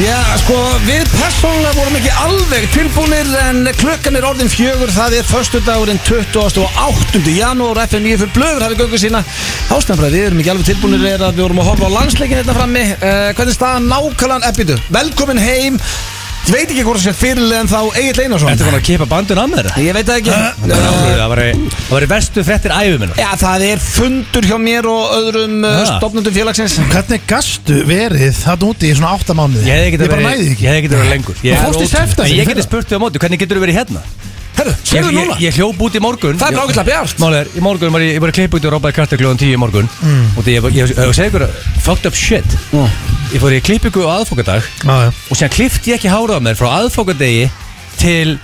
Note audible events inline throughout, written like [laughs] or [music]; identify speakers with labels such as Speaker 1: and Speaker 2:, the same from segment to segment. Speaker 1: Já, sko, við persónulega vorum ekki alveg tilbúinir en klukkan er orðin fjögur, það er förstudagurinn 20. og 8. janúar FN 9 fyrir blöður hafið göngu sína ástæðanfræði, við erum ekki alveg tilbúinir er að við vorum að horfa á landsleikin hérna frammi uh, hvernig staðan nákvæmlega ebbítu velkomin heim, ég veit ekki hvort það sé fyrirlega en þá Egil Einarsson
Speaker 2: Þetta var að kipa bandun að mér
Speaker 1: ég veit það ekki uh,
Speaker 2: Það var- það var í verstu frettir æfum minna
Speaker 1: Já, það er fundur hjá mér og öðrum uh,
Speaker 2: Ha.
Speaker 1: stofnundum félagsins
Speaker 3: Hvernig gastu verið það úti í svona áttamánuði?
Speaker 2: Ég hefði
Speaker 3: ég
Speaker 2: getið
Speaker 3: bara
Speaker 2: verið,
Speaker 3: næði
Speaker 2: ég
Speaker 3: ekki
Speaker 2: hefði getið verið lengur Ég,
Speaker 3: Þú fórst í
Speaker 2: ótrúlega.
Speaker 3: Selfoss
Speaker 2: ég
Speaker 3: í fyrra.
Speaker 2: getið spurt þig á móti, hvernig getur verið hérna?
Speaker 1: Herru,
Speaker 2: Ég,
Speaker 1: sérðu
Speaker 2: ég,
Speaker 1: núna?
Speaker 2: ég hljóp út í morgun
Speaker 1: Það er ágætlega bjart.
Speaker 2: Mál er, í morgun var ég, ég bara klipp út og rópaði karta kljóðan 10 í morgun
Speaker 1: Mm.
Speaker 2: Og því ég, ég, ég, ég segi ykkur, fucked up shit Ég fór í klippingu á aðfókadag Og sér klippti ég ekki hárað á mér frá aðfókadegi til,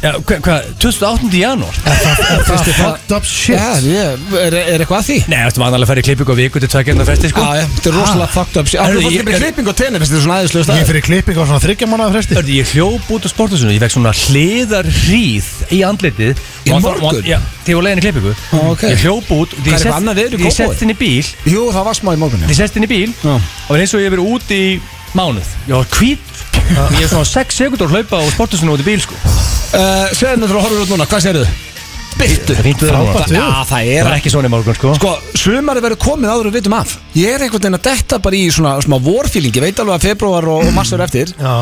Speaker 2: já, hvað, hva, 28. janúar
Speaker 3: Það er fucked up
Speaker 1: Já,
Speaker 3: shit
Speaker 1: ég, er, er eitthvað að því?
Speaker 2: Nei, þetta var annarlega að fara í klippingu á viku til tveggjarnar festi, sko
Speaker 1: Ah, Já, já, þetta er rosalega fucked up Það
Speaker 2: Herðu,
Speaker 1: er
Speaker 2: ég-
Speaker 1: fórst með klipping og tenni, finnst þetta svona aðeinslega
Speaker 3: Ég
Speaker 1: stað
Speaker 3: fyrir klipping á svona þryggjamánaða fresti
Speaker 2: Hörðu, ég hljóp út á sporthúsinu, ég fekk svona hliðar hríð í andlitið
Speaker 1: Í
Speaker 2: Og það-
Speaker 1: morgun?
Speaker 2: og- Já, þegar ég var leiðin í klippingu
Speaker 1: Á, ok.
Speaker 2: Ég hljóp út, því
Speaker 1: Hvað
Speaker 2: ég
Speaker 1: er
Speaker 2: sett-
Speaker 1: annað veður í
Speaker 2: því ég sett
Speaker 1: Kópavogi?
Speaker 2: inn í bíl
Speaker 1: Jú, það var smá í morgun
Speaker 2: Því ég sett inn í bíl
Speaker 1: Já.
Speaker 2: Og eins og ég hef verið út í mánuð Ég var hvít Ég hef svona 6 sekundur að hlaupa á sporthúsinu út í bíl, sko
Speaker 1: Eh, Segðu mér þú horfur út núna, hvað segirðu? Byttu
Speaker 2: Það er fínt veður núna.
Speaker 1: Frábært Já, það
Speaker 2: Það
Speaker 1: er
Speaker 2: var ekki svona í morgun, sko
Speaker 1: Sko, sumari verður komið áður við vitum af Ég er einhvern veginn að detta bara í svona smá vorfíling Ég veit alveg að februar og, og massur eftir
Speaker 3: Já,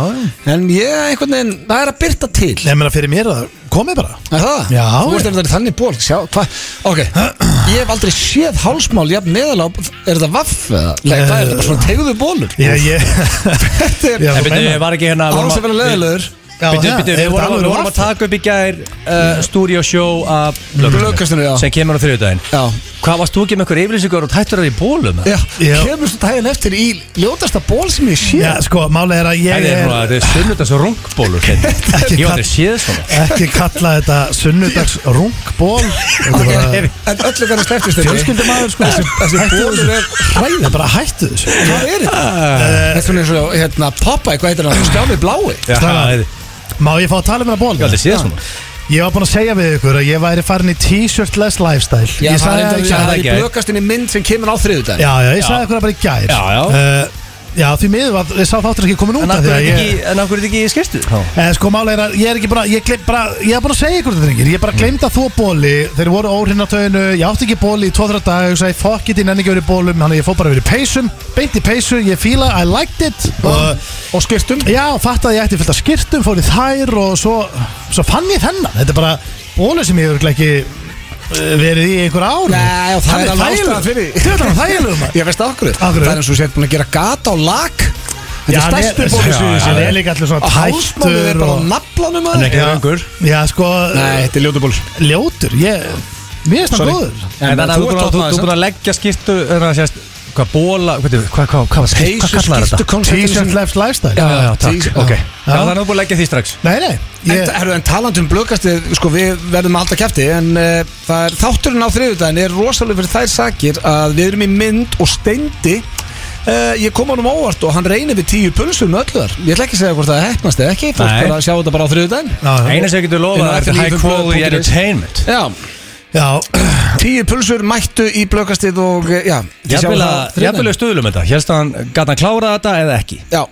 Speaker 1: En ég er einhvern veginn, það er að byrta til
Speaker 3: ég meina fyrir mér að komið bara
Speaker 1: Er það?
Speaker 3: Já,
Speaker 1: Þú veist
Speaker 3: já.
Speaker 1: ef það er þannig ból, sjá, hvað Ok, ég hef aldrei séð hálsmál Jafn neðalá, er þetta vaff? eða? Nei, hvað er þetta? Bara svona tegðu bólur?
Speaker 3: Ég, ég
Speaker 1: Þetta er
Speaker 3: Já,
Speaker 2: En
Speaker 3: þú
Speaker 2: byrju,
Speaker 3: meinar.
Speaker 2: var ekki hérna
Speaker 1: Án sem verður leðilegur
Speaker 3: Já,
Speaker 2: Byrju,
Speaker 3: það,
Speaker 2: byrju,
Speaker 3: er
Speaker 2: við vorum-
Speaker 3: þetta
Speaker 2: við
Speaker 3: alveg
Speaker 2: vorum að
Speaker 3: vaff?
Speaker 2: taka upp í gær uh, Stúdíó sjó af
Speaker 1: Lögkastinu, Mm. já.
Speaker 2: Sem kemur á þriðudaginn
Speaker 1: Já.
Speaker 2: Hvað varst þú ekki með einhver yfirlýsingur og tættur að í bólum? eða?
Speaker 1: Já,
Speaker 3: Já.
Speaker 1: kemur svo daginn eftir í ljótasta ból sem ég sé
Speaker 3: Já, sko, málið er að
Speaker 2: Ég
Speaker 3: ég
Speaker 2: er
Speaker 3: er
Speaker 2: svona, þetta er sunnudags rungbólur [laughs] Ég hef aldrei séð svona
Speaker 3: ekki kalla þetta sunnudags rungból Þetta er bara-
Speaker 1: En öllu kannar sleftist
Speaker 3: Fjölskyldumaður, sko, þessi- þessi
Speaker 1: Þessi bólur er
Speaker 3: Þetta er Eh. bara hættu þessu
Speaker 1: Hvað er þetta? Þetta er svona eins og hérna, Popeye, hvað heitir hann? Stjáni blái
Speaker 2: Já,
Speaker 3: Strákar.
Speaker 2: Ég
Speaker 3: Má ég fá að tala um þetta ból?
Speaker 2: hef aldrei séð svona
Speaker 3: Ég var búinn að segja við ykkur að ég væri farin í t-shirtless lifestyle
Speaker 1: Já,
Speaker 3: Ég
Speaker 1: það
Speaker 3: sagði
Speaker 1: er
Speaker 3: það í
Speaker 1: enda-
Speaker 3: gær
Speaker 1: það er í
Speaker 2: gær.
Speaker 1: blökastinni mynd sem kemur á þriðudag
Speaker 3: Já, já, ég sagði ykkur það bara í gær
Speaker 2: Já, já.
Speaker 3: uh, Já, því miður var, ég sá þáttur ekki komin út
Speaker 2: En af
Speaker 3: af því
Speaker 2: hverju er
Speaker 3: að
Speaker 2: þetta
Speaker 3: ég
Speaker 2: ekki- en af hverju er þetta ekki í skirtu?
Speaker 3: En sko málega er að ég er ekki bara, ég gleym bara, ég er búinn að segja ykkur þetta drengir Ég bara gleymd að þú bóli, þeir voru óhrinn á töginu, ég átti ekki bóli í 2-3 dag Ég sagði, fuck it, ég nenni ekki verið bólum, hann ég fór bara verið peysum Beint í peysu, ég fíla, I liked it Og um-
Speaker 1: Og skirtum
Speaker 3: Já, fatt að ég ætti fyllt að skirtum, fór í þær og svo, svo fann ég þennan. Þetta er bara bólu sem ég hefur ekki eh, verið í einhver ár.
Speaker 1: Nei, og það
Speaker 3: Hann
Speaker 1: er alveg ástæðan fyrir því.
Speaker 3: Þú veist hann
Speaker 1: [laughs]
Speaker 3: er þægilegur maður.
Speaker 1: Ég veist af hverju
Speaker 3: Af hverju?
Speaker 1: Það er eins og sér búin að gera gata á lak Þetta er
Speaker 3: hann er-
Speaker 1: stærstu
Speaker 3: já, já, hann er
Speaker 1: bólur
Speaker 3: líka allir svona
Speaker 1: Og hálsmálið er
Speaker 3: tættur
Speaker 1: bara á
Speaker 3: og...
Speaker 1: naflanum
Speaker 2: Hann er
Speaker 1: að
Speaker 2: ekki röngur
Speaker 3: Já, sko,
Speaker 1: Nei, þetta er ljótu bólur
Speaker 3: ljótur, ég, mér finnst hann
Speaker 1: Sorry.
Speaker 3: góður.
Speaker 2: En þannig að þú búin að- þú- þú búin að leggja skirtu Þannig að sést Hvað bóla Hvað hvað- hvað- hvað var skirtu? Hvað kallar þetta?
Speaker 3: T-shirt left lifestyle.
Speaker 2: Já, já, takk
Speaker 1: T-shirt-
Speaker 2: Ok
Speaker 1: Já.
Speaker 2: Já, Þannig að þú búin að leggja því strax
Speaker 3: Nei, nei,
Speaker 1: En,
Speaker 3: ég,
Speaker 1: herru, en talandum blökastið, sko við verðum alltaf kæfti en uh, það er þátturinn á þriðudaginn er rosalega fyrir þær sakir að við erum í mynd og steindi uh, ég kom honum óvart og hann reynir við tíu pulsum með ölluðar, ég ætla ekki að segja hvort það hefnast eða ekki, fólk
Speaker 2: Nei.
Speaker 1: bara að sjá þetta bara á þriðudaginn
Speaker 3: já, já,
Speaker 2: Eina sem ég
Speaker 1: Inn
Speaker 2: getur
Speaker 1: á
Speaker 2: lofað er þetta high quality
Speaker 1: FNIFUBLOG.is.
Speaker 2: entertainment
Speaker 1: Já,
Speaker 3: já,
Speaker 1: tíu pulsur mættu í blökastið og eh, já, þið sjáum
Speaker 2: Jafnvel
Speaker 1: það á
Speaker 2: að-
Speaker 1: þriðjudaginn.
Speaker 2: jafnvel að stuðlum þetta Hérst að hann Gat hann klárað þetta eða ekki
Speaker 1: Já,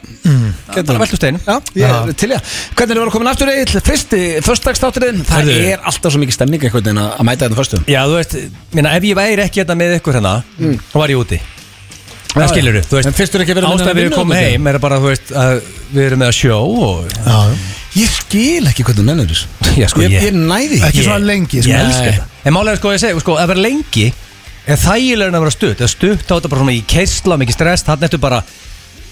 Speaker 2: Bara veltu steinu
Speaker 1: já, ég er til ég Hvernig er það komin aftur eitt, fyrsti, förstagsþátturinn Það
Speaker 2: Herðu.
Speaker 1: er alltaf svo mikið stemning einhvern veginn að að mæta hérna þetta fyrstum
Speaker 2: Já, þú veist Minna, ef ég væri ekki þetta með ykkur hérna Þá var ég úti
Speaker 1: Já,
Speaker 2: Það
Speaker 1: já.
Speaker 2: skilur þú
Speaker 1: En finnst þér ekki að vera með
Speaker 2: Ástæðan
Speaker 1: neina
Speaker 2: við
Speaker 1: vinnu
Speaker 2: komum
Speaker 1: þarna
Speaker 2: heim er bara, þú veist, að við erum með að sjó og
Speaker 3: já, já.
Speaker 1: Ég skil ekki hvernig þú nennir þessu
Speaker 2: Já, sko,
Speaker 1: ég,
Speaker 2: ég-
Speaker 1: ég næði því
Speaker 3: Ekki svona lengi, sko.
Speaker 2: Ég
Speaker 3: Nei.
Speaker 2: elska þetta En málega, sko, ég segi, sko, að vera lengi er þægilega en að vera stutt Eða stutt á þetta bara svona í keisla, mikið stress Þannig ertu bara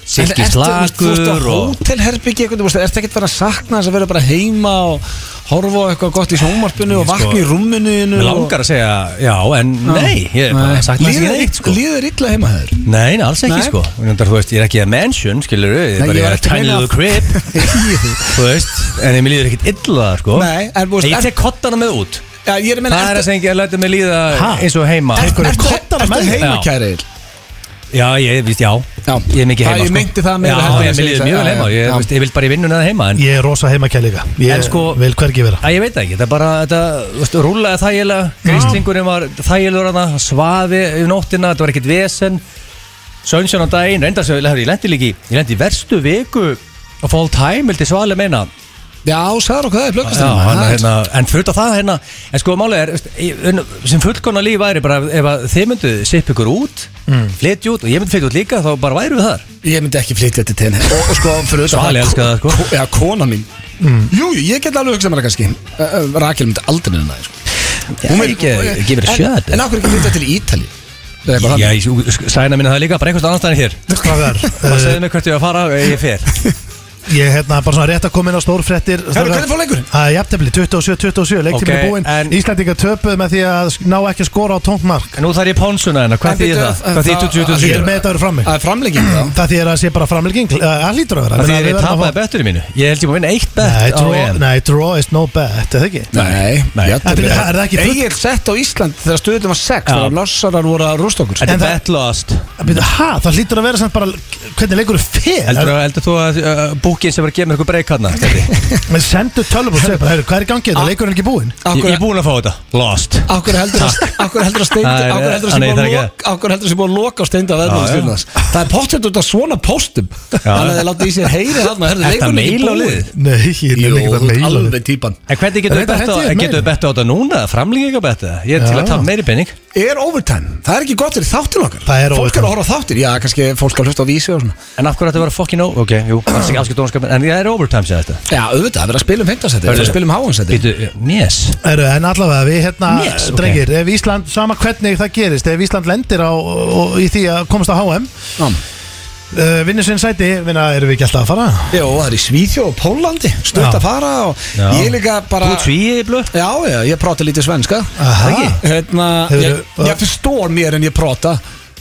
Speaker 2: silki slagur og
Speaker 1: Hótelherbyggi eitthvað, þú veist, ertu ekkert verið að sakna þess að vera bara heima og horfa á eitthvað gott í sjónvarpinu og
Speaker 2: sko-
Speaker 1: vakna í rúminu
Speaker 2: Mér langar að segja, já, en nei Ég er bara sagt maður
Speaker 1: Líður
Speaker 2: sér eitt, sko
Speaker 1: líður illa heima þeir
Speaker 2: [laughs] Nei, nei, alls ekki,
Speaker 1: Nei.
Speaker 2: sko Reyndar, Þú veist, ég er ekki að mansion, skilur Ég
Speaker 1: Nei,
Speaker 2: er
Speaker 1: ég
Speaker 2: bara
Speaker 1: var
Speaker 2: í
Speaker 1: ekki
Speaker 2: að
Speaker 1: að
Speaker 2: tiny
Speaker 1: meina-
Speaker 2: little crib
Speaker 1: [laughs]
Speaker 2: Þú veist, en ég mér líður ekkit illa, sko
Speaker 1: Nei, en þú
Speaker 2: En
Speaker 1: veist,
Speaker 2: ég
Speaker 1: er-
Speaker 2: tek kottana með út
Speaker 1: Já, ég er að
Speaker 2: Það er
Speaker 1: menna
Speaker 2: að segja, ég lætur mig líða
Speaker 3: Ha?
Speaker 2: eins og heima
Speaker 1: Ertu
Speaker 3: Tekurðu koddana
Speaker 1: ertu
Speaker 3: með þér?
Speaker 1: heima,
Speaker 2: Já.
Speaker 1: kæri Egill?
Speaker 2: Já, ég, víst, já
Speaker 1: Já.
Speaker 2: Ég er mikið
Speaker 1: Já,
Speaker 2: heima,
Speaker 1: ég
Speaker 2: sko
Speaker 1: meinti það meira
Speaker 2: Já,
Speaker 1: heldur en
Speaker 2: ég
Speaker 1: að
Speaker 2: mér
Speaker 1: segja
Speaker 2: líður
Speaker 1: það.
Speaker 2: mjög vel
Speaker 1: Já,
Speaker 2: heima
Speaker 1: já,
Speaker 2: Ég,
Speaker 1: já.
Speaker 2: víst, ég vil bara í vinnuna eða heima En,
Speaker 3: Ég er rosa heimakæl líka.
Speaker 2: En
Speaker 3: Ég
Speaker 2: sko-
Speaker 3: vil hvergi vera.
Speaker 2: að, ég veit það ekki, þetta er bara þetta, víst, Rúlaði þægilega, gríslingurinn var þægilegur hana Svaði um nóttina, þetta var ekkit vesen Sunshine á daginn, reyndar sem ég lendi líki Ég lendi í verstu viku of all time, vildi svali meina
Speaker 1: Já, sagður okkur það í
Speaker 2: Já,
Speaker 1: blöggastinu
Speaker 2: hann, hérna, en fullt af það hérna En sko málið er, veist, í- en sem fullkona líf væri bara ef að þið myndu sipp ykkur út flytja út og ég myndi flytja út líka þá bara væru við þar
Speaker 1: Ég myndi ekki flytja til tenni Og, og sko, fyrir utan
Speaker 2: Svali elskar það, sko. Mm.
Speaker 1: ko- Já, kona mín Jú, jú, ég get alveg hugsað mér það kannski Ö, ö, Rakel myndi aldrei minna það, sko
Speaker 2: Já,
Speaker 1: myndi-
Speaker 2: ekki-
Speaker 1: en-
Speaker 2: give it a shot.
Speaker 1: En okkur ekki flytja til Ítali Það er bara
Speaker 2: Já,
Speaker 1: þannig.
Speaker 2: ég slæna minna það líka, bara einhvers annan staðin hér
Speaker 3: Hvað er?
Speaker 2: Bara
Speaker 3: Uh,
Speaker 2: segðu mig hvert ég á að fara, eh, ég fer
Speaker 3: ég hérna bara svona rétt að koma inn á stórfrettir
Speaker 1: Herru, hvernig fór leikurinn?
Speaker 3: Það er jafntefli, 27-27, leiktími
Speaker 2: Ok,
Speaker 3: okay, búinn
Speaker 2: en-
Speaker 3: Íslandingar töpuð með því að sk- ná ekki að skora á tómt mark
Speaker 2: En nú þarf ég pánsuna hérna,
Speaker 1: En
Speaker 2: hvað þýðir
Speaker 1: bíddu,
Speaker 2: það?
Speaker 3: eh,
Speaker 1: en
Speaker 2: Hvað
Speaker 1: það-
Speaker 2: þýðir
Speaker 3: Ég er
Speaker 2: 2027?
Speaker 3: með þetta að vera frammi
Speaker 1: Það er framlenging þá
Speaker 3: Það því er að sé bara framlegging Það hlýtur að vera
Speaker 2: Það
Speaker 3: meina,
Speaker 2: þýðir
Speaker 3: við
Speaker 2: ég
Speaker 3: verðum að
Speaker 2: tapaði bettur í mínu Ég held ég má vinna eitt
Speaker 3: fá- Nei,
Speaker 2: bett á
Speaker 3: draw-
Speaker 2: EM
Speaker 3: Nei, draw is no bet, er það ekki?
Speaker 1: Nei,
Speaker 2: Nei.
Speaker 1: jafntefli.
Speaker 3: En bíddu, er það ekki full-
Speaker 1: Egill sett á Ísland þegar stöðum var 6
Speaker 2: Já.
Speaker 1: Þegar lossarar voru að rústa okkur
Speaker 2: Þetta
Speaker 3: En
Speaker 2: er
Speaker 3: það-
Speaker 2: bet lost
Speaker 3: Býtu, ha, það hlýtur að vera samt bara Hvernig leikur er fer?
Speaker 2: Heldur heldur þú að uh, búkin sem var að gefa mér eitthvað breyk hérna? Stebbi?
Speaker 3: Men sendu tölvum og segja bara, heyrðu, hvað er í gangi þetta?
Speaker 2: Ah.
Speaker 3: Leikurinn er ekki búinn
Speaker 2: Ég ég
Speaker 1: Akkur
Speaker 2: er búin að fá þetta Lost
Speaker 1: Akkur heldur að Akkur heldur að steinda
Speaker 2: Nei,
Speaker 1: Akkur heldur að sé
Speaker 2: nei, nei,
Speaker 1: búið
Speaker 2: það er
Speaker 1: að
Speaker 2: ekki
Speaker 1: loka Akkur heldur að sé búið að loka á steinda
Speaker 2: Já, já.
Speaker 1: verðum Það er pottet út af svona postum Þannig að þeir láta í sér heyri þarna herðu,
Speaker 2: Þetta
Speaker 1: leikurinn er ekki
Speaker 2: mail á
Speaker 1: búinn.
Speaker 2: liðið?
Speaker 3: Nei, ég
Speaker 1: Jú,
Speaker 3: er ekki að leila þig.
Speaker 1: alveg típan
Speaker 2: En hvernig getur
Speaker 3: Reyndar held ég að meina.
Speaker 2: við bett á þetta núna? Framlíka eitthvað bett það? Ég er til
Speaker 3: Já.
Speaker 2: að tapa meiri penning
Speaker 1: Er overtime, það er ekki gott fyrir þáttin okkar
Speaker 3: Það er
Speaker 1: Fólk er
Speaker 3: overtime.
Speaker 1: að horfa á þáttir, já kannski fólk að hlusta á vísi og svona
Speaker 2: En af hverju ætti að vera fokkin over Ok, jú, alls ekki afskipt dónskapin En það er overtime sér þetta
Speaker 1: Já, auðvitað, það er að spila um 15 seti, það er að
Speaker 2: Hörðu.
Speaker 1: spila um háan seti
Speaker 2: Býtu, yes
Speaker 3: Heru, en allavega, við hérna,
Speaker 2: Yes, ok.
Speaker 3: drengir, ef Ísland, sama hvernig það gerist, ef Ísland lendir á, og, í því að komast á HM, uh, vinnur sinn sæti, vinna, erum við ekki alltaf að fara?
Speaker 1: Jó, það er í Svíþjóð og Pólandi, stöðt
Speaker 3: Já.
Speaker 1: að fara og
Speaker 2: Já.
Speaker 1: ég líka bara
Speaker 2: Þú tvíi blöð
Speaker 1: Já, já, ég prata lítið svenska
Speaker 3: Aha.
Speaker 1: Ekki? Hérna, ég,
Speaker 3: Hefurðu-
Speaker 1: ég forstår mér en ég prata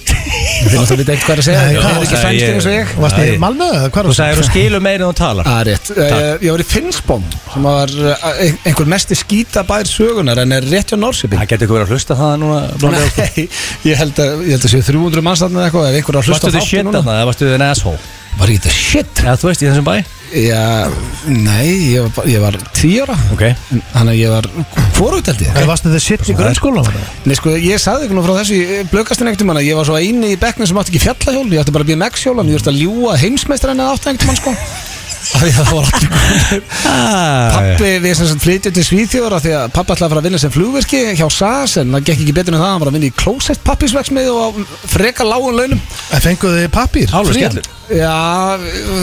Speaker 3: [laughs]
Speaker 1: Þið náttúrulega veit ekkert hvað er að segja
Speaker 3: Nei,
Speaker 1: Ég er
Speaker 3: hvað-
Speaker 1: ekki
Speaker 2: Nei,
Speaker 1: svenskir
Speaker 2: ég-
Speaker 1: eins og ég
Speaker 2: Nei.
Speaker 3: Varst þið í Malmö? eða
Speaker 2: Þú
Speaker 3: hvar varstu?
Speaker 2: sagðir þú skilur meira en þú talar
Speaker 1: Það er rétt Eh, Ég, ég var í Finnsbóm sem var eh, ein- einhver mesti skítabær sögunar en er rétt hjá Norsiping
Speaker 2: Það getur ykkur verið að hlusta það núna
Speaker 1: Nei, ég held að ég held að séu 300 manns þarna eða eitthvað ef einhver er að hlusta á
Speaker 2: Vartu þið
Speaker 1: þáttin
Speaker 2: shit
Speaker 1: núna
Speaker 2: þarna? eða Vartu þið en asshole?
Speaker 1: Var ég þetta shit?
Speaker 2: Eða þú veist í þessum bæ?
Speaker 1: Já, nei, ég var, bara- ég var 10 ára
Speaker 2: Ok
Speaker 1: Þannig að ég var hvorugt held ég
Speaker 3: Nei, Varstu þið shit í grunnskóla?
Speaker 1: Nei sko, ég sagði ykkur nú frá þessu í blökastin einhvern tímann að ég var svo eini í bekknum sem átti ekki fjallahjól, ég átti bara að býja megshjól en ég þurfti að ljúa heimsmeistrann eða átti einhvern tímann sko Af því að það var allir konur.
Speaker 2: Pappi
Speaker 1: Pappi, við sem sagt flytjum til Svíþjóra því að pappi ætlaði að fara að vinna sem flugverki hjá SAS en það gekk ekki betur en það, hann var að vinna í klósett pappisverksmið og á freka lágun launum
Speaker 3: En fenguðu Eh, þið pappír?
Speaker 2: Hálfur
Speaker 3: Frían?
Speaker 2: skellur
Speaker 1: Já,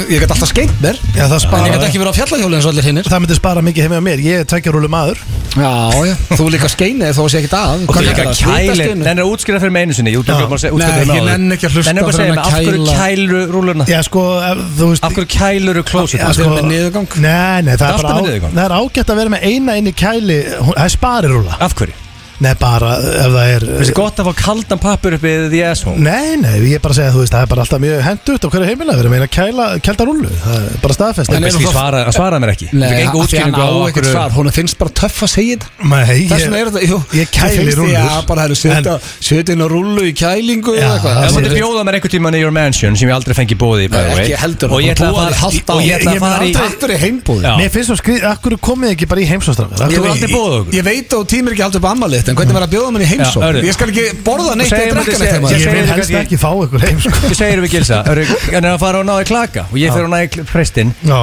Speaker 1: ég gæti alltaf skeimt mér
Speaker 3: Já, það
Speaker 1: en ég
Speaker 3: spara,
Speaker 1: gæti ekki verið á fjallahjóli eins og allir hinnir
Speaker 3: það myndi spara mikið heim á mér, ég er tveggjarúlu maður.
Speaker 1: Já, já, þú líka skeinið þó sé ekki að
Speaker 2: Og
Speaker 1: Hvað
Speaker 2: þú líka
Speaker 1: kallar það?
Speaker 2: kælir
Speaker 1: Svitaskeiðinu?
Speaker 2: Nennar að útskýra fyrir mig einu sinni Ég útskýra bara að segja- útskýra
Speaker 1: Nei,
Speaker 2: fyrir mig
Speaker 1: ég
Speaker 2: áður.
Speaker 1: nenni ekki að hlusta
Speaker 2: Nennirðu bara
Speaker 1: fyrir hann
Speaker 2: segja mig
Speaker 1: að
Speaker 2: af hverju
Speaker 1: kæla-
Speaker 2: kæliru rúlurna?
Speaker 3: Já, sko, ef, þú veist...
Speaker 2: Af hverju kæluru klósett?
Speaker 3: Já, sko,
Speaker 1: Að vera með niðurgang?
Speaker 3: Nei,
Speaker 2: Ertu
Speaker 3: nei, það er, bara
Speaker 2: alltaf
Speaker 3: á,
Speaker 2: með niðurgang?
Speaker 3: það er ágætt að vera með eina inn í kæli, hún- það er sparirúla.
Speaker 2: Af hverju?
Speaker 3: Nei, bara ef það er...
Speaker 2: Finnst þið gott að fá kaldan pappur upp við The Asshole?
Speaker 3: Nei, nei, ég er bara að segja, þú veist, það er bara alltaf mjög hendugt á hverju heimilega, við erum eina kæla, kælda rullu, það er bara staðfest
Speaker 1: En
Speaker 2: Nei,
Speaker 1: er
Speaker 2: Beský
Speaker 1: það-
Speaker 2: svara, hann svaraði mér ekki
Speaker 1: Nei,
Speaker 2: Ég fekk enga
Speaker 1: af því hann
Speaker 2: útskýringu
Speaker 1: á
Speaker 2: á
Speaker 1: ekkert
Speaker 2: okkur
Speaker 1: svar, hún finnst bara töff að segja þetta
Speaker 3: Nei, ég,
Speaker 1: Þess vegna er þetta, jú
Speaker 3: ég kæli
Speaker 1: Þú finnst því
Speaker 3: rúllur.
Speaker 1: að bara hefur setja,
Speaker 3: En-
Speaker 1: setja inn á rullu í kælingu
Speaker 3: Já,
Speaker 1: eða eitthvað
Speaker 2: Ef
Speaker 3: það
Speaker 1: Það er
Speaker 2: þú myndir bjóða mér einhvern tímann í your mansion sem ég aldrei fengi bóði í by
Speaker 1: Nei,
Speaker 2: the way.
Speaker 1: ekki heldur,
Speaker 2: Og ég ætla
Speaker 1: bara
Speaker 2: að
Speaker 1: búa þig hálft
Speaker 2: fara
Speaker 1: ár.
Speaker 2: Og ég ætla að
Speaker 3: Ég
Speaker 2: fara í
Speaker 1: aldrei- aldrei heimbúð
Speaker 2: Já.
Speaker 3: Mér finnst svo skrið, akkur komið þið ekki bara í heimsóstrákar
Speaker 2: Ég-
Speaker 3: Akkur
Speaker 2: hefur aldrei boðið okkur.
Speaker 1: Ég veit að þú tímir ekki aldrei upp ammaliðt En hvernig var að bjóða mér í heimsók
Speaker 2: Já, hörðu.
Speaker 1: Ég skal ekki borða neitt
Speaker 2: Þú segir
Speaker 1: eða
Speaker 2: mér
Speaker 1: drekka
Speaker 2: þessi-
Speaker 1: neitt
Speaker 2: ég
Speaker 1: heima
Speaker 3: Ég
Speaker 2: segi
Speaker 3: vil
Speaker 2: þér
Speaker 3: helst
Speaker 2: kannski-
Speaker 3: ekki fá ykkur heim sko.
Speaker 2: Ég segir við Gilsa hörru, Hann er að fara og ná í klaka Og ég fer og ná í kl- prestin
Speaker 3: Já,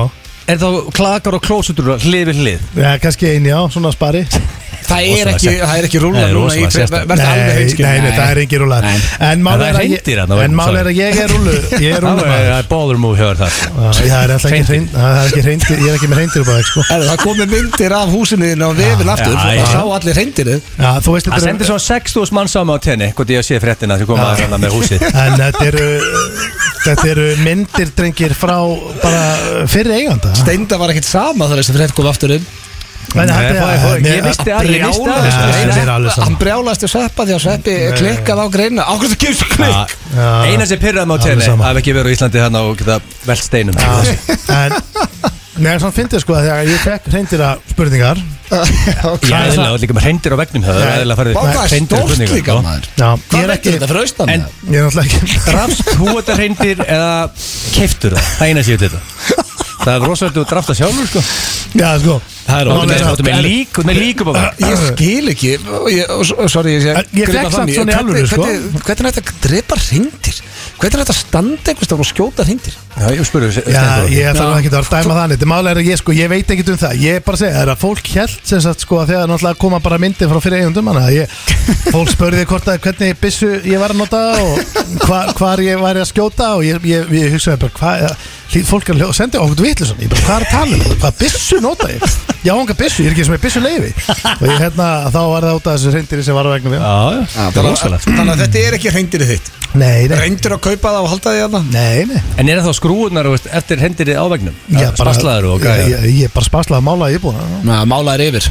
Speaker 2: Er þá klakar og klósutur hlið við hlið
Speaker 3: ja, kannski eini á, svona spari
Speaker 1: Það er
Speaker 2: Rosalega
Speaker 1: ekki,
Speaker 2: sérstakt.
Speaker 1: það er ekki rúla
Speaker 2: Nei,
Speaker 1: núna
Speaker 2: rosalega
Speaker 1: í-
Speaker 2: sérstakt.
Speaker 1: Vertu alveg heimskil
Speaker 3: nei, nei, það er engin rúla
Speaker 1: Nei.
Speaker 3: En mál
Speaker 2: En það
Speaker 3: er
Speaker 2: er
Speaker 3: að ég-
Speaker 2: hreindýr þarna á
Speaker 3: en
Speaker 2: veggnum,
Speaker 3: mál er
Speaker 2: sorry.
Speaker 3: að ég er rúlu Ég
Speaker 2: [laughs]
Speaker 3: er rúlu
Speaker 2: Það er- það er bóður múf hjá þér þar
Speaker 3: Það er alltaf ekki
Speaker 2: Hreindýr.
Speaker 3: hreind Það er ekki hreind Ég er ekki með hreindir bara sko.
Speaker 1: Herðu, Það komið myndir af húsinu þínu á vefin aftur
Speaker 2: já,
Speaker 1: Það
Speaker 2: já.
Speaker 1: sá allir reyndir
Speaker 3: Já, þú veist
Speaker 2: Það
Speaker 3: þetta
Speaker 2: sendir
Speaker 3: er
Speaker 2: svo 6.000 mann saman á tenni Hvort ég sé fréttina sem koma að með húsið
Speaker 3: En þetta eru Þetta eru myndir drengir frá bara fyrir eiganda
Speaker 1: Steinda var ekkit sama þar þessi frétt kom aftur um
Speaker 3: Nei,
Speaker 2: Nei,
Speaker 3: þetta
Speaker 2: fóði,
Speaker 3: er-
Speaker 2: fóði,
Speaker 3: mér-
Speaker 2: ég vissti að- ég vissti að-
Speaker 3: Brjálæðist
Speaker 2: Já,
Speaker 3: þessu, mér er alveg
Speaker 1: Hann
Speaker 3: sama.
Speaker 1: brjálaðist í sveppa því að sveppi klikkað á greina Á hvernig það gefur svo
Speaker 2: Ja,
Speaker 1: klikk
Speaker 3: Já.
Speaker 2: Eina sem pyrraði mig á
Speaker 3: Alveg
Speaker 2: tenni
Speaker 3: sama.
Speaker 2: Haf ekki verið á Íslandi hann og geta velt steinum
Speaker 3: en Mér er svona fyndið sko að þegar ég fekk reyndir að spurningar
Speaker 1: [laughs]
Speaker 2: Ég er eðlilega líka með reyndir á vegnum Það er
Speaker 3: Nei.
Speaker 2: eðlilega farið
Speaker 1: Vá, hvað er
Speaker 2: Hreindir og
Speaker 1: stórt
Speaker 2: spurningar,
Speaker 1: líka
Speaker 2: sko.
Speaker 1: maður
Speaker 3: Já, ég
Speaker 1: Hvað
Speaker 3: er
Speaker 1: veitir
Speaker 3: ekki
Speaker 1: þetta fyrir austan?
Speaker 2: En-
Speaker 1: það?
Speaker 3: Ég er náttúrulega ekki
Speaker 2: Rafst þú þetta reyndir eða keiftur það? Það er eina sem ég veit þetta Það er rosalega þú drafta sjálfur sko
Speaker 3: Já, sko
Speaker 1: Það er
Speaker 3: Má
Speaker 2: Þú
Speaker 1: ótrúlega-
Speaker 3: lesa-
Speaker 2: ert með lík, þú ert með lík upp á það
Speaker 1: Ég skil ekki og ég, og, s- og, Sorry, ég sé að
Speaker 3: En ég
Speaker 1: grípa
Speaker 3: fekk
Speaker 1: fram
Speaker 3: samt svona í
Speaker 1: Hvernig-
Speaker 3: alvöru, sko.
Speaker 1: Hvernig hvernig er þetta að drepa hrindir? Hvernig er þetta að standa einhvers þar og skjóta hrindir?
Speaker 2: Já, ég spurði
Speaker 3: Já,
Speaker 2: Steindór.
Speaker 3: ég þarf ekki að dæma það neitt Málega er að ég, sko, ég veit ekkert um það Ég bara segi, það er að fólk held sem sagt, sko, að þegar náttúrulega koma bara myndin frá fyrir eigundum hana, ég, Fólk spurði hvort að hvernig byssu ég var að nota og hva, hvar ég var að skjóta og ég, ég, ég hugsaði bara, hvað hlý- Fólk er að ljó- sendi okkur vitlu svona, ég bara, hvað er að tala um það? Hvað byssu nota ég? Já, enga byssu, ég er ekki sem ég byssu leifi Og ég, hérna, þá var það út af þessu reyndir sem var að vegna við
Speaker 2: Já, já, það er rosalega
Speaker 1: Þannig að þetta er ekki hrindir þitt
Speaker 3: Nei, nei,
Speaker 1: Reyndir að kaupa það og halda því aðna
Speaker 3: nei, nei
Speaker 2: En er það þá skrúurnar þú veist, eftir hendir þið á vegnum?
Speaker 3: Ég bara-
Speaker 2: Spaslaður og gæja
Speaker 3: Ég- Ég ég bara spaslaði málaði íbúna
Speaker 1: Ná, málaður yfir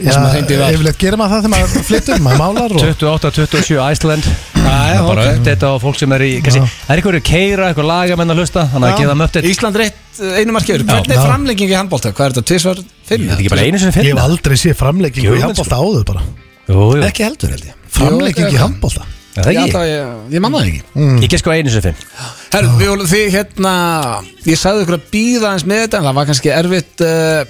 Speaker 3: Já,
Speaker 1: sem að hreindýr var.
Speaker 3: yfirleitt gerir maður það þegar maður flyttur, maður málar og
Speaker 2: 28-27 Iceland Það er bara uppdata á fólk sem er í kannski, Það er einhverju keira, einhver lagamenn að hlusta Þannig að gefa þeim uppdata
Speaker 1: Ísland rétt eh, einu marki yfir Hvernig er
Speaker 3: Já.
Speaker 1: framlenging í handbólta? Hvað er þetta? Tvísvar fimm?
Speaker 2: Þetta er ekki bara einu
Speaker 1: Hérna-
Speaker 2: sem
Speaker 3: Ég hef
Speaker 2: finna
Speaker 3: aldrei séð framleggingu í
Speaker 2: Jú,
Speaker 3: handbólta áður bara
Speaker 2: Jú, jú,
Speaker 1: sko. Ekki heldur held ég
Speaker 3: Framlegging í handbólta
Speaker 2: Er það
Speaker 1: Ég,
Speaker 2: ekki
Speaker 1: ætla að ég, ég manna það ekki
Speaker 2: Ég gef sko einu sem finn
Speaker 1: Herru, Vjóla, því hérna Ég sagði ykkur að býða eins með þetta En það var kannski erfitt uh,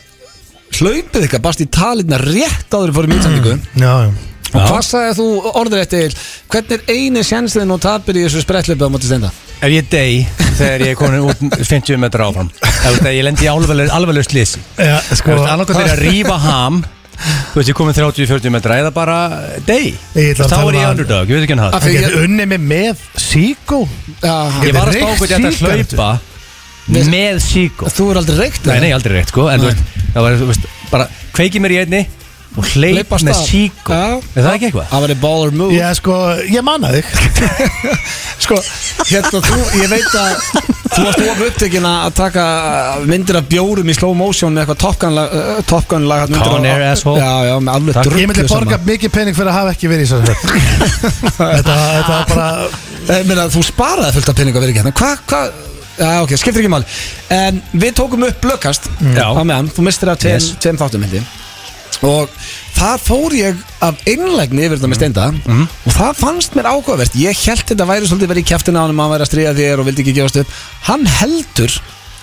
Speaker 1: Hlaupið ykkar barst í talirna rétt áður fyrir mýtsendingu
Speaker 3: Já, já
Speaker 1: Og hvað sagði þú orður eftir Hvernig er eini sjensliðin og tapir í þessu sprettlöpu á móti steinda?
Speaker 2: Ef ég dey þegar ég er komin út 50 metra áfram Þegar ég lendi í alvarleg- alvarlegu slýsi
Speaker 3: Já, sko,
Speaker 2: Annarkvæmt er ég að rífa ham Þú veist, ég komin 30-40 metra Eða bara dey
Speaker 3: Ég ætla að
Speaker 2: Þá
Speaker 3: tala
Speaker 2: er ég
Speaker 3: um að-
Speaker 2: underdog, ég veit ekki hann það
Speaker 1: Af-
Speaker 3: hann getur unni mig með síkó
Speaker 1: Uh,
Speaker 2: Ég var að spá
Speaker 3: reykt
Speaker 2: hvernig þetta
Speaker 3: sígarettu.
Speaker 2: hlaupa Með síkó
Speaker 1: þú er aldrei reykt
Speaker 2: Nei,
Speaker 1: eða?
Speaker 2: nei, aldrei rétt, sko En þú veist, það var, þú veist, bara kveiki mér í einni Og hleyp
Speaker 1: Hleypa af
Speaker 2: með
Speaker 1: stað.
Speaker 2: síkó
Speaker 1: Já.
Speaker 2: Er það ekki eitthvað?
Speaker 1: Það var í baller move
Speaker 3: Já, sko, ég manna þig
Speaker 1: Sko, hérna þú, ég veit að þú varst of upptökin að taka myndir af bjórum í slow motion með eitthvað Top Gun lag, uh, Top Gun lag þarna undir á-
Speaker 2: Con Air asshole.
Speaker 1: Já, já, með alveg
Speaker 2: Takk.
Speaker 1: drullu
Speaker 3: Ég myndi borga mikið pening fyrir að hafa ekki verið í þessu [laughs] Þetta þetta var bara
Speaker 1: Ég meina, þú sparaði fullt af peninga verið ekki hérna Hvað, hvað, já, ok, skiptir ekki máli En við tókum upp blökkast
Speaker 2: Mm. Já.
Speaker 1: á meðan, þú mistir af tveim,
Speaker 2: Yes.
Speaker 1: tveim þáttum hindi Og þar fór ég af einlægni yfir
Speaker 2: Mm.
Speaker 1: þetta með steinda Og það fannst mér áhugavert Ég held þetta væri svolítið verið í kjæftina á hann Hann væri að stríða þér og vildi ekki gefast upp Hann heldur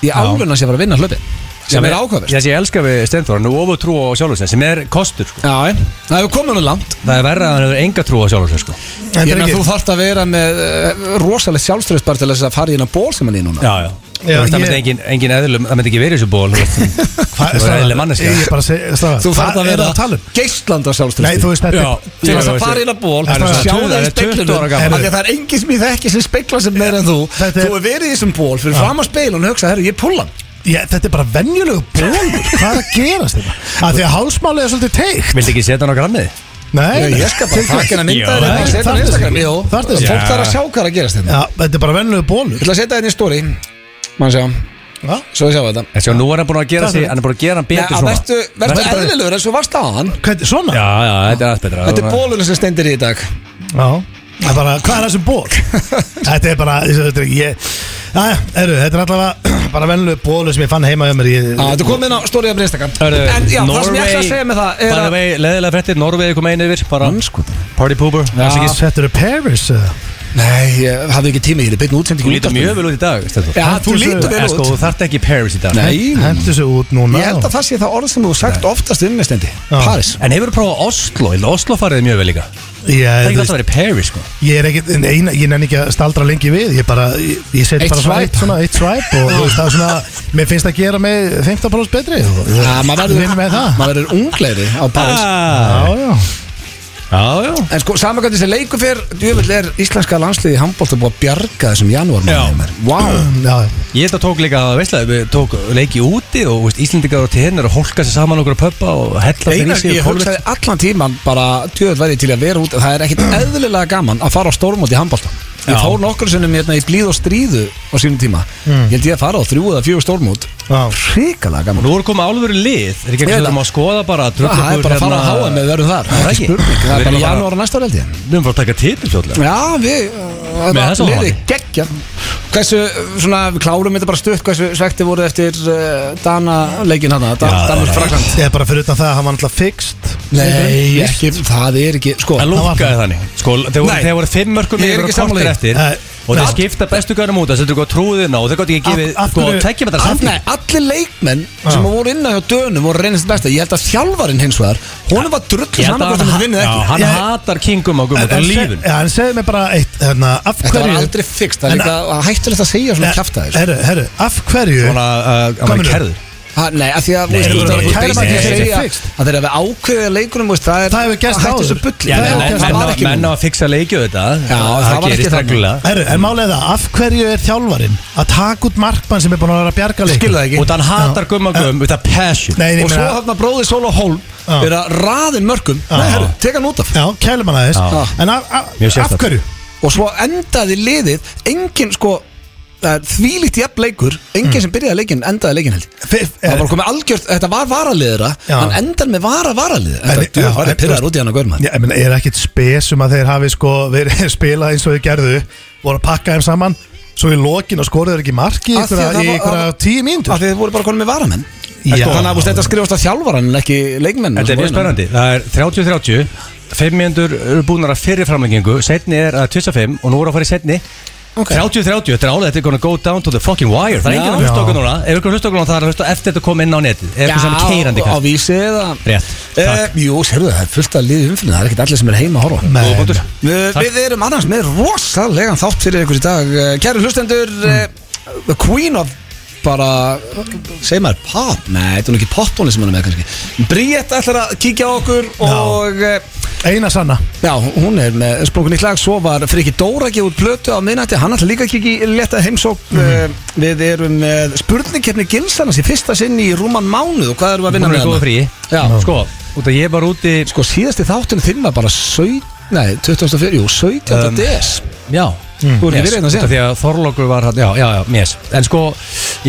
Speaker 1: í álun að sé að fara að vinna hlöpi Sem er áhugavert
Speaker 2: Þessi ég elska við Stenþóra, nú ofur trú á sjálfsins sem er kostur, sko
Speaker 1: Já, ég. það hefur komið nú langt
Speaker 2: Það er verra að hann hefur enga trú á sjálfsins, sko
Speaker 3: En
Speaker 1: Ég meina
Speaker 3: Birgir,
Speaker 1: þú þarft að vera með uh, rosalegt sjálfströðs bara til þess að fara í hennar ból sem hann er í núna
Speaker 2: Já, já
Speaker 3: Já,
Speaker 2: Þú veist, það
Speaker 3: ég-
Speaker 2: myndi engin, engin eðlum, það myndi ekki verið í þessu ból þú veist.
Speaker 3: hvað-
Speaker 2: þú er
Speaker 3: Stafa,
Speaker 2: eðlileg manneskja.
Speaker 3: Ég bara segi, stafa
Speaker 1: Þú þarft að
Speaker 3: Hvað er
Speaker 1: vera
Speaker 3: það að tala um?
Speaker 1: geislandi á sjálfströðs
Speaker 3: Nei, þú veist, þetta
Speaker 2: Já,
Speaker 3: er-
Speaker 1: Til þess að
Speaker 2: Ég-
Speaker 1: fara í hennar ból
Speaker 3: Þetta er
Speaker 1: Sjá það í
Speaker 2: 20
Speaker 1: speklunum
Speaker 2: ára
Speaker 1: Af
Speaker 2: gamall.
Speaker 1: því að það er engin sem í þekki sem spekla sem meira en þú
Speaker 3: Þetta
Speaker 1: Þú
Speaker 3: er-
Speaker 1: hefur verið í þessum ból fyrir fram á speilun og hugsa, herru, ég pulla hann
Speaker 3: Já, þetta er bara venjulegu bólur Hvað er að gerast þetta? Af Því að hálsmálið er svolítið teikt
Speaker 2: Vildi ekki setja hann á grammið?
Speaker 3: Nei,
Speaker 1: Ég skal bara
Speaker 3: til hvers?
Speaker 1: taka hennar
Speaker 2: Já,
Speaker 1: myndaðir og
Speaker 3: nei,
Speaker 1: setja hann
Speaker 3: þarf
Speaker 1: í Instagram
Speaker 3: þessu.
Speaker 1: Jó,
Speaker 3: Þarf
Speaker 1: fólk
Speaker 3: þessu.
Speaker 1: þarf að
Speaker 2: Já.
Speaker 1: sjá hvað er að gerast þetta
Speaker 3: Já, þetta er bara venjulegu bólur
Speaker 1: Ég ætla að setja henni í stóri Má sjá,
Speaker 3: Já.
Speaker 1: svo ég sjá þetta
Speaker 2: En sjá, nú er hann búin að gera sig, hann er búin að gera hann
Speaker 1: Nei,
Speaker 2: betur
Speaker 1: að
Speaker 2: svona
Speaker 1: Vertu vertu
Speaker 2: Vertu bara-
Speaker 1: eðlilegur eins og varst á hann
Speaker 3: Hvernig, svona?
Speaker 2: Já, já, þetta er allt betra
Speaker 1: Þetta er bólunum sem stendir í í dag
Speaker 3: Já Það er bara, hvað er þessum ból?
Speaker 1: [laughs]
Speaker 3: þetta er bara, þetta er ekki ég Æja, eru, þetta er allavega [clears throat] bara venlu bólu sem ég fann heima hjá mér ég,
Speaker 1: Já, Þetta er komið Ah, inn á stóriða fyrir Instagram En já, það sem ég ætla að segja með það er
Speaker 2: By the
Speaker 1: að
Speaker 2: way, leðilega frettir, Norvegi kom einu yfir bara, Party pooper
Speaker 1: Já.
Speaker 2: Alls ekki-
Speaker 3: Þetta eru Paris eða?
Speaker 1: Nei, ég hafði ekki tími í þetta Beitn útsendingu
Speaker 2: Þú lítur mjög vel út í dag Stefán.
Speaker 1: Já, þú
Speaker 3: Hentu
Speaker 1: lítur
Speaker 3: þessu-
Speaker 1: vel
Speaker 2: En sko,
Speaker 1: út
Speaker 2: þú þarft ekki Paris í dag
Speaker 1: Nei,
Speaker 3: Hentu sig út núna
Speaker 1: ég held að það sé það orð sem þú hefur sagt oftast um með stendi
Speaker 3: Já.
Speaker 1: Paris
Speaker 2: En hefur þú prófað Oslo? Ég held að Oslo farið mjög vel líka
Speaker 3: Já,
Speaker 2: Það er
Speaker 3: þú
Speaker 2: ekki alltaf
Speaker 3: veist,
Speaker 2: verið Paris sko
Speaker 3: Ég er ekki, neina, ég nenni ekki að staldra lengi við Ég bara, ég, ég set
Speaker 1: Eitt
Speaker 3: bara svona
Speaker 1: swipe.
Speaker 3: eitt svona, eitt swipe Og þú veist, það er svona, mér finnst að gera mig 15% betri og-
Speaker 1: Já, maður
Speaker 3: Vinn með
Speaker 1: verður-
Speaker 3: það
Speaker 1: maður verður ungleiri á Paris
Speaker 2: Já,
Speaker 3: Já, já [clears throat]
Speaker 2: já
Speaker 1: En sko, saman hvað þessi leiku fyrr Djöfull er íslenska landsliði í handbólta búið að bjarga þessum janúar
Speaker 2: Já.
Speaker 1: Vá
Speaker 3: Já,
Speaker 2: Ég þetta tók líka, veistlega, við tók leiki úti og veist, Íslendingar og tennir og hólka sér saman okkur að pöppa og hella þeir í
Speaker 1: Einar,
Speaker 2: sig
Speaker 1: ég
Speaker 2: og kólvet.
Speaker 1: hugsaði allan tíman bara tjöðvæð væri ég til að vera út það er ekkit eðlilega gaman að fara á stórmót í handbólta ég
Speaker 2: Já.
Speaker 1: fór nokkur sinnum hérna í blíð og stríðu á sínum tíma ég held ég að fara á þrjú eða fjögur stórmót
Speaker 3: já
Speaker 1: hrikalega
Speaker 2: Og
Speaker 1: gaman
Speaker 2: Nú erum komið álveru lið Er
Speaker 1: Ég
Speaker 2: ekki ekki
Speaker 1: veit
Speaker 2: sem
Speaker 1: það.
Speaker 2: að skoða bara hérna?
Speaker 1: Já, það er bara að fara á háa með verðum þar hérna- það er ekki spurning, það er bara janúar og næsta veldi
Speaker 2: Við erum bara að taka titil svolítið
Speaker 1: já, við uh,
Speaker 2: Með þessu
Speaker 1: liði
Speaker 2: hávaði.
Speaker 1: geggja hversu, svona, við klárum þetta bara stutt hversu svekti voru eftir uh, Dana leikin hana, Dan,
Speaker 2: Já,
Speaker 1: Danmur
Speaker 2: já, já.
Speaker 1: Frakland
Speaker 3: Ég er bara fyrir utan það að hann var alltaf fixt
Speaker 1: nei, ekki, það er ekki sko,
Speaker 2: Það
Speaker 3: var
Speaker 2: lúkaði
Speaker 3: það.
Speaker 2: þannig Sko, þegar voru,
Speaker 1: Nei.
Speaker 2: þegar voru fimm mörgum
Speaker 1: Ég er
Speaker 2: yfir
Speaker 1: ekki
Speaker 2: og kortir
Speaker 1: sammála því.
Speaker 2: eftir
Speaker 3: Nei.
Speaker 2: Og þeir skipta bestu gærum út Það setur eitthvað trúðina og þeir gott ekki
Speaker 3: Af-
Speaker 2: gefið
Speaker 3: af
Speaker 2: Sko,
Speaker 3: hverju-
Speaker 2: tekjum þetta
Speaker 1: Af,
Speaker 2: samt
Speaker 1: nei, allir leikmenn sem voru inna hjá dönum voru reynast besta Ég held að þjálfarinn hins vegar Hún var drullu
Speaker 2: Ég held að
Speaker 1: saman hvort
Speaker 2: hann-
Speaker 1: hann vinnið
Speaker 2: Já,
Speaker 1: ekki
Speaker 2: Hann
Speaker 3: Ég-
Speaker 2: hatar kingum á gummið Það er lífin
Speaker 3: Já, en segðu mér bara eitt hérna, af
Speaker 1: Þetta var
Speaker 3: hverju
Speaker 1: aldrei fixt Það er
Speaker 3: En-
Speaker 1: líka hættulegt að segja svona sko. kjafta þér
Speaker 3: Herru, herru, af hverju
Speaker 2: Svona, uh, hann
Speaker 3: Gömlu.
Speaker 2: var kærður
Speaker 1: Ha, Nei, af því að
Speaker 2: Nei,
Speaker 1: þú veist,
Speaker 2: nei,
Speaker 1: það er
Speaker 2: nei,
Speaker 1: bara
Speaker 2: nei,
Speaker 1: basic
Speaker 2: nei,
Speaker 1: að
Speaker 2: nei,
Speaker 1: segja
Speaker 3: nei, fixed.
Speaker 1: að þeir hafi ákveðið leikunum veist, það er
Speaker 3: Það hefur gerst
Speaker 1: að hætta
Speaker 3: áður.
Speaker 1: þessu bulli
Speaker 2: Já,
Speaker 1: Það
Speaker 2: nei,
Speaker 1: er-
Speaker 2: nei,
Speaker 1: það
Speaker 2: menn
Speaker 1: var
Speaker 2: á-
Speaker 1: ekki
Speaker 2: menn á
Speaker 1: nú.
Speaker 2: að fixa leikju þetta
Speaker 1: Já, það var ekki
Speaker 2: gerist
Speaker 1: þannig.
Speaker 2: reglulega.
Speaker 3: Herru, en málega það, af hverju er þjálfarin að taka út markmann sem er búin að vera að bjarga leik
Speaker 1: Skil það ekki
Speaker 2: Og hann hatar gumma gum Þetta passion
Speaker 3: Nei, nei,
Speaker 1: Og svo
Speaker 3: meina-
Speaker 1: þarna bróðið Sól og Hólm
Speaker 3: Já.
Speaker 1: er að raðin mörgum
Speaker 3: Já.
Speaker 1: Nei, herru, tek hann út af
Speaker 3: Já, kælum hann aðeins
Speaker 2: Já.
Speaker 3: En af, af,
Speaker 2: Mjög sérstakt.
Speaker 3: af hverju?
Speaker 1: Og svo endaði liðið Engin sko það er Þvílíkt jafn leikur
Speaker 3: Mm.
Speaker 1: Engin sem byrjaði leikin endaði leikin held ég.
Speaker 3: F-
Speaker 1: Það var
Speaker 3: eh,
Speaker 1: bara komið algjört, þetta var varaliðra
Speaker 3: Já.
Speaker 1: Hann endar með vara varalið Þetta
Speaker 3: En-
Speaker 1: er djúð,
Speaker 3: já,
Speaker 1: það
Speaker 3: en-
Speaker 1: er pyrraður út í hann að gaur maður
Speaker 3: Já, ég meina, er ekkit spes um að þeir [laughs] hafi sko verið spilað eins og þeir gerðu voru að pakka þeim saman svo í lokin og skoruðu þeir ekki marki í
Speaker 1: Af því að
Speaker 3: einhverja,
Speaker 1: það
Speaker 3: í
Speaker 1: var-
Speaker 3: einhverja tíu mínútur
Speaker 1: Af því þið voru bara konum með varamenn
Speaker 3: Já.
Speaker 1: Sko, Þannig að þú veist, þetta skrifast að þjálfaran en ekki sko, hérna. leikmenn
Speaker 2: Þetta er mjög spennandi Það er 30-30 Fimm mjöndur eru búinar að fyrir framlengingu Setni er að 25 Og nú er að fara í setni 30-30 Þetta er álega Þetta er gonna go down to the fucking wire Það er enginn að hlusta okkur núna Ef ykkur hlusta okkur núna Það er að hlusta eftir þetta kom inn á netið Ef
Speaker 1: Já,
Speaker 2: ykkur sem er keirandi
Speaker 1: á
Speaker 2: kall
Speaker 1: vísi eða
Speaker 2: Rétt
Speaker 1: Eh,
Speaker 2: Takk
Speaker 1: Jú, sérðu, það er fullt að liði umfyrir Það er ekkert allir sem er heima að horfa
Speaker 3: Nei.
Speaker 2: Góða punktur.
Speaker 1: Eh,
Speaker 2: Takk.
Speaker 1: Við erum annars með rosalega þátt fyrir ykkur í dag Eh, Kæru hlustendur
Speaker 2: Mm.
Speaker 1: eh, The Queen of bara, segir maður pop Nei, þetta er nú ekki poptónli sem hann er með kannski Bríett ætlar að kíkja á okkur og eh,
Speaker 3: Eina sanna
Speaker 1: Já, hún er með sprungun í klag Svo var Friki Dóra gefið út plötu á miðnætti Hann ætla líka að kikið í leta heimsók
Speaker 2: Mhm.
Speaker 1: Við erum með spurningkeppni Gilsarnas í fyrsta sinn í rúman mánuð Og hvað erum við að vinna
Speaker 2: Hún
Speaker 1: með
Speaker 2: er góð
Speaker 1: hana?
Speaker 2: frí
Speaker 1: Já.
Speaker 2: Sko Út að ég var úti
Speaker 1: Sko síðasti þáttun þinn var bara 17, nei, 24, jú, 17.
Speaker 2: Um,
Speaker 1: DS
Speaker 2: Já
Speaker 1: Þú er ekki
Speaker 2: Mm. Yes,
Speaker 1: verið hérna
Speaker 2: út af
Speaker 1: síðan
Speaker 2: Því að Þorlókur var hann Já, já, já, yes. En sko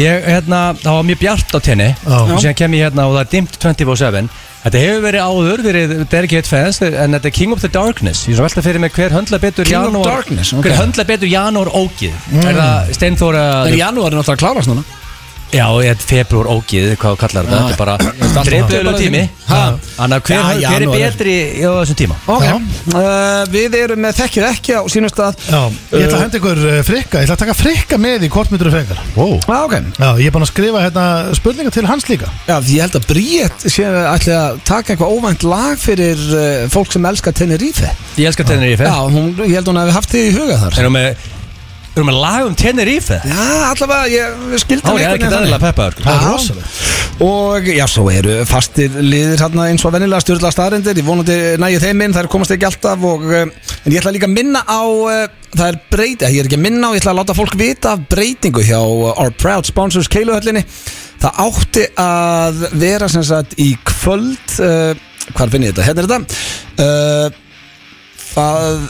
Speaker 2: Ég, hérna Það var mjög bjart á tenni
Speaker 3: Já.
Speaker 2: Og síðan kem ég hérna Og það er dimmt 24-7 Þetta hefur verið áður Verið Delegate Fans En þetta er King of the Darkness Ég er svo velta fyrir mig Hver höndla betur
Speaker 1: King of
Speaker 2: janúar
Speaker 1: Darkness, ok.
Speaker 2: Hver höndla betur janúar ógið Er það Steinþóra
Speaker 1: En janúar er náttúrulega að klárast núna
Speaker 2: Já, ég er februar ógið Hvað þú kallar þetta
Speaker 1: Já.
Speaker 2: Þetta er bara Dreiflegulega tími
Speaker 1: Ha.
Speaker 2: Þannig að hver,
Speaker 1: Já,
Speaker 2: hver er
Speaker 1: janúar er-
Speaker 2: betri á þessum tíma
Speaker 1: Ok,
Speaker 3: Já.
Speaker 1: uh, við erum með þekkið ekki á sínum stað
Speaker 3: Já, ég ætla að henda ykkur uh, frikka Ég ætla að taka frikka með í kortmyndur og fengar wow.
Speaker 1: Já, Ah, ok,
Speaker 3: Já, ég er búin að skrifa hérna, spurningar til hans líka
Speaker 1: já, því ég held að Bríett sé að ætli að taka eitthvað óvænt lag fyrir uh, fólk sem elskar Tenerife
Speaker 2: Ég elskar Tenerife
Speaker 1: Já, hún, ég held hún hefði haft þið í huga þar
Speaker 2: Erum við Erum við lag um Tenerife
Speaker 1: Já, allavega, ég skildi
Speaker 2: Þá er ég ekkert aðeins peppaður
Speaker 3: Það er
Speaker 1: Já.
Speaker 3: rosalegt.
Speaker 1: Og já, svo eru fastir liðir hérna eins og vennilega stjórnlega staðarindir Ég vonandi nægir þeim inn, þær komast ekki alltaf og, eh, En ég ætla líka að minna á eh, Það er breyt, eh, ég er ekki að minna á Ég ætla að láta fólk vita af breytingu hjá eh, Our Proud Sponsors Keiluhöllinni Það átti að vera sem sagt í kvöld uh, Hvar finn ég þetta? Hérna er þetta uh, það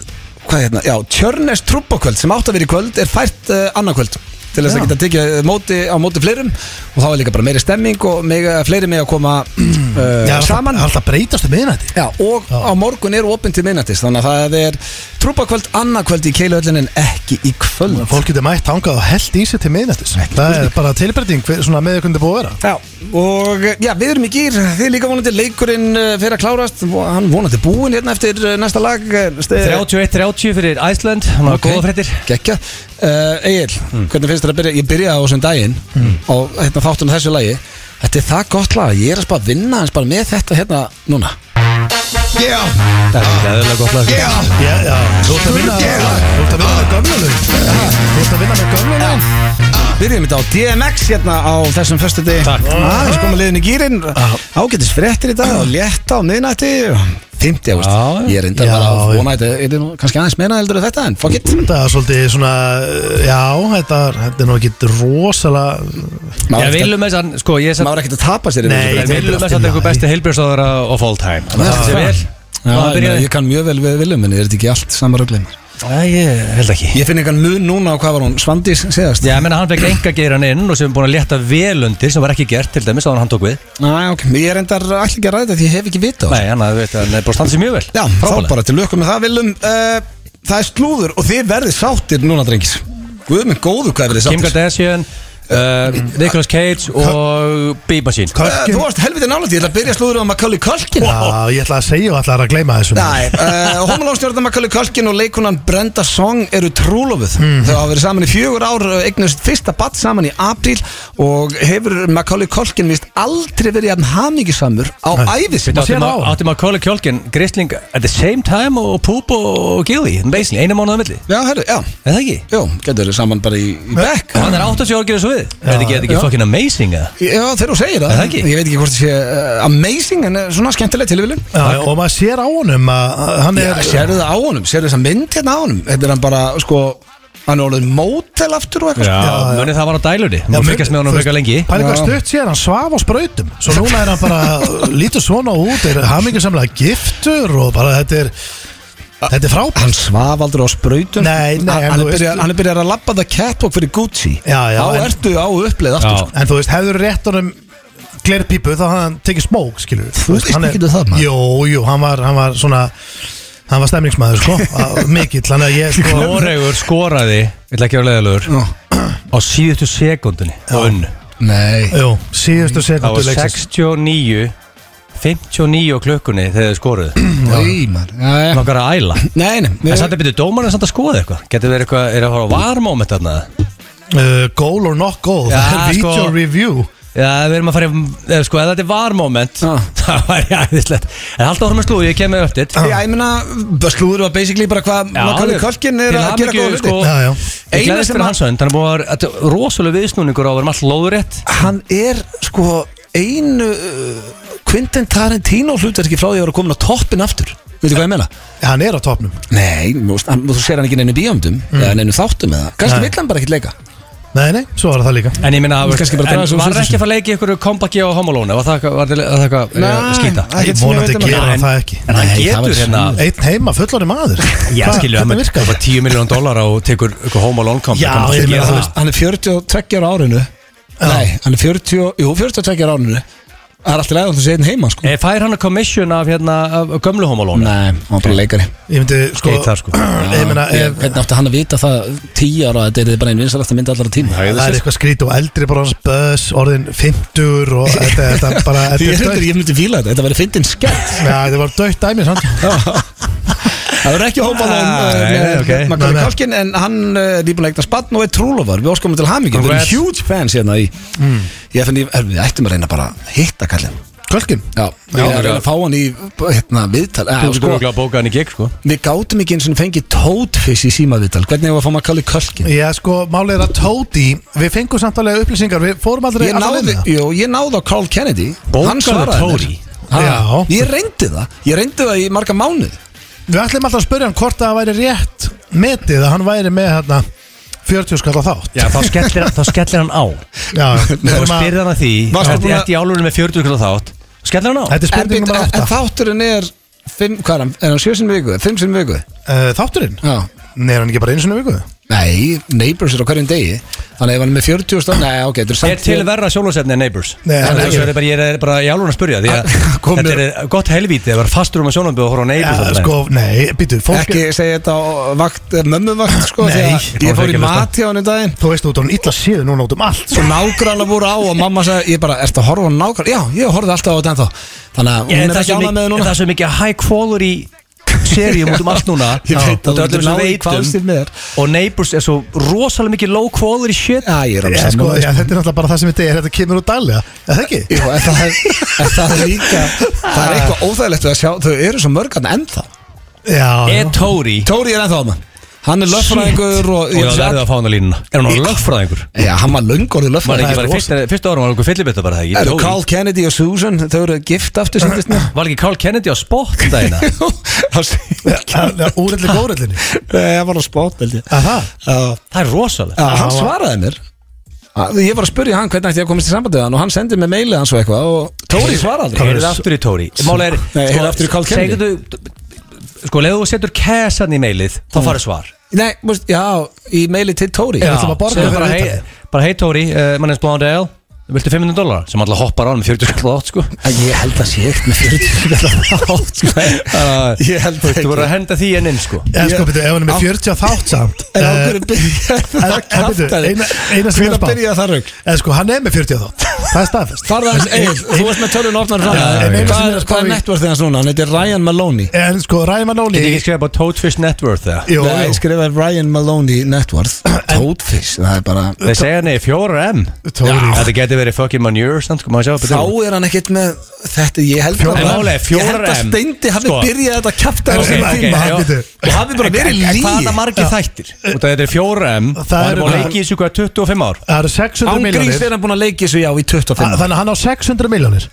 Speaker 1: hvað hérna, já, Tjörnes trubbakvöld sem átt að vera í kvöld er fært uh, annarkvöld til þess að geta tekið eh, móti á móti fleirum og þá er líka bara meiri stemming og mega, fleiri með að koma [clears throat] uh,
Speaker 3: Já, alltaf-
Speaker 1: saman
Speaker 3: Alltaf breytast um miðnætti
Speaker 1: Já, og á morgun er opinn til minnatist þannig að það er trúbakvöld annarkvöld í keiluhöllin en ekki í kvöld
Speaker 3: Fólk getur mætt hangað og held í sig til miðnættis Það er bara tilbreyting hver- svona með ykkur búið að vera
Speaker 1: Já, og eh, já, við erum í gýr þið líka vonandi leikurinn uh, fyrir að klárast Vo- hann vonandi búinn hérna eftir eh, næsta lag
Speaker 2: 31-30 fyrir Æsland Hún var góða fréttir Mm.
Speaker 1: Gekka uh, Egil, hvernig finnst þér að byrja Ég byrjaði á þessum daginn og hérna, þáttum þessu lagi Þetta er það gott lag, ég er að spara að vinna eins bara með þetta hérna núna
Speaker 4: Yeah,
Speaker 2: Það er gæðilega gott lag
Speaker 4: yeah,
Speaker 3: Já, já, þú ert að vinna Þú ert að vinna með gömlunum
Speaker 1: Ah.
Speaker 3: Þú ert að vinna með gömlunum
Speaker 1: Byrjum þetta á DMX hérna á þessum föstu degi
Speaker 2: Takk. Ah.
Speaker 1: Aðeins komum liðin í gýrin Ágætis fréttir í dag og létta á miðnætti 50 águst
Speaker 2: Já, já.
Speaker 1: Ég er enda bara
Speaker 3: Já,
Speaker 1: að
Speaker 3: já.
Speaker 1: vona að þetta er nú kannski aðeins meina heldur en þetta en fuck it
Speaker 3: Þetta er svolítið svona, eh, já, þetta er, þetta er nú ekki rosalega
Speaker 2: Ég
Speaker 1: Maður er
Speaker 2: viljum þess að Sko ég er satt
Speaker 1: ekkert að tapa sér yfir
Speaker 3: Nei,
Speaker 1: þessu.
Speaker 2: Ég viljum þess að þetta er besti heilbjörnstáðara of all time
Speaker 1: Já.
Speaker 2: Það er sér vel
Speaker 1: Já,
Speaker 2: Það
Speaker 1: ég meina,
Speaker 2: byrjaði
Speaker 1: Ég kann mjög vel við viljum en er þetta ekki allt sama rögleimar
Speaker 2: Æ, Ég held ekki
Speaker 1: Ég finn einhvern mun núna á hvað var hún Svandís segast
Speaker 2: Já, ég meina hann fekk enga geirann inn og sem er búin að létta vel undir sem var ekki gert til dæmis áður en hann tók við
Speaker 1: Næ, ok, ég er endar allir ekki að ræða þetta því ég hef ekki vita á
Speaker 2: Nei, hann hafði veit að hann er bara að standa sér mjög vel
Speaker 1: Já, þá
Speaker 2: Frábælega.
Speaker 1: bara til lökum með það Viljum, uh, það er slúður og þið verðið sáttir núna, drengis Guð minn góður hvað verðið
Speaker 2: Kim
Speaker 1: sáttir
Speaker 2: Kardashian uh, Nicolas Cage og Bímasín
Speaker 1: Eh, Þú varst helviti nálægt, ég ætla að byrja slúður á Macaulay Culkin
Speaker 3: Já, ég ætla að segja og ætla að gleyma þessu
Speaker 1: Nei, uh, homalónstjórna Macaulay Culkin og leikunan Brenda Song eru trúlofuð
Speaker 2: Mhm.
Speaker 1: Þau hafa verið saman í fjögur ár eignust fyrsta batt saman í apríl og hefur Macaulay Culkin vist aldrei verið jafn hamingisamur á ævi sinni
Speaker 3: sér á.
Speaker 2: Átti Macaulay Culkin, Grisling at the same time og Poop og Gilly basically, einu mánuð á milli,
Speaker 1: Já, herru, já,
Speaker 2: er það ekki?
Speaker 1: já, getur verið saman bara í, í bekk
Speaker 2: Hann er 80 ára að gera svo við Er þetta ekki, er þetta ekki fucking amazing eða?
Speaker 1: Já, þegar þú segir það,
Speaker 2: Er það ekki?
Speaker 1: ég veit ekki hvort það sé uh, amazing en eh, svona skemmtileg tilvílun
Speaker 3: Já, og maður sér á honum að að hann
Speaker 1: Já,
Speaker 3: er
Speaker 1: sérðu það á honum, sérðu þess að mynd hérna á honum Þetta er hann bara, sko, hann er orðin mótel aftur og eitthvað sko.
Speaker 2: Já, munið það var á dælunni Má fyrkast með hann og fyrka lengi
Speaker 3: Pæli hvað
Speaker 1: Já.
Speaker 3: stutt sér, hann svaf á sprautum Svo núna er hann bara, [laughs] lítur svona út Er hamingarsamlega giftur Og bara þetta er Þetta
Speaker 1: Hann
Speaker 3: er frábært
Speaker 1: svaf aldrei á sprautum
Speaker 3: Nei, nei, en
Speaker 1: Hann, hann, er
Speaker 3: þú veist-
Speaker 1: byrjar, hann er byrjar að labba það catwalk fyrir Gucci
Speaker 3: Já, já,
Speaker 1: Þá
Speaker 3: en-
Speaker 1: ertu á uppleið aftur
Speaker 2: Já.
Speaker 1: sko.
Speaker 3: En þú veist, hefur rétt honum glerpípu þá hafði hann tekið smók, skilur
Speaker 1: Þú veist ekki um það, maður.
Speaker 3: Jú, jú, hann var, hann var svona Hann var
Speaker 1: [laughs]
Speaker 3: stemningsmaður, sko að- Mikill, hann að ég sko
Speaker 2: Noregur skoraði, ég ætla ekki að vera leiðilegur
Speaker 1: Nú,
Speaker 2: Á síðustu sekundinni og unnu
Speaker 1: Nei
Speaker 3: Jú, síðustu
Speaker 2: Það
Speaker 3: sekundu
Speaker 2: var 69 59 á klukkunni þegar þið skoruðu
Speaker 1: Nei, maður Já, já.
Speaker 2: Það var að æla
Speaker 1: Nei, nei
Speaker 2: En
Speaker 1: við-
Speaker 2: samt að byrja dómarinn samt að skoða eitthvað Getur verið eitthvað, er að fara á varmóment þarna
Speaker 3: uh, Goal or not goal,
Speaker 2: Já,
Speaker 3: það er
Speaker 2: sko.
Speaker 3: [laughs] video review
Speaker 2: Já, við erum að fara, í- eða sko, ef þetta er varmóment [laughs]
Speaker 1: Já.
Speaker 2: Það væri æðislegt En halda áfram að slúði, ég kem með uppditt
Speaker 1: Já, ég meina, slúður var basically bara hvað Macaulay Culkin er að gera góða hluti
Speaker 3: Já, já.
Speaker 2: sko, Ég
Speaker 1: Eina
Speaker 2: gleðist
Speaker 1: sem
Speaker 2: fyrir
Speaker 1: að-
Speaker 2: hans hönd, hann er búin að vera rosalega viðsnúningur á að vera um allt lóðurétt
Speaker 1: Hann er, sko, einu uh, Quentin Tarantino hlutverki frá því að vera komin á toppin aftur Veitu hvað ég meina?
Speaker 3: Hann er á topnum
Speaker 1: Nei, þú veist, hann- þú sér hann ekki í neinu bíómyndum eða neinu þáttum eða Kannski
Speaker 3: Mm. Nei.
Speaker 1: vill hann bara ekkert leika
Speaker 3: Nei, nei, svo var það líka
Speaker 2: En ég minna,
Speaker 1: Þú veist, kannski bara draga
Speaker 2: en
Speaker 1: sig úr
Speaker 2: var
Speaker 1: þessu.
Speaker 2: ekki að fara að leika í ykkur kompaki á homolónu Var það var það- var það eitthvað eh, skýta?
Speaker 1: Nei, ekkert
Speaker 3: Ég
Speaker 1: sem ég
Speaker 3: vonandi
Speaker 1: veit um að-
Speaker 3: gera
Speaker 1: Nei,
Speaker 3: hann það ekki
Speaker 2: En hann
Speaker 1: Nei, það
Speaker 2: getur
Speaker 1: væri
Speaker 2: hérna
Speaker 1: snúið.
Speaker 3: Einn heima, fullorinn maður
Speaker 2: Já,
Speaker 3: Hvað-
Speaker 2: skilju, hann
Speaker 3: Hvernig
Speaker 2: er
Speaker 3: virkar
Speaker 2: bara
Speaker 3: það?
Speaker 2: 10 miljón dólar og tekur ykkur homolón kompaki
Speaker 3: Já, ég meina, þú veist-
Speaker 1: hann er 42 ára árinu Nei, hann er 40, jú, 42 ára árinu Það er alltaf leiðan þú segir einn heima sko.
Speaker 2: Eh, Fær hann að commission af, hérna, af gömlu homolónu?
Speaker 1: Nei, hann var bara leikari
Speaker 3: Ég myndi, sko
Speaker 2: Skeitar, sko.
Speaker 3: [clears throat] Ég meina,
Speaker 1: Ég-
Speaker 3: ef
Speaker 1: Hvernig átti hann að vita það 10 ára að þetta er bara einn vinsalasta mynd allara tíma
Speaker 3: Það er eitthvað skrít og eldri bara hans börs, orðin 50
Speaker 1: [laughs]
Speaker 3: og þetta, þetta bara,
Speaker 1: Því
Speaker 3: þetta
Speaker 1: ég
Speaker 3: er
Speaker 1: heldur
Speaker 3: dögt.
Speaker 1: ég myndi fíla þetta, þetta væri fyndin skett
Speaker 3: Já, þetta var dögt dæmi, sant?
Speaker 1: Það verður ekki hópað um
Speaker 2: Ah,
Speaker 1: uh,
Speaker 2: nei,
Speaker 1: með-
Speaker 2: ok.
Speaker 1: með Macaulay
Speaker 3: Nei, nei.
Speaker 1: Culkin en hann uh, nýbúin að eigna spann og er trúlofar Við óskumum til hamingi, við erum
Speaker 2: Congrats.
Speaker 1: huge fans hérna í Ég finn, ég- við ættum að reyna bara að hitta kallinn
Speaker 3: Kölkin?
Speaker 1: Já, ég er að reyna að fá hann í hérna, viðtal eh,
Speaker 2: Þú
Speaker 1: sko,
Speaker 2: sko að bóka hann í gig, sko
Speaker 1: Við gátum ekki eins og fengið tótfiss í símaviðtal Hvernig hefur að fá maður að kalla í kölkin?
Speaker 3: Já, sko, málið er að Tóti, við fengum samt alveg upplýsingar, við fórum aldrei
Speaker 1: Ég náði, jú, ég náði á Carl Kennedy
Speaker 2: Bókaðu
Speaker 1: Hann svaraði
Speaker 2: Tóti?
Speaker 1: mér. Ha,
Speaker 3: Já.
Speaker 1: Ég reyndi það Ég reyndi það í marga mánuð
Speaker 3: Við ætlum alltaf að spyrja hann hvort það væri rétt metið að hann væri með hérna 40 skall á þátt.
Speaker 2: Já, þá skellir, þá skellir hann á
Speaker 3: Já, við
Speaker 2: Og
Speaker 3: erum að-
Speaker 2: spyrir hann að því
Speaker 1: Varstu
Speaker 2: Þetta
Speaker 1: búin að-
Speaker 2: er í álunum með 40 krónu þátt Skellir hann á
Speaker 3: þetta er
Speaker 1: En,
Speaker 3: spurning
Speaker 1: en,
Speaker 3: nummer
Speaker 1: en
Speaker 3: 8.
Speaker 1: þátturinn er fimm, Hvað er hann? Er hann sjö sinni í viku? Fimm sinni í viku?
Speaker 3: Eh, Þátturinn?
Speaker 1: Já
Speaker 3: Nei, er hann ekki bara einu sinni í viku?
Speaker 1: Nei, Neighbours er á hverjum degi Þannig ef hann er með 40 stofn Nei, ok, þetta er
Speaker 2: Er
Speaker 1: samt
Speaker 2: til verra sjólasefni en Neighbours?
Speaker 3: Nei,
Speaker 2: það
Speaker 3: það
Speaker 2: er
Speaker 3: er ekki.
Speaker 2: ekki Ég er bara í álun að spurja
Speaker 1: [laughs]
Speaker 2: því að
Speaker 1: Kom
Speaker 2: Þetta er gott helvítið að vera fastur um að sjónanbyrð og horfa á Neighbours
Speaker 3: Já,
Speaker 2: allan daginn.
Speaker 3: sko, nei, býtu, fólk
Speaker 1: Ekki segja þetta á vakt, mömmuvakt sko,
Speaker 3: Nei,
Speaker 1: því að
Speaker 3: ég
Speaker 1: Ég
Speaker 2: fór
Speaker 1: fór í
Speaker 2: ekki að hlusta.
Speaker 1: mat hjá hann um daginn
Speaker 3: Þú veist, þú ert orðin illa síðu núna út um allt.
Speaker 1: og nágranna voru á og mamma sagði ég bara, ertu að horfa á nágranna? Já, ég horfði alltaf á þetta ennþá þannig að
Speaker 2: Ég,
Speaker 1: hún er
Speaker 2: það,
Speaker 1: ekki ánað
Speaker 2: sem,
Speaker 1: með það
Speaker 2: það
Speaker 1: núna
Speaker 2: er svo mikið high quality seríum út um allt núna
Speaker 1: [laughs] Ég veit
Speaker 2: Út
Speaker 1: að
Speaker 2: af
Speaker 1: þú getur
Speaker 2: öllum sem
Speaker 1: náð í kvalstir
Speaker 2: veitum
Speaker 1: með þér.
Speaker 2: og Neighbours er svo rosalega mikið low quality shit
Speaker 1: Já, ég er alveg
Speaker 3: Já, sko,
Speaker 1: saman
Speaker 3: já, þetta er náttúrulega bara það sem þetta er, þetta kemur úr daglega, er það ekki?
Speaker 1: Jú, en það, er, en það er líka
Speaker 2: [laughs]
Speaker 1: það er eitthvað óþægilegt við að sjá þau eru svo mörg hann ennþá
Speaker 3: Já, já.
Speaker 2: er Tóri
Speaker 1: Tóri er ennþá á maður hann er löffræðingur og,
Speaker 2: og
Speaker 1: ég
Speaker 2: það verður að fá hann að línuna er hann á lögfræðingur
Speaker 1: já, hann var löngorðið
Speaker 2: var
Speaker 1: löffræðingur
Speaker 2: ekki bara fyrsta, fyrsta árum var hann fyllibetta bara það
Speaker 1: Eru
Speaker 2: ekki Tóri
Speaker 1: Carl Kennedy og Susan, þau eru gift aftur síndist
Speaker 2: [laughs]
Speaker 1: mér
Speaker 2: var ekki Carl Kennedy á spot dagina
Speaker 1: [laughs] Það segir-
Speaker 3: Úrelli góðrellinni
Speaker 1: Nei, hann var á spot, held ég
Speaker 3: Aha,
Speaker 1: Já.
Speaker 2: það er rosalega
Speaker 1: Já, hann
Speaker 3: hann var-
Speaker 1: svaraði mér Að- Ég var að spyrja hann hvernig ætti ég að komast í sambandið hann og hann sendi mér mailið hans og eitthvað og Tóri svaraði
Speaker 2: heyrðu aftur í Tóri mála er sko,
Speaker 1: Nei, heyrðu aftur í Carl Kennedy.
Speaker 2: segðu sko leðu og setur kæsan í meilið þá farið svar
Speaker 1: Nei, múst, já, í mailið til Tóri
Speaker 3: Já. ætlum að borga
Speaker 2: segðu
Speaker 3: fyrir
Speaker 2: bara
Speaker 3: viðtalið.
Speaker 2: hei bara hei Tóri uh, my name is Blondale viltu 500 dólar sem alltaf hoppar á hann með 40 skall og 8 sko
Speaker 1: Að Ég held að sé ekkert með 40 átt sko.
Speaker 2: Þannig
Speaker 1: Ég held
Speaker 2: að
Speaker 1: ekki.
Speaker 2: Þú voru að henda því enn inn sko
Speaker 3: En sko, betur, ef hann er með 40 og þátt samt
Speaker 1: [laughs] En á
Speaker 3: eh,
Speaker 1: hverju byrja
Speaker 3: en-
Speaker 1: það
Speaker 3: en betur,
Speaker 1: kjaftaði?
Speaker 3: eina- Eina
Speaker 1: Hver
Speaker 3: sem ég er
Speaker 1: að
Speaker 3: að spá
Speaker 1: byrja það rögg?
Speaker 3: En sko, hann er með 40 og þátt Það er staðfest
Speaker 1: Farða hans, Egil, þú veist með tölun ofnar fram
Speaker 3: Já, en einu sem
Speaker 1: Hvað
Speaker 3: er
Speaker 1: er-
Speaker 3: að spá
Speaker 1: hvað er
Speaker 3: í-
Speaker 1: nettvörð þegar hans núna? Hann heitir Ryan Maloney
Speaker 3: En sko, Ræma Nóni
Speaker 2: Ég ekki skrifa bara Toadfish Net Worth eða
Speaker 3: Jú,
Speaker 1: Nei,
Speaker 3: jú.
Speaker 1: skrifaði Ryan Maloney nettvörð Toadfish, það er bara
Speaker 2: Þeir segja nei, 4M
Speaker 3: Tóri.
Speaker 2: Þetta getur verið fucking manure samt sko, maður sjá
Speaker 1: Þá
Speaker 2: betur
Speaker 1: er hann ekkert með þetta, ég held
Speaker 3: Fjórar
Speaker 1: að-
Speaker 2: En málega,
Speaker 1: Ég held
Speaker 2: fjórar
Speaker 1: að
Speaker 2: M.
Speaker 1: Steindi hafði
Speaker 2: Sko.
Speaker 1: byrjað þetta kjafta á
Speaker 3: Ok,
Speaker 1: sinni
Speaker 3: ok,
Speaker 1: tíma
Speaker 3: já.
Speaker 1: Bíddu, Og hafði bara verið
Speaker 2: En hvað er
Speaker 1: líi
Speaker 2: það margir þættir? Út af þetta er 4M og
Speaker 3: Það
Speaker 2: það er búin
Speaker 3: eru
Speaker 2: að
Speaker 3: bara-
Speaker 2: leiki í þessu hvað 25 ár
Speaker 3: Það eru 600
Speaker 1: Ángrís
Speaker 3: miljónir
Speaker 1: er hann búin að leiki þessu já í 25
Speaker 3: Ah, Þannig að hann á 600 miljónir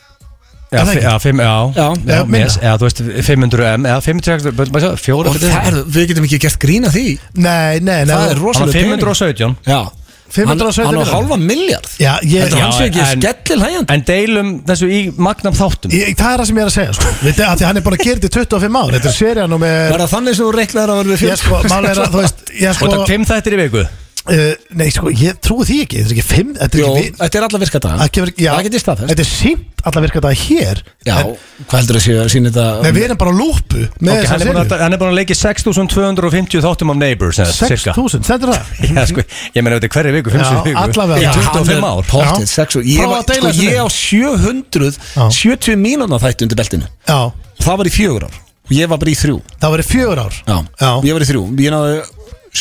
Speaker 2: Já,
Speaker 3: það
Speaker 2: fi-
Speaker 3: ekki?
Speaker 2: já, fimm- já,
Speaker 1: Já.
Speaker 2: já,
Speaker 3: Já, minna.
Speaker 2: yes, eða þú veist 500M eða 500, fjóra
Speaker 1: Og það er, við getum ekki gert grína því
Speaker 3: Nei, nei, nei
Speaker 1: Það er
Speaker 2: Hann
Speaker 1: rosalega
Speaker 2: er 517
Speaker 1: Já
Speaker 3: 570
Speaker 1: Hann á
Speaker 3: milljónir.
Speaker 1: halva miljard
Speaker 3: Já, ég,
Speaker 1: Þetta
Speaker 2: Já,
Speaker 1: hann sé ekki
Speaker 2: en-
Speaker 1: skellil hægjandi
Speaker 2: En deilum þessu í magnam þáttum
Speaker 3: ég, það er það sem ég er að segja sko. Við, að Því hann er búin að gera þetta í 25 ár Þetta er seríanum með
Speaker 1: Verða þannig sem þú reiknaður að verða við
Speaker 3: Ég sko, mál er að, þú veist Ég
Speaker 2: Og
Speaker 3: sko,
Speaker 2: það er 5 þættir í viku
Speaker 3: uh, nei sko, ég trúi því ekki Þetta er ekki 5, þetta er
Speaker 1: Jó,
Speaker 3: ekki
Speaker 1: þetta er alla virka dag
Speaker 3: Það kemur- já,
Speaker 1: Það getur staðfest
Speaker 3: Þetta er sínt allar virka þetta hér
Speaker 1: Já,
Speaker 3: en,
Speaker 1: hvað heldur þú að sína
Speaker 3: Nei,
Speaker 1: þetta
Speaker 3: við erum bara á lúpu með
Speaker 2: Ok, hann, er
Speaker 3: þessa
Speaker 2: búinn að,
Speaker 3: seríu.
Speaker 2: hann er búin að leiki 6.250 þáttum af Neighbours eða, cirka.
Speaker 3: 6.000, stendur það?
Speaker 2: Já, sko, ég meina þetta er hverri viku, 50
Speaker 3: Já,
Speaker 2: viku
Speaker 3: allavega.
Speaker 2: Í
Speaker 3: Já,
Speaker 2: 25 ár
Speaker 1: Pottið,
Speaker 3: Já.
Speaker 1: 6 og Ég
Speaker 3: Prófa
Speaker 1: var,
Speaker 3: að deila
Speaker 1: sko,
Speaker 3: þessu
Speaker 1: ég
Speaker 3: með.
Speaker 1: á 770 mínúna þætti undir beltinu
Speaker 3: Já,
Speaker 1: Það var í fjögur ár Og ég var bara í þrjú
Speaker 3: það var í fjögur ár
Speaker 1: Já,
Speaker 3: já,
Speaker 1: ég var í þrjú Ég náði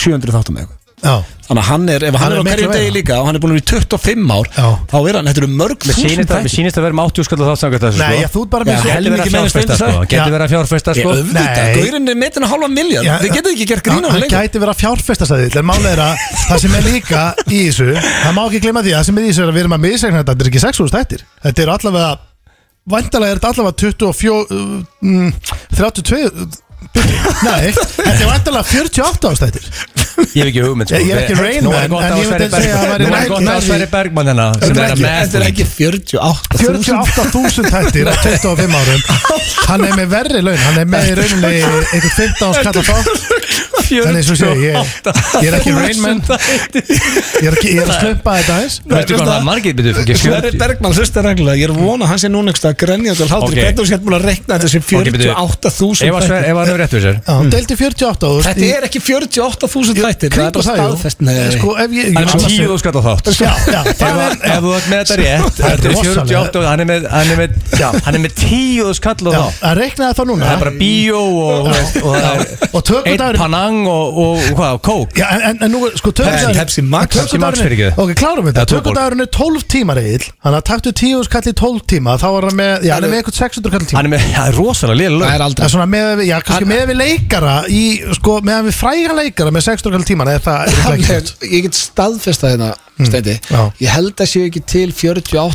Speaker 1: 700 þáttum eða eitthvað
Speaker 3: já.
Speaker 1: Þannig að hann er, ef hann,
Speaker 3: Hann
Speaker 1: er á
Speaker 3: er miklu
Speaker 1: hverjum degi
Speaker 3: meira.
Speaker 1: líka og hann er búin að vera í 25 ár
Speaker 3: Já.
Speaker 1: þá er hann, þetta eru mörg
Speaker 2: Mér
Speaker 1: þúsund
Speaker 2: sýnist að- mér
Speaker 1: þættir.
Speaker 2: sýnist að vera með sko, 80 skall að þátt samkvæmt þessu
Speaker 3: Nei,
Speaker 2: sko.
Speaker 3: já, þú ert bara
Speaker 1: Já,
Speaker 3: með
Speaker 1: heldur
Speaker 2: Getur verið
Speaker 1: ekki meira
Speaker 2: að fjárfesta
Speaker 1: Steindi
Speaker 2: sko
Speaker 1: sagði.
Speaker 2: Getur
Speaker 3: Já.
Speaker 2: verið að fjárfesta
Speaker 1: Ég
Speaker 2: sko
Speaker 1: auðvitað,
Speaker 3: Nei.
Speaker 1: gaurinn er metin að halva miljard
Speaker 3: Já,
Speaker 1: Þið getur ekki gert grín á hann
Speaker 3: Hann
Speaker 1: lengur
Speaker 3: gæti verið að fjárfesta sæði En málið er að það sem er líka í þessu Það má ekki glemma því að það sem er í þessu er að við erum að misregna þetta Þetta er ekki 6.000 þættir Þetta er allavega Væntalega er þetta allavega 24 mm, 32 Nei, þetta er væntalega 48 ástættir
Speaker 2: Ég hef ekki hugmynd sko
Speaker 3: Ég- ég er ekki Rain
Speaker 2: Nú
Speaker 3: Man,
Speaker 2: er gott
Speaker 3: en
Speaker 2: á
Speaker 3: ég myndi
Speaker 2: Sverri
Speaker 3: segja að það
Speaker 2: Bergman
Speaker 3: væri
Speaker 2: Nú er
Speaker 3: nær-
Speaker 2: gott á
Speaker 3: nær því.
Speaker 2: Sverri Bergman hérna sem
Speaker 3: Þetta er
Speaker 2: er að
Speaker 3: ekki-
Speaker 1: Þetta er
Speaker 2: með
Speaker 1: ekki 48
Speaker 3: 48.000 þættir á 25 árum Hann er með verri laun Hann er með í rauninni einhver 15 árs kalla þátt En eins og sé, ég,
Speaker 2: [laughs]
Speaker 3: ég er ekki Rain Man Ég er, ekki, ég er að slumpa þetta aðeins
Speaker 2: Veistu hvað það er margir byrju ekki
Speaker 1: Sverri
Speaker 2: 40.
Speaker 1: Bergman hlusta reglulega Ég er vona að hann sé núna einhverstað að grenja til hlátur
Speaker 2: Ok.
Speaker 1: Hvernig þú sétt búin að rekna þetta sem
Speaker 2: Ok, byrju. Ef
Speaker 1: 48.000
Speaker 2: að Sverri-
Speaker 1: þættir
Speaker 2: ef hann er rétt við sér
Speaker 3: Já, mm. Delti 48 og
Speaker 1: Þetta er ekki 48.000 þættir Það er
Speaker 3: kringu
Speaker 1: bara
Speaker 3: það jú.
Speaker 1: staðfest Nei.
Speaker 3: Sko, ef ég,
Speaker 2: Hann er
Speaker 3: ég-
Speaker 2: með 10 skall að þátt
Speaker 3: Já, já,
Speaker 2: Ef
Speaker 3: það er
Speaker 2: ef þú ert með þetta rétt
Speaker 3: Það er
Speaker 2: Þetta er
Speaker 3: rosalega.
Speaker 2: 48 og hann er með Hann er með, hann er með 10 skall að
Speaker 3: já,
Speaker 2: þátt
Speaker 3: Að reikna það núna
Speaker 2: Það er bara bíó og, og, og það er
Speaker 3: Og
Speaker 2: Einn
Speaker 3: tökundagur
Speaker 2: panang og, og, og hvað, og kók
Speaker 3: Já, en, en, en nú, sko,
Speaker 1: Pepsi-
Speaker 3: tökundagur
Speaker 1: Pepsi Max.
Speaker 2: Pepsi Max, fyrirgefðu.
Speaker 3: Ok, klárum
Speaker 2: Eða
Speaker 3: þetta
Speaker 2: Tuborg.
Speaker 3: Tökundagurinn er 12 tímar eigil Þannig að taktu 10 skall í 12 tíma Þá var hann með, já, hann er með eitthvað 600 kall tíma
Speaker 2: Hann er með, það er rosalega liðlega
Speaker 1: Það er
Speaker 3: Það
Speaker 1: aldrei
Speaker 3: er svona með við, já, kannski
Speaker 1: Hann-
Speaker 3: með við leikara í, sko, með við fræga leikara með 600 kall tíma, nei, það er
Speaker 1: Hann
Speaker 3: ekki
Speaker 1: er,
Speaker 3: rétt.
Speaker 1: ég get staðfestað hérna Steindi,
Speaker 3: Já.
Speaker 1: ég held að séu ekki til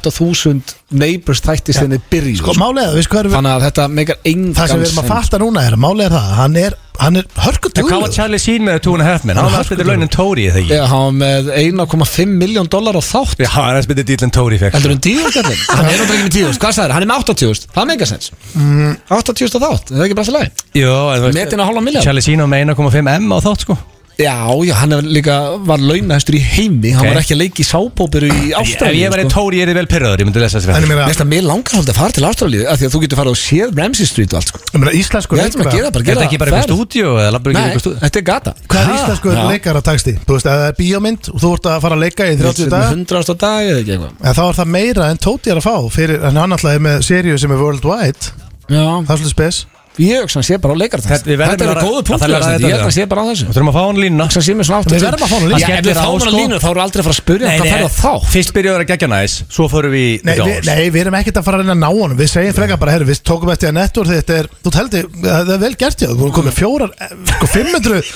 Speaker 1: 48.000 neighbors þættist þenni byrjun
Speaker 3: Sko, málega, við sko,
Speaker 1: Þannig að þetta meikar engan
Speaker 3: það sem við erum að
Speaker 1: sens.
Speaker 3: fatta núna er, málega er það, hann er, hann er
Speaker 2: En hvað var
Speaker 3: hörkutugur
Speaker 2: Charlie Sheen með Two and a Half Men? Hann var alltaf þetta launin Tóri eða ekki?
Speaker 1: Já, hann var með 1,5 miljón dólar á þátt
Speaker 2: Já, hann er spytið dýlan Tóri fekk
Speaker 1: Heldur hann
Speaker 3: [laughs]
Speaker 1: díðurgallin? Hann er náttúrulega ekki með díðust, hvað sagður? Hann er með 80.000, það meikar sens
Speaker 3: Mm.
Speaker 1: 80.000 á þátt, er það ekki bara alltaf læg?
Speaker 2: Jó, en þú
Speaker 1: Metin að hálfa miljón
Speaker 2: Charlie Sheen var með 1,5M á þátt sko
Speaker 1: Já, já, hann er líka, var launahestur í heimi Hann
Speaker 2: Ok.
Speaker 1: var ekki að leiki sábóperu í
Speaker 2: Ef
Speaker 1: Ástralíu
Speaker 2: ég væri Tóri er ég vel pyrraður, ég myndi lesa þessi
Speaker 3: En ég
Speaker 2: fyrir
Speaker 3: meina,
Speaker 1: Mest að mér langar svolítið að fara til Ástralíu af Því að þú getur farið og séð Ramsey Street og allt sko.
Speaker 3: ég meina, íslensku
Speaker 1: Við ætlum að gera bara,
Speaker 2: Er
Speaker 1: gera
Speaker 2: þetta ekki bara
Speaker 1: ferð.
Speaker 2: eitthvað stúdíu eða labbur ekki
Speaker 1: Nei,
Speaker 2: eitthvað stúdíu?
Speaker 1: þetta er gata
Speaker 3: Hvað
Speaker 1: Ha?
Speaker 3: er íslensku
Speaker 1: Já.
Speaker 3: leikara taksti? Þú veist, ef það er bíómynd og þú ert að fara að leika í 30
Speaker 1: Þetta er
Speaker 3: dag
Speaker 1: með 100 ást á dag eða ekki eitthvað
Speaker 3: En þá er það meira en Tóti er að fá fyrir, En hann alltaf er með seríu sem er worldwide
Speaker 1: Já,
Speaker 3: Það er svolítið spes
Speaker 1: ég hugsa hann sé bara á leikartans
Speaker 2: Þetta- við verðum
Speaker 1: Þetta
Speaker 2: að-
Speaker 1: eru góðu
Speaker 2: að
Speaker 1: punktur
Speaker 2: tala um þetta,
Speaker 1: Ég held
Speaker 2: já.
Speaker 1: að sé bara á þessu
Speaker 2: Þú þurfum að fá hann lína
Speaker 1: Aksan sé mér svona átt
Speaker 3: Við verðum að fá hann á línu.
Speaker 1: Já, ef við
Speaker 2: Skellir á,
Speaker 1: fáum hann á
Speaker 2: sko.
Speaker 1: línu þá erum við aldrei að fara að spyrja hann hvað færðu á þá
Speaker 2: Fyrst byrjuður að gegja næs, svo förum við í
Speaker 3: Nei,
Speaker 2: The
Speaker 3: við,
Speaker 2: Doors.
Speaker 3: nei, við erum ekkert að fara að reyna að ná honum Við segjum frekar bara, herru, við tókum eftir að nettur Þetta er, þú heldur, það er vel gert ég Þú erum komið fjórar, eh, sko 500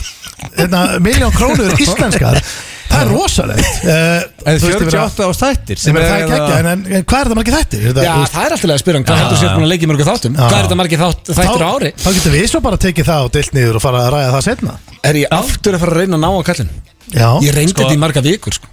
Speaker 3: hérna, Miljón krónur íslenskar Það er rosalegt uh,
Speaker 2: En 48 á stættir
Speaker 3: sem er
Speaker 2: hérna
Speaker 3: það ekki ekki
Speaker 1: hérna.
Speaker 3: en, en, en hvað er það margir þættir? Er það-
Speaker 1: Já,
Speaker 3: þú veist,
Speaker 1: það er alltaf að spyrja hann hvað heldur sér búin að leikja mörgu þáttum Hvað er þetta margir þátt, þættir á ári
Speaker 3: þá, þá getum við svo bara tekið það og deilt niður og fara að ræða það setna
Speaker 1: Er ég aftur að fara að reyna að ná á kallin
Speaker 3: Já,
Speaker 1: Ég reyndi
Speaker 2: Sko.
Speaker 1: þetta í marga vikur sko.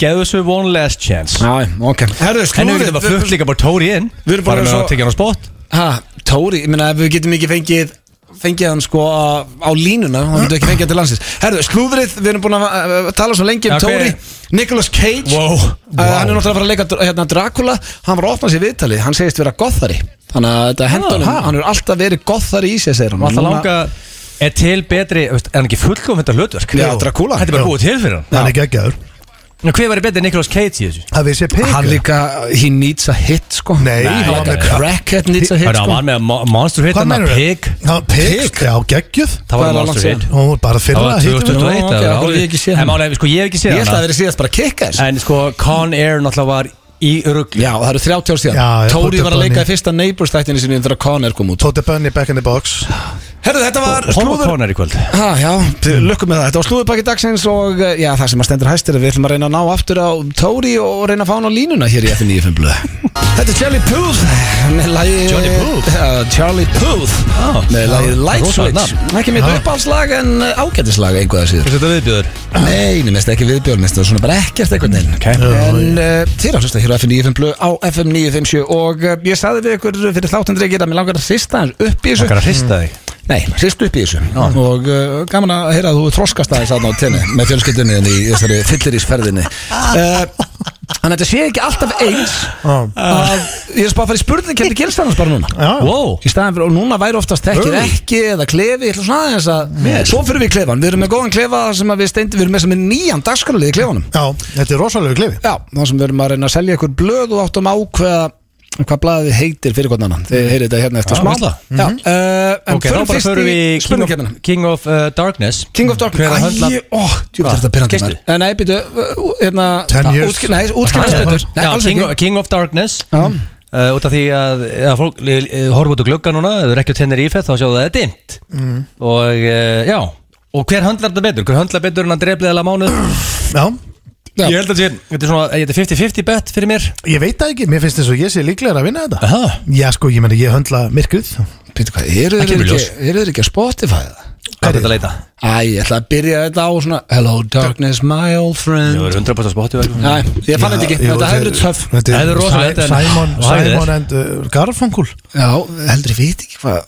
Speaker 2: Geðu þessu one last chance
Speaker 1: Já, ok Herðu,
Speaker 2: En við getum bara fullt líka bara Tóri inn
Speaker 1: Við erum bara
Speaker 2: Bara með
Speaker 1: svo-
Speaker 2: að tekja hann á spott
Speaker 1: Ha, Tóri, ég meina ef við getum ekki fengið fengið hann sko á á línuna hann getur ekki fengið hann til landsins Herðu, slúðrið, við erum búin að uh, tala svo lengi um
Speaker 2: Já, hver
Speaker 1: Tóri
Speaker 2: er-
Speaker 1: Nicolas Cage
Speaker 2: Wow.
Speaker 1: Uh, Hann er náttúrulega að fara að leika dr- hérna, Dracula Hann var að opna sér viðtali, hann segist vera gothari Þannig að þetta hendunum,
Speaker 2: ha.
Speaker 1: hann er alltaf verið gothari í sér, segir hann
Speaker 2: Og alltaf
Speaker 1: Núna-
Speaker 2: langa Er til betri, veist, er hann ekki fullkom þetta hlutverk?
Speaker 1: Já, Dracula.
Speaker 2: Þetta er bara
Speaker 3: Já.
Speaker 2: búið til fyrir hann
Speaker 3: hann er geggjaður
Speaker 2: En hver var betri en Nicolas Cage í þessu?
Speaker 3: Það við sé pika
Speaker 1: Hann líka, he needs a hit sko
Speaker 3: Nei,
Speaker 1: hann
Speaker 3: hann
Speaker 1: var
Speaker 3: var
Speaker 1: með
Speaker 3: með-
Speaker 1: crackhead needs a hit
Speaker 2: Hörru, hann
Speaker 1: sko
Speaker 2: var með mo- Monster Hit,
Speaker 3: Hvað
Speaker 2: hann að
Speaker 3: meinarðu?
Speaker 2: Pig
Speaker 3: Já, pik, já, geggjuð
Speaker 2: Það
Speaker 1: Hvað
Speaker 2: var
Speaker 1: er langt
Speaker 2: Monster
Speaker 1: síðan?
Speaker 2: Hit
Speaker 3: Hún var bara
Speaker 2: Það
Speaker 3: fyrra
Speaker 2: var
Speaker 3: hittum við hana.
Speaker 1: ok,
Speaker 2: 2021 það var
Speaker 1: af hverju
Speaker 2: árið-
Speaker 1: ég ekki séð
Speaker 2: En
Speaker 1: hana?
Speaker 2: málega, sko, ég hef ekki
Speaker 1: Ég
Speaker 2: séð
Speaker 1: held að það
Speaker 2: hana
Speaker 1: verið síðast bara kickaðis
Speaker 2: En sko, Con Air náttúrulega var í rugg
Speaker 1: Já, og það eru 30 ár
Speaker 3: Já,
Speaker 1: síðan
Speaker 3: já,
Speaker 1: Tóri
Speaker 3: Dr.
Speaker 1: var að leika
Speaker 3: Bunny.
Speaker 1: í fyrsta Neighbours þættinu sinni þegar Conner kom út
Speaker 3: Tóti Bunny back in the box
Speaker 1: Herðu, þetta var
Speaker 2: Hún var
Speaker 1: slúður
Speaker 2: Sko, Con Air í kvöld
Speaker 1: Ha, já, þið- lukkum með það Þetta var slúðurbakki dagsins og eh, já, það sem að stendur hæstir er að Við ætlum að reyna að ná aftur á Tóri og reyna að fá hann á línuna hér í F95 blöð Þetta er Charlie Puth með lagi
Speaker 2: Johnny Puth?
Speaker 1: Já, Charlie Puth
Speaker 2: Ah,
Speaker 1: með lagi
Speaker 2: já,
Speaker 1: Light
Speaker 2: rosalegt Ah.
Speaker 1: Switch Ekki mitt uppáhalslag en eh, ágætislag einhvað síður
Speaker 2: Hvað þetta viðbjöður?
Speaker 1: Nei, nefnist ekki viðbjörn, nefnist svona bara ekkert eitthvað neina
Speaker 2: Ah. Ok.
Speaker 1: En uh, þér áhlust að hér á FM 95 blöð á FM 957 og uh, ég saði við ykkur fyrir þáttendri að mér langar að hrista hans upp í þessu
Speaker 2: Okkar að hrista þig
Speaker 1: Nei, hristu upp í þessu og uh, gaman að heyra að þú þroskast aðeins aðna á tenni með fjölskyldinni þinni í þessari fyllirísferðinni uh, Þannig að þetta sé ekki alltaf eins
Speaker 3: Já.
Speaker 1: að ég er bara að fara í spurning hvernig gerist annars bara núna
Speaker 3: Já.
Speaker 2: Wow
Speaker 1: í staðan fyrir, og núna væri oftast tekkið ekki eða klefi, ég ætla svona aðeins að svo fyrir við í klefan, við erum með góðan klefa sem að við steindum, við erum með sem er nýjan dagskralið í klefanum
Speaker 3: Já, þetta er rosalegu klifi
Speaker 1: já, þá sem við erum að reyna að selja ykkur blöð og áttum ákveða hvað blaðið heitir fyrir hvern annan, þið heyrið þetta hérna eftir
Speaker 2: Já,
Speaker 1: smá
Speaker 2: veistla.
Speaker 1: já, uh, en
Speaker 2: Ok, þá
Speaker 1: förum
Speaker 2: bara
Speaker 1: fyrst
Speaker 2: förum við
Speaker 1: í
Speaker 2: í King of,
Speaker 1: spurningkjarnina
Speaker 2: King of uh, Darkness
Speaker 1: King of Darkness
Speaker 2: Hver að höndla
Speaker 1: Æi, ó, djúpt
Speaker 2: Hvað?
Speaker 1: er þetta pyrrandi
Speaker 2: Keyptu?
Speaker 1: maður Eh, Nei, býtu, uh, hérna
Speaker 3: Ten
Speaker 1: Já,
Speaker 3: years.
Speaker 1: útský- Nei, útskýrðast
Speaker 3: Ah,
Speaker 1: betur Nei,
Speaker 2: Já,
Speaker 1: alls
Speaker 2: King, of,
Speaker 1: ekki
Speaker 2: King of Darkness
Speaker 1: Já.
Speaker 2: uh, Út af því að, að fólk li- eh, horfa út á glugga núna Ef þú er ekki á tennir ífett þá sjáu það að það er dimmt
Speaker 1: Mm.
Speaker 2: Og uh, já Og hver höndlar þetta betur? Hver höndlar betur en að dreflið eða mánuð?
Speaker 3: Já,
Speaker 1: Já.
Speaker 2: Ég held að sé Þetta er svona, þetta er 50-50 bet fyrir mér
Speaker 3: ég veit það ekki, mér finnst þess að ég sé líklegur að vinna þetta
Speaker 2: Aha.
Speaker 3: Já, sko, ég meni, ég höndla myrkrið
Speaker 1: Býtu hvað, eru þeir
Speaker 2: Það kemur
Speaker 1: ekki,
Speaker 2: ljós.
Speaker 1: eru þeir ekki að Spotify það?
Speaker 2: Hvað er þetta að leita?
Speaker 1: Æ, ég ætla að byrja þetta á svona Hello darkness my old
Speaker 2: Ég
Speaker 1: friend
Speaker 2: er 100% spottu
Speaker 1: Æ, ég fann þetta ekki, þetta hefur verið töff
Speaker 3: Þetta
Speaker 2: Þetta er
Speaker 3: er
Speaker 2: rosalegt,
Speaker 3: rosalegt
Speaker 2: en-
Speaker 3: Simon,
Speaker 2: og hæðir.
Speaker 3: Simon and uh, Garfunkel
Speaker 1: Já, heldur ég veit ekki hvað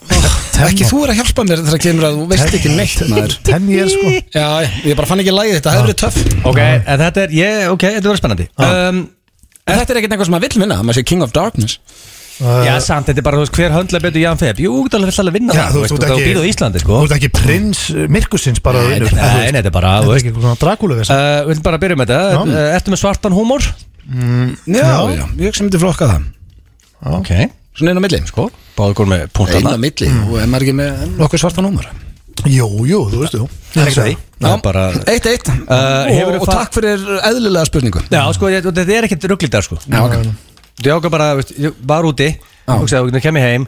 Speaker 3: Telma.
Speaker 1: Ekki þú er að hjálpa mér þegar kemur að þú veist ekki neitt maður
Speaker 3: Ten years, sko
Speaker 1: Já, ég bara fann ekki lagið þetta, hefur verið töff
Speaker 2: Ok, en þetta er, ég, ok, þetta verður spennandi um,
Speaker 1: En Þetta er ekkert eitthvað sem maður vill vinna, maður sé King of Darkness
Speaker 3: Uh,
Speaker 2: Já, samt, þetta er bara, þú veist, hver höndla betur Jan Feb Jú, þú vill alveg vinna
Speaker 3: Já,
Speaker 2: það, þú veist,
Speaker 3: ert
Speaker 2: þú býrðu á Íslandi, sko
Speaker 3: Þú ert ekki prins uh, myrkusins bara
Speaker 2: Nei,
Speaker 3: vinur.
Speaker 2: nei,
Speaker 3: Þú
Speaker 2: nei,
Speaker 3: veist,
Speaker 2: þetta er bara, þú
Speaker 3: Þetta er
Speaker 2: veist.
Speaker 3: ekki eitthvað svona drakulega
Speaker 2: Uh, við viljum bara byrja með
Speaker 3: Já.
Speaker 2: þetta uh, Ertu með svartan húmor?
Speaker 3: Mm,
Speaker 1: Já, já, ég sem myndi flokka það
Speaker 2: Ok
Speaker 1: Svona inn á milli, sko
Speaker 2: Báðu góð með
Speaker 1: inn
Speaker 2: punktana
Speaker 1: á milli og er maður ekki með nokkuð svarta númur
Speaker 3: Jú, jú, þú veist, jú
Speaker 2: Það er ekki það. Það er bara Uh,
Speaker 1: eitt eitt og,
Speaker 2: hefurðu
Speaker 1: og
Speaker 2: fa-
Speaker 1: takk fyrir eðlilega spurningu
Speaker 2: Já, sko, ég, þetta er ekkert rugglítar, sko
Speaker 1: Já, ok.
Speaker 2: Þú ákvað bara, veist, ég var úti
Speaker 1: Já.
Speaker 2: Hugsaði, þú kemur heim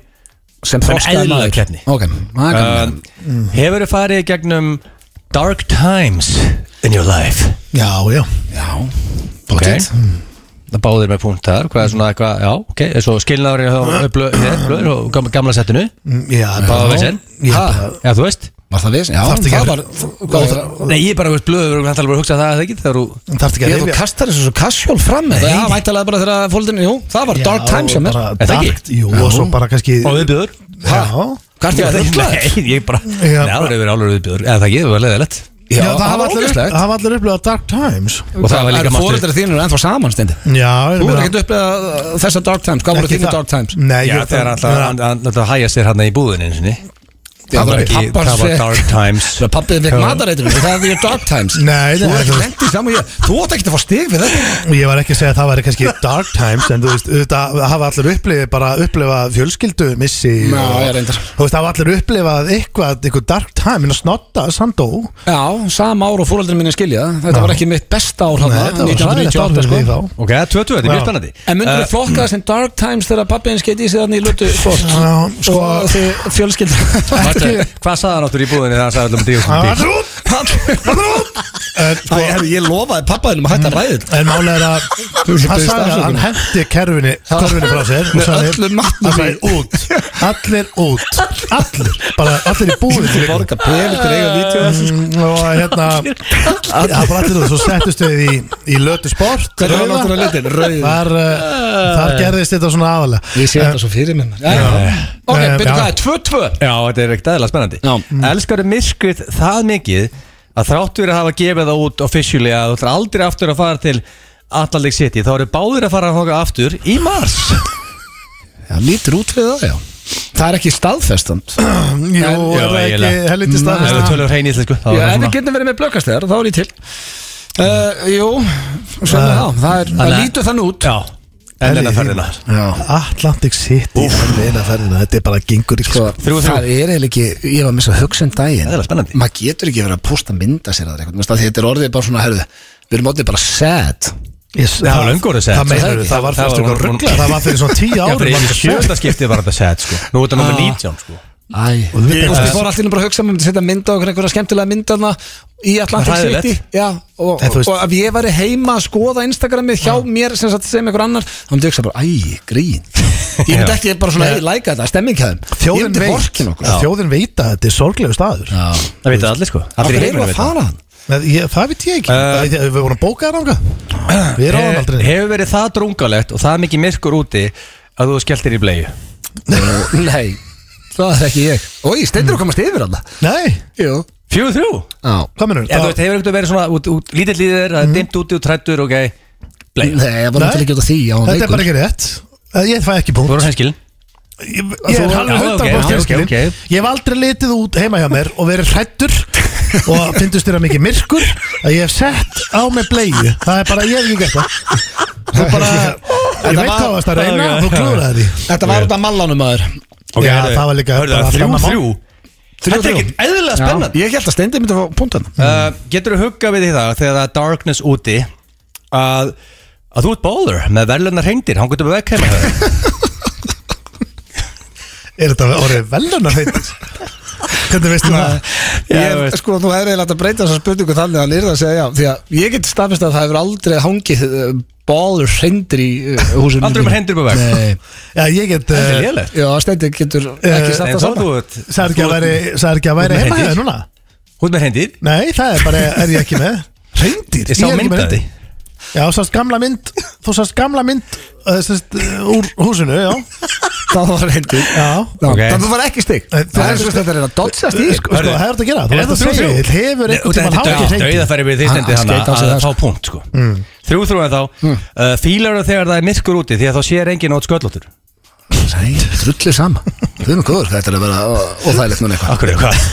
Speaker 1: sem þroskaði
Speaker 2: eðlilega
Speaker 1: maður
Speaker 2: keppni.
Speaker 1: ok, það er
Speaker 2: uh,
Speaker 1: gaman.
Speaker 2: Hefur þú farið í gegnum Dark times in your life
Speaker 3: Já, já
Speaker 1: já,
Speaker 2: Ok
Speaker 1: potent
Speaker 2: Það báðir með punktar, hvað er svona eitthvað, já, ok, eins og skilnaðurinn hjá blöður blö, og gamla, gamla settinu,
Speaker 3: Mm, Já,
Speaker 2: báða við sinn,
Speaker 3: Ég
Speaker 2: ha,
Speaker 3: bara-
Speaker 2: já, þú veist,
Speaker 1: var það viss? já,
Speaker 3: Þarftu ekki
Speaker 1: það
Speaker 3: að-
Speaker 1: var hvað var það?
Speaker 2: nei, ég bara, veist, blöður, hann talar bara að hugsa það, það ekki, það eru,
Speaker 3: Þarftu ekki
Speaker 1: Ég
Speaker 3: að
Speaker 1: þú
Speaker 3: rifja-
Speaker 1: kastar þessu svo kassjól fram með það Já, mættalega bara þegar fólitinu, jú, það var
Speaker 3: Já,
Speaker 1: dark times hjá mér
Speaker 3: bara
Speaker 2: Er það ekki?
Speaker 3: dark- Jú, og svo bara kannski
Speaker 2: og viðbjöður,
Speaker 3: Já
Speaker 1: Hvað er þetta
Speaker 2: [laughs] nei,
Speaker 1: rugglaður?
Speaker 2: ég bara,
Speaker 3: Já,
Speaker 2: neða, það eru alveg viðbjöður, eða það ekki, það var leðilegt,
Speaker 1: Já,
Speaker 3: Já, það hafa allir,
Speaker 1: ógeðslegt.
Speaker 3: hafa allir upplifað Dark Times
Speaker 2: og það var
Speaker 1: Það er
Speaker 2: líka máttur,
Speaker 1: fóreldrar þínur ennþá saman stendi
Speaker 3: Já,
Speaker 1: Þú er ekkert upplegað uh, þessar dark times Hvað voru þínu dark times?
Speaker 3: Nei,
Speaker 2: já,
Speaker 3: ég-
Speaker 2: þegar hann
Speaker 3: Já.
Speaker 2: alltaf, hann alltaf hæja sér hann í búðinu einu sinni, það var ekki, það var dark Mm. times,
Speaker 1: Svo pappið fekk matareiturinn Það er því dark times
Speaker 3: Nei,
Speaker 1: Þú
Speaker 3: nei,
Speaker 1: er ekki
Speaker 3: þú-
Speaker 1: lendið saman ég Þú átt ekki að fá stig fyrir þetta
Speaker 3: Ég var ekki að segja að það væri kannski dark times En þú veist, auðvitað hafa allir upplifað Bara upplifað fjölskyldu missi
Speaker 1: Já,
Speaker 3: og-
Speaker 1: ég reyndar.
Speaker 3: Þú veist, hafa allir upplifað eitthvað Eitthvað dark time, en að snotta, sandó
Speaker 1: Já, sama ár og fóröldurinn minni skilja það. Þetta
Speaker 3: Já.
Speaker 1: var ekki mitt besta ár hann
Speaker 3: Nei, þetta var
Speaker 1: 1998
Speaker 3: hræðilegt ár fyrir
Speaker 1: sko.
Speaker 3: því þá.
Speaker 2: ok, 22, þetta er mjög
Speaker 3: Já.
Speaker 2: spennandi,
Speaker 1: En myndur þú flokka það sem dark times þegar pappiðin skeitt í sig þannig í lutu svort
Speaker 3: Já, sko-
Speaker 1: og því fjölskyld
Speaker 2: Marta, hvað sagði hann áttur í búðinu þegar hann sagði allum drífum
Speaker 3: Það
Speaker 2: sem
Speaker 3: var
Speaker 2: um dýr?
Speaker 3: drút En, sko,
Speaker 1: Ég ég lofaði pappaðinum að hætta að ræði þetta
Speaker 3: En málega er að
Speaker 1: Þú veist, ég
Speaker 3: Hann
Speaker 1: biðst
Speaker 3: sagði að
Speaker 1: afsökunar.
Speaker 3: hann hendi kerfinu Körfinu frá sér og
Speaker 1: Með
Speaker 3: sagði-
Speaker 1: öllum matnum
Speaker 3: Hann sagði út allir út allir, bara allir í búið til ykkur.
Speaker 1: Borga pening til eiga vídeo
Speaker 3: Mm, og hérna það var allir út, svo settust við í, í lötu sport
Speaker 1: Hvernig var
Speaker 3: rauða.
Speaker 1: náttúrulega litin? Rauð
Speaker 3: þar, uh,
Speaker 2: Eh.
Speaker 3: þar gerðist þetta svona aðalega
Speaker 1: Ég sé þetta svo fyrir mér maður. Já, Eh. já. Ok,
Speaker 3: Eh,
Speaker 1: byrju
Speaker 3: já.
Speaker 1: hvað er 2-2
Speaker 2: Já, þetta er ekkert aðeins spennandi
Speaker 1: Já.
Speaker 2: mm. Elskaru myrkrið það mikið að þrátt fyrir að hafa gefið það út officially að þú ætlar aldrei aftur að fara til Atlantic City, þá eru báðir að fara að hóka aftur í mars
Speaker 1: Já, lítur út fyrir það, já Það er ekki staðfestant Já,
Speaker 3: Jú,
Speaker 2: Já,
Speaker 3: er það ekki
Speaker 2: eiginlega.
Speaker 3: helviti
Speaker 2: Það eru
Speaker 3: staðfest
Speaker 2: tölur hrein í Íslandsku
Speaker 1: ef við getum verið með blökkastegar, þá er ég til uh, Jú, svona
Speaker 3: Það-
Speaker 1: já, það er, það
Speaker 2: Þannig-
Speaker 1: lítur þann út
Speaker 2: Já, en enna ferðina
Speaker 1: Já
Speaker 3: Atlantic City Elena ferðina, þetta er bara gengur í
Speaker 1: Sko,
Speaker 3: sko
Speaker 2: Þrjú, þrjú.
Speaker 1: það er eiginlega ekki, ég var að missa hugsun daginn
Speaker 2: Það er spennandi.
Speaker 1: Maður getur ekki verið að posta mynda sér að eitthvað, veist, af því þetta er orðið bara svona, herðu Við erum orðið bara sad
Speaker 3: yes,
Speaker 2: Það var löngu orðið sett.
Speaker 3: Það meinar
Speaker 2: Það-
Speaker 3: það var
Speaker 2: það
Speaker 3: fyrst
Speaker 2: var-
Speaker 3: eitthvað ruggla Það var fyrir svona tíu
Speaker 2: Já,
Speaker 3: árum
Speaker 2: fyrir
Speaker 3: var Ah.
Speaker 2: einu
Speaker 3: þetta
Speaker 2: sjönda
Speaker 3: sett.
Speaker 2: skipti var þetta set sko Nú er þetta nummer 19 sko
Speaker 1: Æ,
Speaker 3: Og þú veit
Speaker 1: Þú
Speaker 3: ekki-
Speaker 1: veist, ég fór allir bara að hugsa um að setja mynda okkur einhverja skemmtilega myndaðna í Atlantic
Speaker 2: Það er
Speaker 1: City Já, og,
Speaker 3: En þú veist-
Speaker 1: og ef ég væri heima að skoða Instagramið hjá mér sem sagt sem einhver annar þá myndi ég hugsa bara, æ, grín Ég myndi
Speaker 2: Já.
Speaker 1: ekki bara svona, æ, læka þetta, stemmingkæðum Ég
Speaker 3: Þjóðin
Speaker 1: myndi
Speaker 3: veit
Speaker 1: vorkin okkur
Speaker 3: Þjóðin veit að þetta er sorglegu staður
Speaker 1: Það
Speaker 2: Það veit allir sko Allir í
Speaker 1: er
Speaker 2: heiminum
Speaker 1: að
Speaker 2: vita það.
Speaker 1: fara hann
Speaker 3: Nei, ég- Það veit ég ekki
Speaker 2: Eh.
Speaker 3: Það- Við vorum bókaðar ánga Við erum á hann aldrei
Speaker 2: He- Hefur verið það drungalegt og það mikið myrkur úti að þú skelltir í bleju
Speaker 1: Nei, það er ekki ég Ói, steindur að komast yfir hann
Speaker 3: Nei,
Speaker 1: Jú
Speaker 2: Fjögur þrjú
Speaker 1: Já
Speaker 3: hvað mennur
Speaker 2: En þú veist, hefur eitthvað verið svona út, út, lítill líður, það er dimmt úti og trættur, ok Blei,
Speaker 1: Nei, ég var
Speaker 3: Nei.
Speaker 1: náttúrulega ekki út af því Já, hann
Speaker 3: Þetta er
Speaker 1: veikur.
Speaker 3: bara ekki rétt Eh, Ég fæ ekki punkt
Speaker 2: þú voru hreinskilin
Speaker 3: Ég ég er
Speaker 2: Þú-
Speaker 3: alveg
Speaker 2: já,
Speaker 3: hundar
Speaker 2: ok,
Speaker 3: bótt
Speaker 2: já,
Speaker 3: hinskilin
Speaker 2: ok, ok.
Speaker 3: Ég hef aldrei litið út heima hjá mér og verið hrættur
Speaker 2: [laughs]
Speaker 3: og finnst þér að mikið myrkur að ég hef sett á mig bleiðu Það er bara, ég hef ekki gert það Þú
Speaker 2: [laughs]
Speaker 3: bara, ég veit hvað varst að reyna
Speaker 2: ok.
Speaker 3: þú klúraði því
Speaker 1: Þetta var út af mallanum maður
Speaker 3: Já, það var líka
Speaker 2: Hörðu
Speaker 3: bara
Speaker 2: það, þrjú,
Speaker 3: fram að
Speaker 2: þrjú Þetta er
Speaker 1: þrjú.
Speaker 2: ekkert eðlilega
Speaker 1: Já.
Speaker 2: spennandi
Speaker 1: Ég held að steindur myndi að fá punktan
Speaker 2: uh, Getur þú huggað við því það þegar það er darkness úti að, að þú ert bóður með verðlunar hreindir, hann getur vekk heima hjá þér. [laughs]
Speaker 3: Er þetta orðið velunar
Speaker 2: [laughs]
Speaker 3: heitir? Hvernig veistu það?
Speaker 2: Já,
Speaker 1: Ég,
Speaker 2: þú veist.
Speaker 1: sko, nú er eiginlega hægt að breyta þessar spurningu þannig að hann er það að segja já Því að ég get staðfist að það hefur aldrei hangið uh, bólur hreindir í uh, húsinu
Speaker 2: Aldrei
Speaker 1: mínu.
Speaker 2: með hreindir upp á vegg.
Speaker 1: Nei.
Speaker 3: Já, ég get
Speaker 2: Þetta er
Speaker 3: eh,
Speaker 2: lélegt
Speaker 1: Já, steindir getur ekki sagt
Speaker 2: Eh, En
Speaker 1: að
Speaker 2: þá þú
Speaker 1: [laughs] svona
Speaker 2: ert
Speaker 3: Sagði ekki
Speaker 2: þú
Speaker 3: að
Speaker 2: ert-
Speaker 3: væri, sagði ekki að væri
Speaker 2: Þú ert með
Speaker 3: heima hjá
Speaker 2: hreindir.
Speaker 3: þér núna?
Speaker 2: Þú ert með hreindir
Speaker 3: Nei, það er bara, er ég ekki með Hreindir,
Speaker 2: Ég sá
Speaker 3: er ekki með
Speaker 2: myndaði
Speaker 3: hreindýr. Já, þú sást gamla mynd Þú sást gamla mynd uh, sást, uh, úr húsinu, já
Speaker 1: Það var hreindir
Speaker 3: Já,
Speaker 2: Ok.
Speaker 1: okay. Það var ekki stig
Speaker 3: Nei, þú-
Speaker 1: Eh, Það er Eh, svo þetta er að dodsa stig
Speaker 3: sko, sko, það er þetta að gera Þú
Speaker 2: Er
Speaker 3: veist að
Speaker 2: þetta
Speaker 3: segja,
Speaker 2: þrjú,
Speaker 3: þetta hefur einhvern tímann hangið hreindýr.
Speaker 2: Dauðafæri við því
Speaker 1: Hann-
Speaker 2: stendir
Speaker 1: hann
Speaker 2: hann
Speaker 1: skeyt á sig
Speaker 2: að
Speaker 1: það,
Speaker 2: fá punkt sko.
Speaker 3: Mm.
Speaker 2: Þrjú þrjú en þá uh, Fílar þú þegar það er myrkur úti því að þá sér enginn átt sköllóttur
Speaker 1: Nei, Drullið sama Þau erum góður, þetta er að vera ó- óþægilegt núna eitthvað
Speaker 2: Akkur er [laughs] hvað?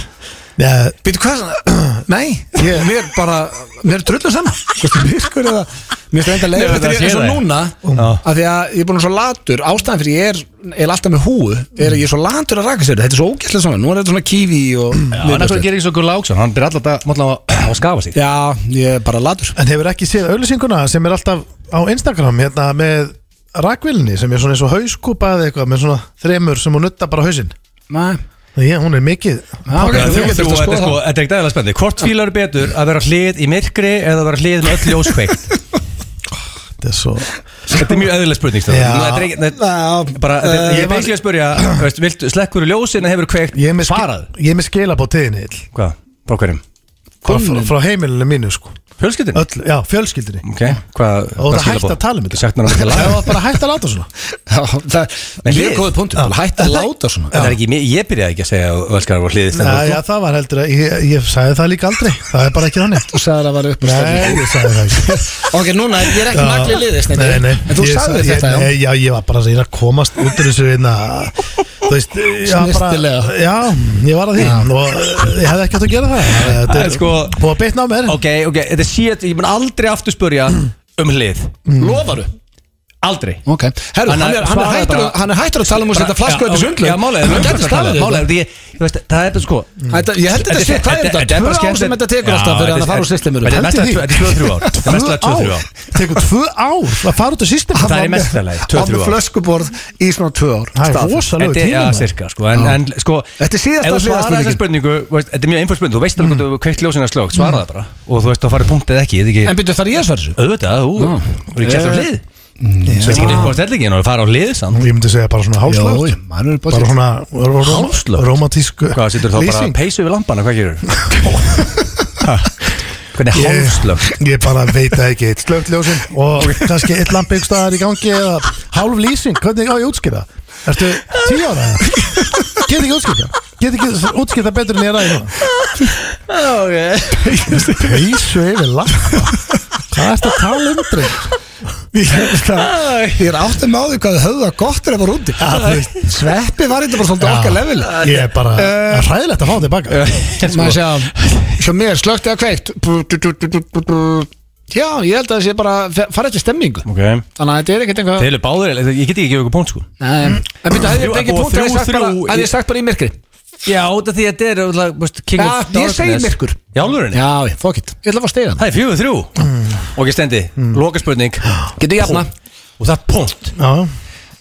Speaker 3: Já,
Speaker 1: Býtu hvað, [clears throat] nei,
Speaker 3: Ég-
Speaker 1: mér bara, mér er drullið saman Hvort er myrkur eða, mér finnst þetta
Speaker 2: Nei,
Speaker 1: leiðilegt
Speaker 2: þetta
Speaker 1: Þetta er
Speaker 2: sé
Speaker 1: eins og
Speaker 2: það.
Speaker 1: núna,
Speaker 2: Já.
Speaker 1: af því að ég er búin svo latur Ástæðan fyrir ég er, er alltaf með húu Er að ég er svo latur að raka sér, þetta er svo ógæslega svona Nú er þetta svona kífi og
Speaker 2: Hann er svo að gera eins og Gull Áksson Hann byrði alltaf að skafa sig
Speaker 1: Já, ég er bara latur
Speaker 3: en hefur ekki séð auðlýsinguna sem er alltaf á Instagram hérna með rakvilni sem er svona eins og hauskúpa eða eitthvað með svona þremur sem hún nutta bara hausinn Ah,
Speaker 1: Nei,
Speaker 3: Já, hún er mikið
Speaker 1: Já, ok.
Speaker 2: Þetta
Speaker 1: þú getur
Speaker 2: er
Speaker 1: að skoða
Speaker 2: sko- þetta er ekki aðeins spennandi Hvort fílar þú betur að vera hlið í myrkri eða að vera hlið með öll ljóskveikt
Speaker 3: Þetta er svo
Speaker 2: Þetta er mjög eðlileg spurning Stefán.
Speaker 3: Já.
Speaker 2: Nú, þetta er ekki- þetta-
Speaker 1: já,
Speaker 2: bara, þetta-
Speaker 1: Eh,
Speaker 2: Ég er
Speaker 1: var-
Speaker 2: basically að spurja veist, viltu- Slekkur í ljósin eða hefur kveikt
Speaker 3: Ég er með,
Speaker 2: Svarað
Speaker 3: ske- ég er með skila á tíðinni
Speaker 2: Hvað? Frá hverjum?
Speaker 3: frá, frá- frá heimilinu mínu sko
Speaker 2: Fjölskyldin?
Speaker 3: Öll, Já, fjölskyldinni
Speaker 2: Ok, hvað
Speaker 3: Og það hægt að tala um
Speaker 2: Þú
Speaker 3: þetta
Speaker 2: sagt mér
Speaker 3: [laughs]
Speaker 2: að
Speaker 3: Það
Speaker 2: það
Speaker 3: var bara hægt að láta svona
Speaker 1: já, það
Speaker 2: Nei,
Speaker 1: Mér
Speaker 2: við-
Speaker 1: er góðið punktur,
Speaker 3: Já.
Speaker 1: bara hætt að láta svona
Speaker 2: Það er ekki, mér- ég byrjaði ekki að segja að þú elskar að vera hliðið
Speaker 3: Já,
Speaker 2: stendur
Speaker 3: já, það var heldur að ég, ég sagði það líka aldrei Það er bara ekki þannig
Speaker 1: Þú sagðir að vera upp á
Speaker 3: Nei, ég sagði það ekki
Speaker 1: Ok, núna, er- ég er ekki nagli liðið, Steindi
Speaker 3: Nei, nei,
Speaker 1: En þú
Speaker 3: ég
Speaker 1: sagðir
Speaker 3: ég-
Speaker 1: þetta, já
Speaker 3: nei, já ég var bara að reyna að komast út úr þessu einna Þú veist, ég var bara
Speaker 1: Snyrtilega.
Speaker 3: Já, ég var að því Og ég hefði ekki átt að gera það Þetta
Speaker 2: Það er sko-
Speaker 3: búið að bitna á mér
Speaker 2: Ok, ok, þetta sé að ég mun aldrei aftur spurja um hlið
Speaker 1: Lofaru?
Speaker 2: Aldrei
Speaker 1: Ok, herru,
Speaker 2: Hann
Speaker 1: hann,
Speaker 2: er-
Speaker 1: er, hann, er
Speaker 2: svaraði
Speaker 1: hættur,
Speaker 2: bara-
Speaker 1: að- hann er hættur að tala um að setja flasku þetta sundlu
Speaker 2: Já, málega
Speaker 1: Hann gæti staðið þetta.
Speaker 2: Málega, ég, ég veist, það er bara sko
Speaker 1: Þetta- Ég held þetta sé, hvað er þetta? Tvö ár sem þetta tekur alltaf fyrir hann að fara úr systemur
Speaker 2: Þetta er mestlega 2-3 ár Þetta er mestlega 2-3 ár
Speaker 3: Tekur tvö ár að fara út úr system
Speaker 2: Það er í mesta lagi, tvö, þrjú ár.
Speaker 1: flöskuborð í svona tvö ár
Speaker 3: Það er
Speaker 1: Staðfest.
Speaker 3: rosalegu
Speaker 2: Þetta er, já,
Speaker 3: tíma
Speaker 2: cirka, sko En, en sko
Speaker 1: Þetta er síðasta
Speaker 2: ef þú svarar
Speaker 1: hliðarspurningin.
Speaker 2: þessa spurningu veist, Þetta er mjög einföld spurning Þú veist alveg mm. hvað þú kveikt ljósina slögt Svara það bara Og þú veist, þá farið punktið ekki Þetta er
Speaker 1: En
Speaker 2: ekki
Speaker 1: byrju, þar ég að svara þessu
Speaker 2: Auðvitað, ú Þú er ekki alltaf
Speaker 1: Eh,
Speaker 2: hlið
Speaker 3: Ég
Speaker 2: Sveist ekki
Speaker 3: segi bara-
Speaker 2: neitt hvað stellingin og fara á lið samt
Speaker 3: Ég myndi segja bara svona hálslögt
Speaker 4: Jó, maður er
Speaker 3: Bara
Speaker 4: bara
Speaker 3: svona ró- ró-
Speaker 2: Hálslögt?
Speaker 3: Rómatísku
Speaker 2: Hvað situr þá bara
Speaker 3: lýsing.
Speaker 2: peysu við lampana, hvað gerur? [laughs] Hvernig
Speaker 3: Ég-
Speaker 2: hálfslögt
Speaker 3: Ég bara veit það ekki, eitt slögt ljósin og kannski eitt lampi ykkur staðar í gangi eða hálf lýsing, hvernig á ég að útskýra? Ertu tíu ára? Get ekki útskýra? Get ekki útskýra betur en ég ræði núna? Peysu yfir lampa? Hvað ertu að tala um dreng?
Speaker 4: Ég held að- ég er áttum á því hvað þau höfðu að gott er að vera úti
Speaker 3: þú veist.
Speaker 4: Sveppi var þetta bara svolítið
Speaker 3: Já.
Speaker 4: okkar level
Speaker 3: Ég er bara
Speaker 4: Eh.
Speaker 3: uh, ræðilegt að fá þig baka
Speaker 4: Maður segja, hjá mér slögt eða kveikt Bú, dú, dú, dú, dú, dú, dú. Já, ég held að það sé bara fara eftir stemmingu
Speaker 2: Ok
Speaker 4: Þannig að þetta er ekkert einhvað
Speaker 2: Þeir eru báðir, ég get ekki að gefa ykkur punkt sko
Speaker 1: Mm.
Speaker 4: Nei, en byrja, hefði ég
Speaker 2: Þrjú-
Speaker 4: tekið
Speaker 2: og
Speaker 4: punkt
Speaker 2: þrjú-
Speaker 4: hefði ég sagt bara-
Speaker 2: þrjú-
Speaker 4: hefði ég sagt bara í myrkri
Speaker 2: Já, út af því að þetta er örugglega, veist, King
Speaker 4: Já,
Speaker 2: of
Speaker 4: ég segi myrkur.
Speaker 2: Já, alvörinni
Speaker 4: Já, ég, fuck it, ég ætla að fá stegan
Speaker 2: Það er fjögur þrjú Ok, stendi, loka spurning
Speaker 4: Getur
Speaker 2: Hérna.
Speaker 4: jafna
Speaker 2: Og það er punkt
Speaker 3: Já,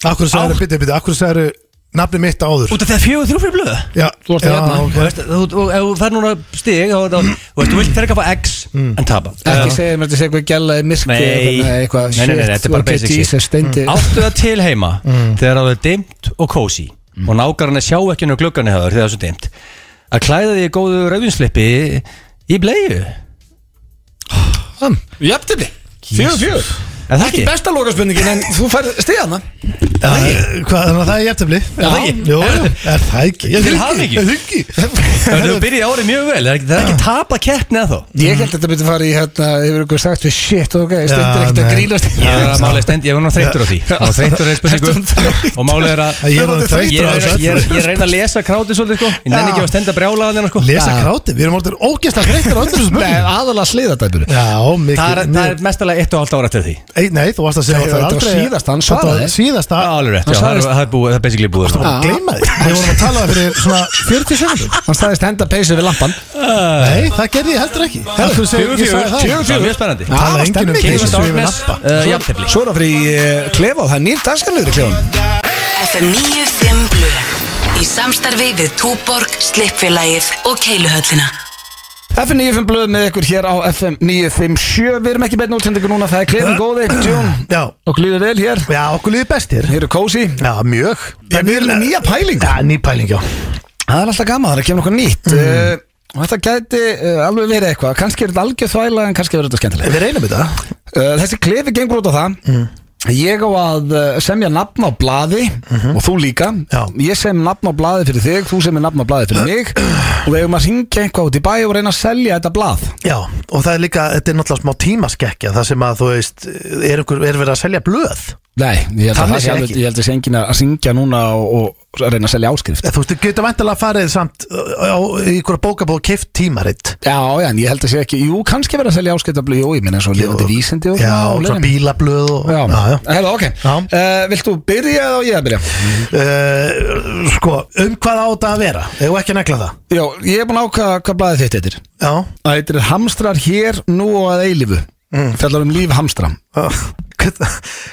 Speaker 3: akkur sagður, bitti, bitti, akkur sagður nafni mitt áður
Speaker 2: Út af því að fjögur þrjú fyrir blöðu
Speaker 3: Já,
Speaker 4: Þú ert hérna. að
Speaker 3: já,
Speaker 4: jafna.
Speaker 3: ok.
Speaker 2: Þú veist, þú- þú- ef þú fer núna stig þá er þetta- Þú veist, þú vilt fyrir að fá X en tapa
Speaker 4: Ekki segja mér þetta sé eitthvað gæla í myrkri
Speaker 2: Nei.
Speaker 4: eða eitthvað,
Speaker 2: Nei, nei, nei,
Speaker 4: shit, Mm.
Speaker 2: þetta er bara
Speaker 4: ok,
Speaker 2: basic shit.
Speaker 4: Jesus, steindi
Speaker 2: Áttu það til heima Þegar það er dimmt og kósi Og nágarinn sjá ekki nú gluggarni hefur Þegar það er svo dimmt Að klæða því góðu rauðinslipi Í bleiðu
Speaker 1: Jafntefni, fjögur fjögur
Speaker 2: Er það
Speaker 1: Ekki
Speaker 2: ekki?
Speaker 1: besta lokaspurningin en þú færð stegana
Speaker 3: Já, Hvað, þannig að það er jæftefli Já,
Speaker 2: það ekki?
Speaker 3: Jó, já, er það ekki?
Speaker 2: Til hamingju.
Speaker 3: Ég þykki
Speaker 2: Það er byrjað árið mjög vel Það er ekki- það er ekki tapa keppni að þó
Speaker 4: Ég held að þetta myndi fara í hérna, yfir ykkur sagt við shit, ok, steindi er ekkert að
Speaker 3: nei.
Speaker 4: grínast
Speaker 2: Ég er að málega stend, ég var nú þreyttur á því Ég var þreyttur á þessu spurningu Og málega er að
Speaker 3: Ég er orðinn
Speaker 2: Ég
Speaker 3: þreyttur á
Speaker 2: er-
Speaker 3: þessu
Speaker 2: ég er ég er að reyna að lesa krátið svolítið sko Ég nenni ekki að stenda brjálaðan hérna sko
Speaker 3: Lesa kráti, við erum orðin ógeðslega þreyttir á öllu þessu
Speaker 4: Nei,
Speaker 3: mögum
Speaker 4: aðalega sliðadæpur
Speaker 3: Já, mikið
Speaker 2: Það er, það er mestalega 1,5 ára til því
Speaker 3: Ei, Nei, þú varst að segja
Speaker 4: Nei,
Speaker 3: að það er
Speaker 4: þetta var
Speaker 3: aldrei
Speaker 4: síðasta, hann
Speaker 3: Þetta var
Speaker 4: svaraði.
Speaker 3: Síðasta,
Speaker 2: Alveg rétt, já, það er- það er búið, það er basically búið sko.
Speaker 3: bara gleyma því Við vorum að tala fyrir svona
Speaker 4: 40 sekundum Hann staðist henda peysu við lampan
Speaker 3: Nei, það gerði ég heldur ekki Heldur þú segir,
Speaker 2: Fjögur,
Speaker 3: ég sagði
Speaker 2: fjögur,
Speaker 3: það
Speaker 2: það er mjög spennandi
Speaker 3: Tala enginn um
Speaker 4: stemning.
Speaker 3: peysu
Speaker 2: Kemur
Speaker 3: sem við
Speaker 2: Darkness,
Speaker 3: lappa
Speaker 2: uh, jafntefli
Speaker 1: Svo er það fyrir uh, klefa og það er nýr dagskanlegur í klefanum
Speaker 5: FM 95 Blu Í samstarfi við Túborg, Slippfélagið og Keiluhöllina
Speaker 1: FM 95 blöð með ykkur hér á FM 957 Við erum ekki beinn útsendingu núna, það er klefum góði [clears throat] Tjón,
Speaker 3: Já,
Speaker 1: okkur líður vel hér
Speaker 3: já, okkur liði bestir
Speaker 1: Hér er kósi
Speaker 3: Já, mjög
Speaker 1: En við erum með nýja pælingu.
Speaker 3: Já, nýja pæling, já
Speaker 1: Það er alltaf gaman, það er að kemur okkur nýtt mm. Og þetta gæti uh, alveg verið eitthvað Kannski er þetta algjör þvæla en kannski verður þetta skemmtilega
Speaker 3: Við reynum þetta
Speaker 1: uh, Þessi klefi gengur út á það Ég á að uh, semja nafn á blaði og þú líka
Speaker 3: Já.
Speaker 1: Ég sem nafn á blaði fyrir þig, þú semir nafn á blaði fyrir mig [clears throat] og við eigum að ringja eitthvað út í bæ og reyna að selja þetta blað
Speaker 3: Já, og það er líka, þetta er náttúrulega smá tímaskekkja Það sem að, þú veist, er, einhver, er verið að selja blöð
Speaker 1: Nei, ég held að
Speaker 3: Þannig
Speaker 1: það
Speaker 3: sé
Speaker 1: sé alveg,
Speaker 3: ekki.
Speaker 1: ég held að sé engin að syngja núna og, og reyna að selja áskrift
Speaker 3: Þú veist, þú getur vantilega að farið samt uh, á í einhverja bókabóð keift tímaritt
Speaker 1: Já, já, en ég held að sé ekki, jú, kannski verið að selja áskiptablu, jú, ég minna eins og lifandi vísindi og
Speaker 3: Já,
Speaker 1: og
Speaker 3: og svo
Speaker 1: leiðin.
Speaker 3: bílablöð og,
Speaker 1: Já, Mm.
Speaker 3: já, já.
Speaker 1: Herra, ok,
Speaker 3: Já.
Speaker 1: uh, viltu byrja eða á ég að byrja?
Speaker 3: Uh, Sko, um hvað á þetta að vera? Eða ekki að negla það?
Speaker 1: Já, ég er búin að ákvaða hvað blaðið þitt heitir
Speaker 3: Já,
Speaker 1: Það heitir Hamstrar hér, nú og að eilífu mm. Fjallar um líf hamstra
Speaker 3: uh, [laughs] hvernig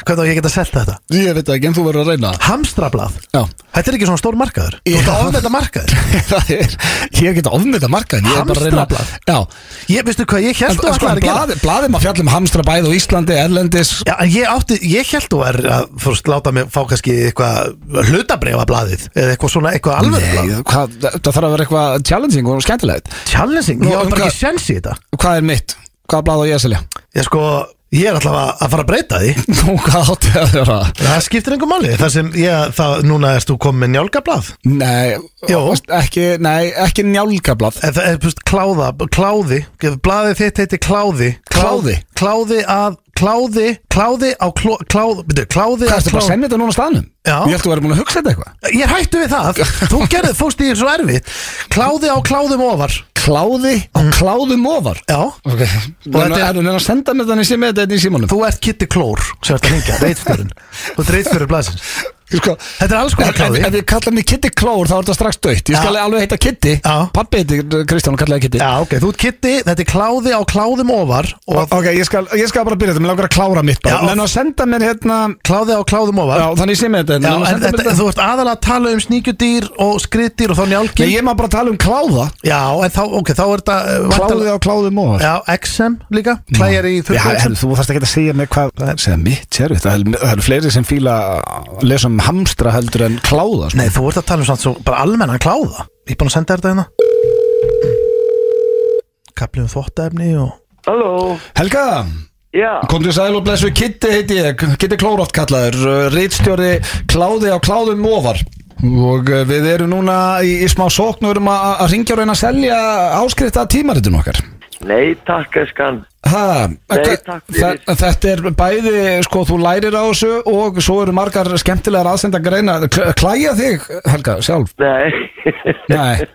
Speaker 3: hvernig á ég geta að selta þetta?
Speaker 1: Ég veit ekki, en þú verður að reyna það
Speaker 3: Hamstrablað
Speaker 1: Já,
Speaker 3: Þetta er ekki svona stór markaður Þú ert
Speaker 1: Já.
Speaker 3: að ofna þetta markaður
Speaker 1: [laughs] það er, ég er ekki að ofmynda markaðin ég er bara að reyna-
Speaker 3: Hamstrablað?
Speaker 1: Já,
Speaker 3: Ég, veistu hvað, ég
Speaker 1: en
Speaker 3: held þú
Speaker 1: sko,
Speaker 3: ætlaðir að gera
Speaker 1: blaðið blaði maður fjallum hamstra bæð á Íslandi, Erlendis
Speaker 3: Já, en ég átti, ég held þú er að fórst láta mig fá kannski eitthvað hlutabreifa blaðið eða eitthvað svona, eitthvað alveg blað
Speaker 1: Nei, hvað, það þarf að vera eitthvað challenging og skemmtilegt
Speaker 3: Challenging,
Speaker 1: Nú,
Speaker 3: ég var
Speaker 1: um
Speaker 3: bara
Speaker 1: hvað-
Speaker 3: ekki sens í þetta
Speaker 1: Hvað er mitt? Hvað bláð á ég að selja? [laughs]
Speaker 3: Ég sko, ég er alltaf að, að fara að breyta því
Speaker 1: Nú, hvað átti að vera?
Speaker 3: Það skiptir einhver máli, þar sem ég, það, núna erst þú komið með njálgablað
Speaker 1: Nei,
Speaker 3: Jó.
Speaker 1: veist, ekki, nei, ekki njálgablað
Speaker 3: En það er, þú veist, kláða, kláði Blaðið þitt heiti kláði
Speaker 1: Kláði?
Speaker 3: Kláði að, kláði, kláði á kló, kláð, byrju,
Speaker 1: Hvað
Speaker 3: kláði að
Speaker 1: erstu bara að semja þetta núna á staðnum?
Speaker 3: Já.
Speaker 1: Ég ætti að vera búin að hugsa þetta eitthvað
Speaker 3: Ég er hættu við það, þú gerði, fórst í svo erfitt Kláði á kláðum ofar
Speaker 1: Kláði á kláðum ofar
Speaker 3: Já,
Speaker 1: Ok, og
Speaker 3: Mm. þetta
Speaker 1: þetta
Speaker 3: er-
Speaker 1: er hún að senda mér þannig sem þetta er í símanum [laughs]
Speaker 3: Þú ert Kitty Klór sem ert að hringja, reitstjórn Þú ert reitstjórn blaðsins
Speaker 1: sko,
Speaker 3: Þetta er alls konar
Speaker 1: En- en-
Speaker 3: kláði.
Speaker 1: Ef ég kalla mig Kitty Klór þá er þetta strax dött Ég skal
Speaker 3: Já.
Speaker 1: alveg heita Kitty
Speaker 3: Já.
Speaker 1: Pappi heiti Kristján og kallaði Kitty
Speaker 3: Já, ok, þú ert kitti, þetta er kláði á kláðum ofar og
Speaker 1: Ok, ég skal, ég skal bara byrja þetta, mér langar að klára mitt bara
Speaker 3: Já.
Speaker 1: Menn að senda mér hérna
Speaker 3: kláði á kláðum ofar
Speaker 1: Já, þannig sem þetta
Speaker 3: Já,
Speaker 1: hérna, menn að
Speaker 3: en
Speaker 1: senda mér
Speaker 3: þetta,
Speaker 1: þetta-
Speaker 3: þú ert aðalega að tala um sníkjudýr og skriðdýr og þá njálki
Speaker 1: Nei, ég má bara tala um kláða
Speaker 3: Já, en þá, ok, þá er þetta eh,
Speaker 1: Kláði
Speaker 3: væntanlega-
Speaker 1: á kláðum og
Speaker 3: Já, XM líka, klæjar í
Speaker 1: Já,
Speaker 3: þurrkum
Speaker 1: herru, þú þarfst ekki að segja mér hvað það er, segja mitt, sér við, það er- það eru fleiri sem fíla að lesa um hamstra heldur en kláða sko.
Speaker 3: Nei, þú ert að tala um svona svo bara almennan kláða Ég er búin að senda þér þetta hérna Kapli um þvottaefni og
Speaker 6: Halló,
Speaker 1: Helga,
Speaker 6: já,
Speaker 1: komdu sæl og blessu Kitti heiti ég, Kitti Klórótt kallaður Ritstjóri kláði á kláðum ofar Og uh, við erum núna í, í smá sókn og erum að, að ringja og reyna að selja áskrifta að tímaritinu okkar
Speaker 6: nei takk eskan,
Speaker 1: Ha,
Speaker 6: Nei,
Speaker 1: hva-
Speaker 6: takk
Speaker 1: þa-
Speaker 6: fyrir.
Speaker 1: þetta er bæði, sko, þú lærir á þessu og svo eru margar skemmtilegar aðsenda greina, Kl- klæja þig, Helga, sjálf
Speaker 6: nei, [laughs]
Speaker 1: Nei,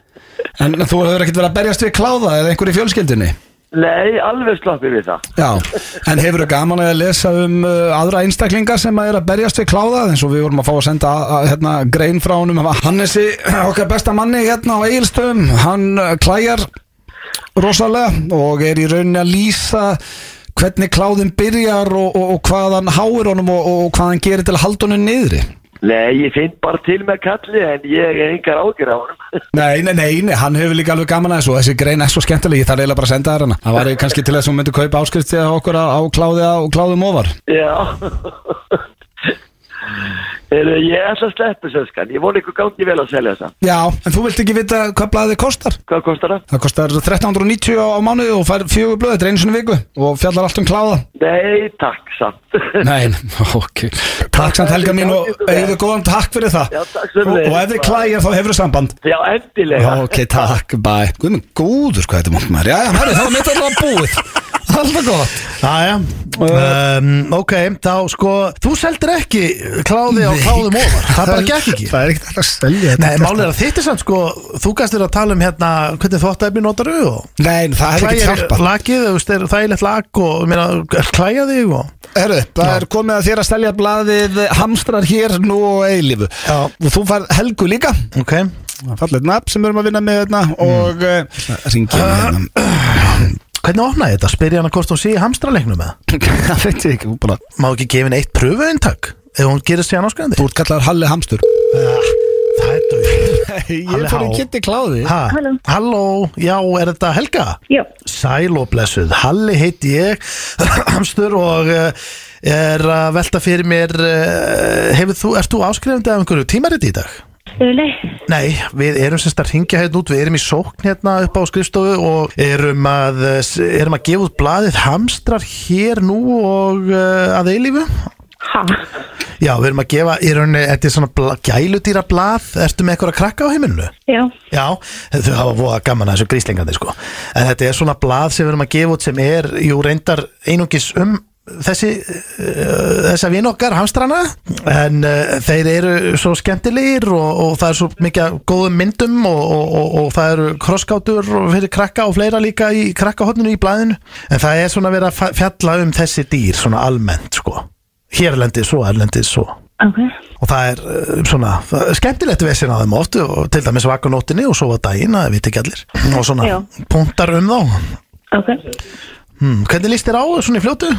Speaker 1: en þú hefur ekkert verið að berjast við kláða eða einhver í fjölskyldinni
Speaker 6: nei, alveg sloppið við það.
Speaker 1: Já, en hefur þú gaman að lesa um uh, aðra einstaklinga sem að er að berjast við kláða eins og við vorum að fá að senda að, að, hérna, grein frá honum af Hannesi, [clears throat] okkar besta manni hérna á Egilstöðum, hann uh, klæjar rosalega og er í rauninni að lýsa hvernig kláðin byrjar og, og, og hvað hann háir honum og, og hvað hann gerir til að halda honum niðri
Speaker 6: Nei, ég finn bara til með kalli en ég er engar ágjur á honum. [laughs]
Speaker 1: Nei, nei, nei, nei, hann hefur líka alveg gaman að þessu og þessi grein er svo skemmtileg, ég þarf eiginlega bara að senda þér hana Það var kannski til þess að hún myndi kaupa áskrifti á okkur á, á kláði á kláðum ofar
Speaker 6: Já, [laughs] Heyrðu, ég ætla að sleppu þessu eskan, ég vona ykkur gangi vel að selja þessa.
Speaker 1: Já, en þú vilt ekki vita hvað blaðið kostar
Speaker 6: Hvað kostar það?
Speaker 1: Það kostar 1390 á á mánuði og fær fjögur blöð, þetta er einu sinni í viku og fjallar allt um kláða
Speaker 6: Nei, takk samt. [laughs]
Speaker 1: Nei, [laughs] ok Takk samt Helga mín og eigðu góðan takk fyrir það
Speaker 6: Já, takk
Speaker 1: Og,
Speaker 6: sömuleiðis.
Speaker 1: og ef þið klæjar þá hefur samband
Speaker 6: Já, endilega.
Speaker 1: Já, ok, takk, bæ Guð minn góður hvað þetta er mokk maður Já, já, herri, það var mitt alltaf búið Alltaf gott
Speaker 3: Jæja, Ah,
Speaker 1: Eh,
Speaker 3: um, ok, þá sko Þú seldir ekki kláði á kláðum
Speaker 1: [laughs]
Speaker 3: ofar Það bara gekk ekki
Speaker 1: Það er ekkert alltaf að selja
Speaker 3: Nei, málið er að þitt er samt sko Þú gæst þér að tala um hérna hvernig þvottaefni notar auð og
Speaker 1: Nei, það hefur ekki
Speaker 3: Klæjar
Speaker 1: hjálpað
Speaker 3: lakið, þú veist, er þægilegt lak og meina, klæja þig og
Speaker 1: Herru, það er komið að þér að selja blaðið Hamstrar hér nú og eilífu
Speaker 3: Já.
Speaker 1: Og þú fær Helgu líka
Speaker 3: Ok,
Speaker 1: Fallið nafn sem við erum að vinna með hérna Og mm. ringið hérna
Speaker 3: hvernig opnaði þetta? Spyr ég hana hvort hún sé í hamstraleiknum eða?
Speaker 1: [clears throat] Það veit ég ekki, hún bara
Speaker 3: Má ekki gefa henni eitt pröfuintak ef hún gerir sér áskrandi?
Speaker 1: Þú ert kallar Halli Hamstur
Speaker 3: Það er dög
Speaker 1: [laughs] Ég
Speaker 3: Halli
Speaker 1: fór í
Speaker 3: Há.
Speaker 1: kitti kláði
Speaker 3: Ha, halló, já, er þetta Helga?
Speaker 7: Já,
Speaker 3: Sæl og blessuð, Halli heiti ég, [clears throat] hamstur og uh, er að velta fyrir mér, uh, hefur þú, ert þú áskrifandi af einhverju tímariti í dag?
Speaker 7: eh, nei,
Speaker 3: Nei, við erum semst að hringja hérna út, við erum í sókn hérna upp á skrifstofu og erum að, eh, s- erum að gefa út blaðið hamstrar hér nú og uh, að eilífu.
Speaker 7: ha,
Speaker 3: Já, við erum að gefa, í rauninni, þetta er svona bla, gæludýra blað, ertu með eitthvað að krakka á heimilinu?
Speaker 7: já,
Speaker 3: Já, þau hafa voða gaman að þessu gríslingandi sko En þetta er svona blað sem við erum að gefa út sem er, jú reyndar einungis um þessi uh, þessa vin okkar hamstrana en uh, þeir eru svo skemmtilegir og, og það er svo mikið af góðum myndum og, og, og, og það eru krosskátur og fyrir krakka og fleira líka í krakkahotninu í blæðinu en það er svona verið að fa- fjalla um þessi dýr svona almennt sko hérlendis og erlendis og
Speaker 7: ok,
Speaker 3: og það er uh, svona það er skemmtilegt vesina á þeim oft og til dæmis vaka á nóttinni og sofa á daginn að við veit ekki allir og svona
Speaker 7: Já.
Speaker 3: punktar um þá hmm,
Speaker 7: ok.
Speaker 3: hvernig líst þér á svona í fljótu?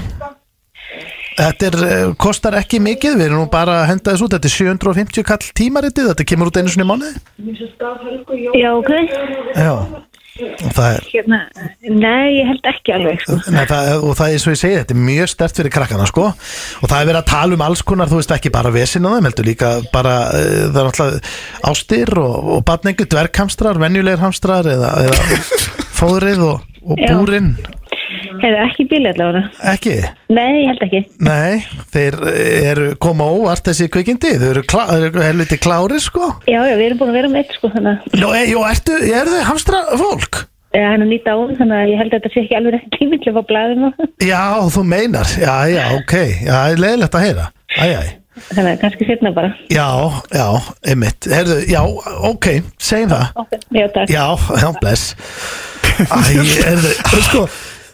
Speaker 3: Þetta er, uh, kostar ekki mikið, við erum nú bara að henda þessu út, þetta er 750 kall tímaritið, þetta kemur út einu svona í mánuði.
Speaker 7: Já, ok.
Speaker 3: Já, og það er,
Speaker 7: Hérna, nei, ég held ekki alveg, sko.
Speaker 3: Nei, það, og það er eins og ég segi, þetta er mjög stert fyrir krakkana sko og það er verið að tala um alls konar, þú veist ekki bara vesina þeim, heldur líka bara uh, það er alltaf ástir og, og barnengu dverghamstrar, venjulegir hamstrar eða, eða fóðrið og, og
Speaker 7: Já.
Speaker 3: búrin,
Speaker 7: Hefur ekki bíl allavega.
Speaker 3: ekki?
Speaker 7: Nei, ég held ekki.
Speaker 3: Nei, þeir eru koma óvart þessi kvikindi, þau eru, klá, þau eru helviti klári sko.
Speaker 7: Já, já, við erum búin að vera með, sko, þannig að,
Speaker 3: Jó, e, jó ertu, eru þau hamstra fólk?
Speaker 7: já, hann er nýtt á hún, þannig að ég held að þetta sé ekki alveg rétt tíminn til að fá blæðum og,
Speaker 3: Já, þú meinar, já, já, ok, já, er leiðilegt að heyra, æj, æj.
Speaker 7: þannig að kannski setna bara.
Speaker 3: Já, já, einmitt Herðu, já, ok, segjum það
Speaker 7: Ok, já, takk.
Speaker 3: Já, já, bless Æ, herðu, sko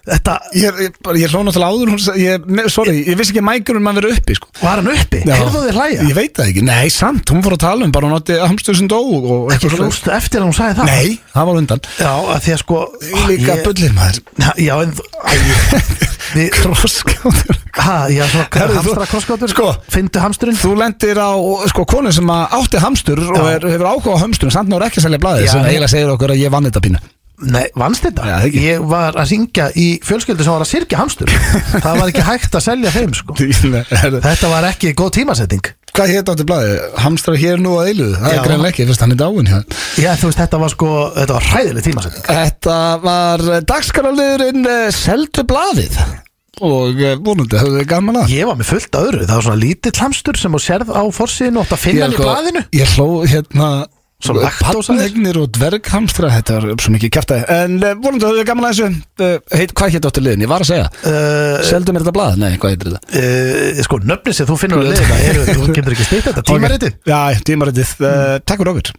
Speaker 3: Þetta,
Speaker 1: Ég, ég, bara- ég hlóna til áður hún, sa- ég, me- Sorry, ég vissi ekki að mækjurinn mann verið uppi sko.
Speaker 3: var hann uppi? Hérðu þið hlæja?
Speaker 1: Ég veit það ekki, nei samt, hún fór að tala um bara hún átti hamstur sem dó og og
Speaker 3: Ekki
Speaker 1: eitthvað svoleiðis.
Speaker 3: hlústu eftir að hún sagði það
Speaker 1: sko. Nei, það var undan
Speaker 3: Já, að því að sko
Speaker 1: Líka
Speaker 3: ég-
Speaker 1: bullir [laughs] maður
Speaker 3: Já, en þú æ, Þið
Speaker 1: Krosskátur
Speaker 3: Hæ, já, svona
Speaker 1: Herðu, þú-
Speaker 3: hamstra krosskátur
Speaker 1: sko,
Speaker 3: Fyndu hamsturinn
Speaker 1: Þú lendir á sko, konu sem að átti hamstur og
Speaker 3: Já.
Speaker 1: er, hefur áhuga á hamsturinn samt náður ekki að selja blaðið
Speaker 3: Já,
Speaker 1: sem
Speaker 3: nei.
Speaker 1: eiginlega segir okkur að ég vann þetta pínu
Speaker 3: Nei, vannst þetta?
Speaker 1: Já, það ekki.
Speaker 3: ég var að syngja í fjölskyldu sem var að sirkja
Speaker 1: [laughs]
Speaker 3: hamstur Það var ekki hægt að selja þeim, sko
Speaker 1: Hvað
Speaker 3: Þetta var ekki góð tímasetting
Speaker 1: hétt átti blaðið? Hamstra hér nú að eiluðu Það
Speaker 3: Já.
Speaker 1: er greinlega ekki, fyrst hann er dáin hjá þeim.
Speaker 3: Já, þú veist, þetta var sko Þetta var hræðileg tímasetting
Speaker 1: Þetta var
Speaker 3: eh,
Speaker 1: dagskaraliðurinn Seldu blaðið og eh, vonandi höfðu þið gaman að
Speaker 3: Ég var með fullt öðru, það var svona lítill hamstur sem þú sérð á forsiðinu og átt að finna hann í
Speaker 1: sko-
Speaker 3: blaðinu
Speaker 1: Ég hló hérna
Speaker 3: Svo laktósa þér?
Speaker 1: Pannhegnir og dverghamstra Þetta var svo mikið kæftæði En eh, vonandi höfðu þið gaman að þessu uh, heit, Hvað hétt átti liðin? Ég var að segja
Speaker 3: uh,
Speaker 1: Seldu mér þetta blað? Nei, hvað heitir þetta?
Speaker 3: uh, Sko, nöfnir sem þú finnur að leiða eru, Þú getur ekki stýtt þetta, tímaritið
Speaker 1: Ok. Já, tímaritið uh, Takk fyrir okkur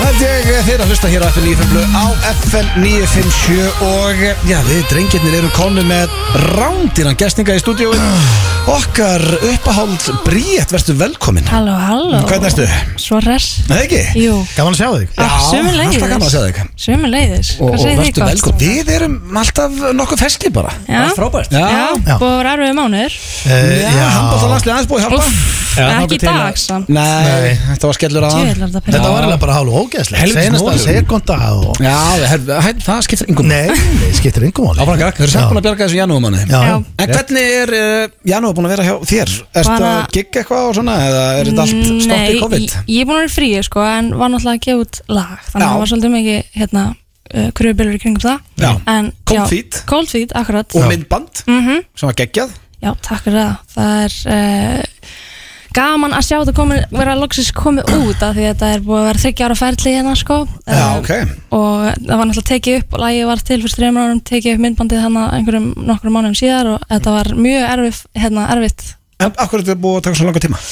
Speaker 1: Þetta er þeir að hlusta hér á FM 957 á FM 957 og eh, já, við drengirnir eru konu með rándinan gestninga í stúdíói Okkar uppahald Bríett, verðstu velkomin
Speaker 8: Halló, halló
Speaker 1: Hvernig ertu?
Speaker 8: Svo res
Speaker 1: Nei ekki?
Speaker 8: Jú,
Speaker 3: Gaman að sjá þig
Speaker 8: Já, sömuleiðis.
Speaker 1: alltaf gaman að segja þig
Speaker 8: sömu leiðis
Speaker 1: Og, og verðstu
Speaker 8: gott?
Speaker 1: velkomin, við erum alltaf nokkuð feskir bara
Speaker 8: Já,
Speaker 2: Frábært
Speaker 8: já,
Speaker 3: Já.
Speaker 8: já. búið erfið mánuður
Speaker 3: Eh,
Speaker 1: Já, handbóltalanslið aðeins búið að hjálpa
Speaker 8: Uff,
Speaker 2: Já, þangað
Speaker 8: Ekki í
Speaker 2: til að-
Speaker 8: dag samt
Speaker 1: Nei, þetta var skellur að
Speaker 8: Djöfull er þetta pirrandi.
Speaker 3: Þetta var alveg bara hálf ógeðslega
Speaker 2: Helvítis
Speaker 3: Senasta
Speaker 2: móður.
Speaker 3: sekunda og...
Speaker 1: Já, her, her, það skiptir yngum
Speaker 3: Nei, nei, skiptir yngum
Speaker 2: Áfram
Speaker 3: máli
Speaker 2: gakk
Speaker 1: Þau eru samt búin að bjarga þessu janúumanni
Speaker 3: Já.
Speaker 8: Já.
Speaker 1: En hvernig er uh, Janúar búin að vera hjá þér? Erstu
Speaker 8: Bara-
Speaker 1: að gigga eitthvað og svona eða er þetta allt stopp í
Speaker 8: Mm, Nei,
Speaker 1: COVID?
Speaker 8: ég, ég er búin að vera í fríi sko En var náttúrulega að gefa út lag
Speaker 1: Já.
Speaker 8: Þannig að það var svolítið mikið hérna uh, Kröfubilur í kringum það
Speaker 1: Já.
Speaker 8: en,
Speaker 1: Cold
Speaker 8: já,
Speaker 1: feet.
Speaker 8: Cold feet, akkurat
Speaker 1: Og myndband
Speaker 8: mm
Speaker 1: sem var geggjað
Speaker 8: Já, takk fyrir það Það er uh, gaman að sjá þetta komin, vera loksins komið út af Því að þetta er búið að vera þryggja ára ferli hérna sko
Speaker 1: Já,
Speaker 8: Eh,
Speaker 1: ok
Speaker 8: og það var náttúrulega tekið upp og lagið var til fyrir þreymur árum, tekið upp myndbandið hann einhverjum nokkrum mánuðum síðar og þetta var mjög erfið, hérna, erfitt
Speaker 1: En akkur er þetta búið að taka svona langa tíma?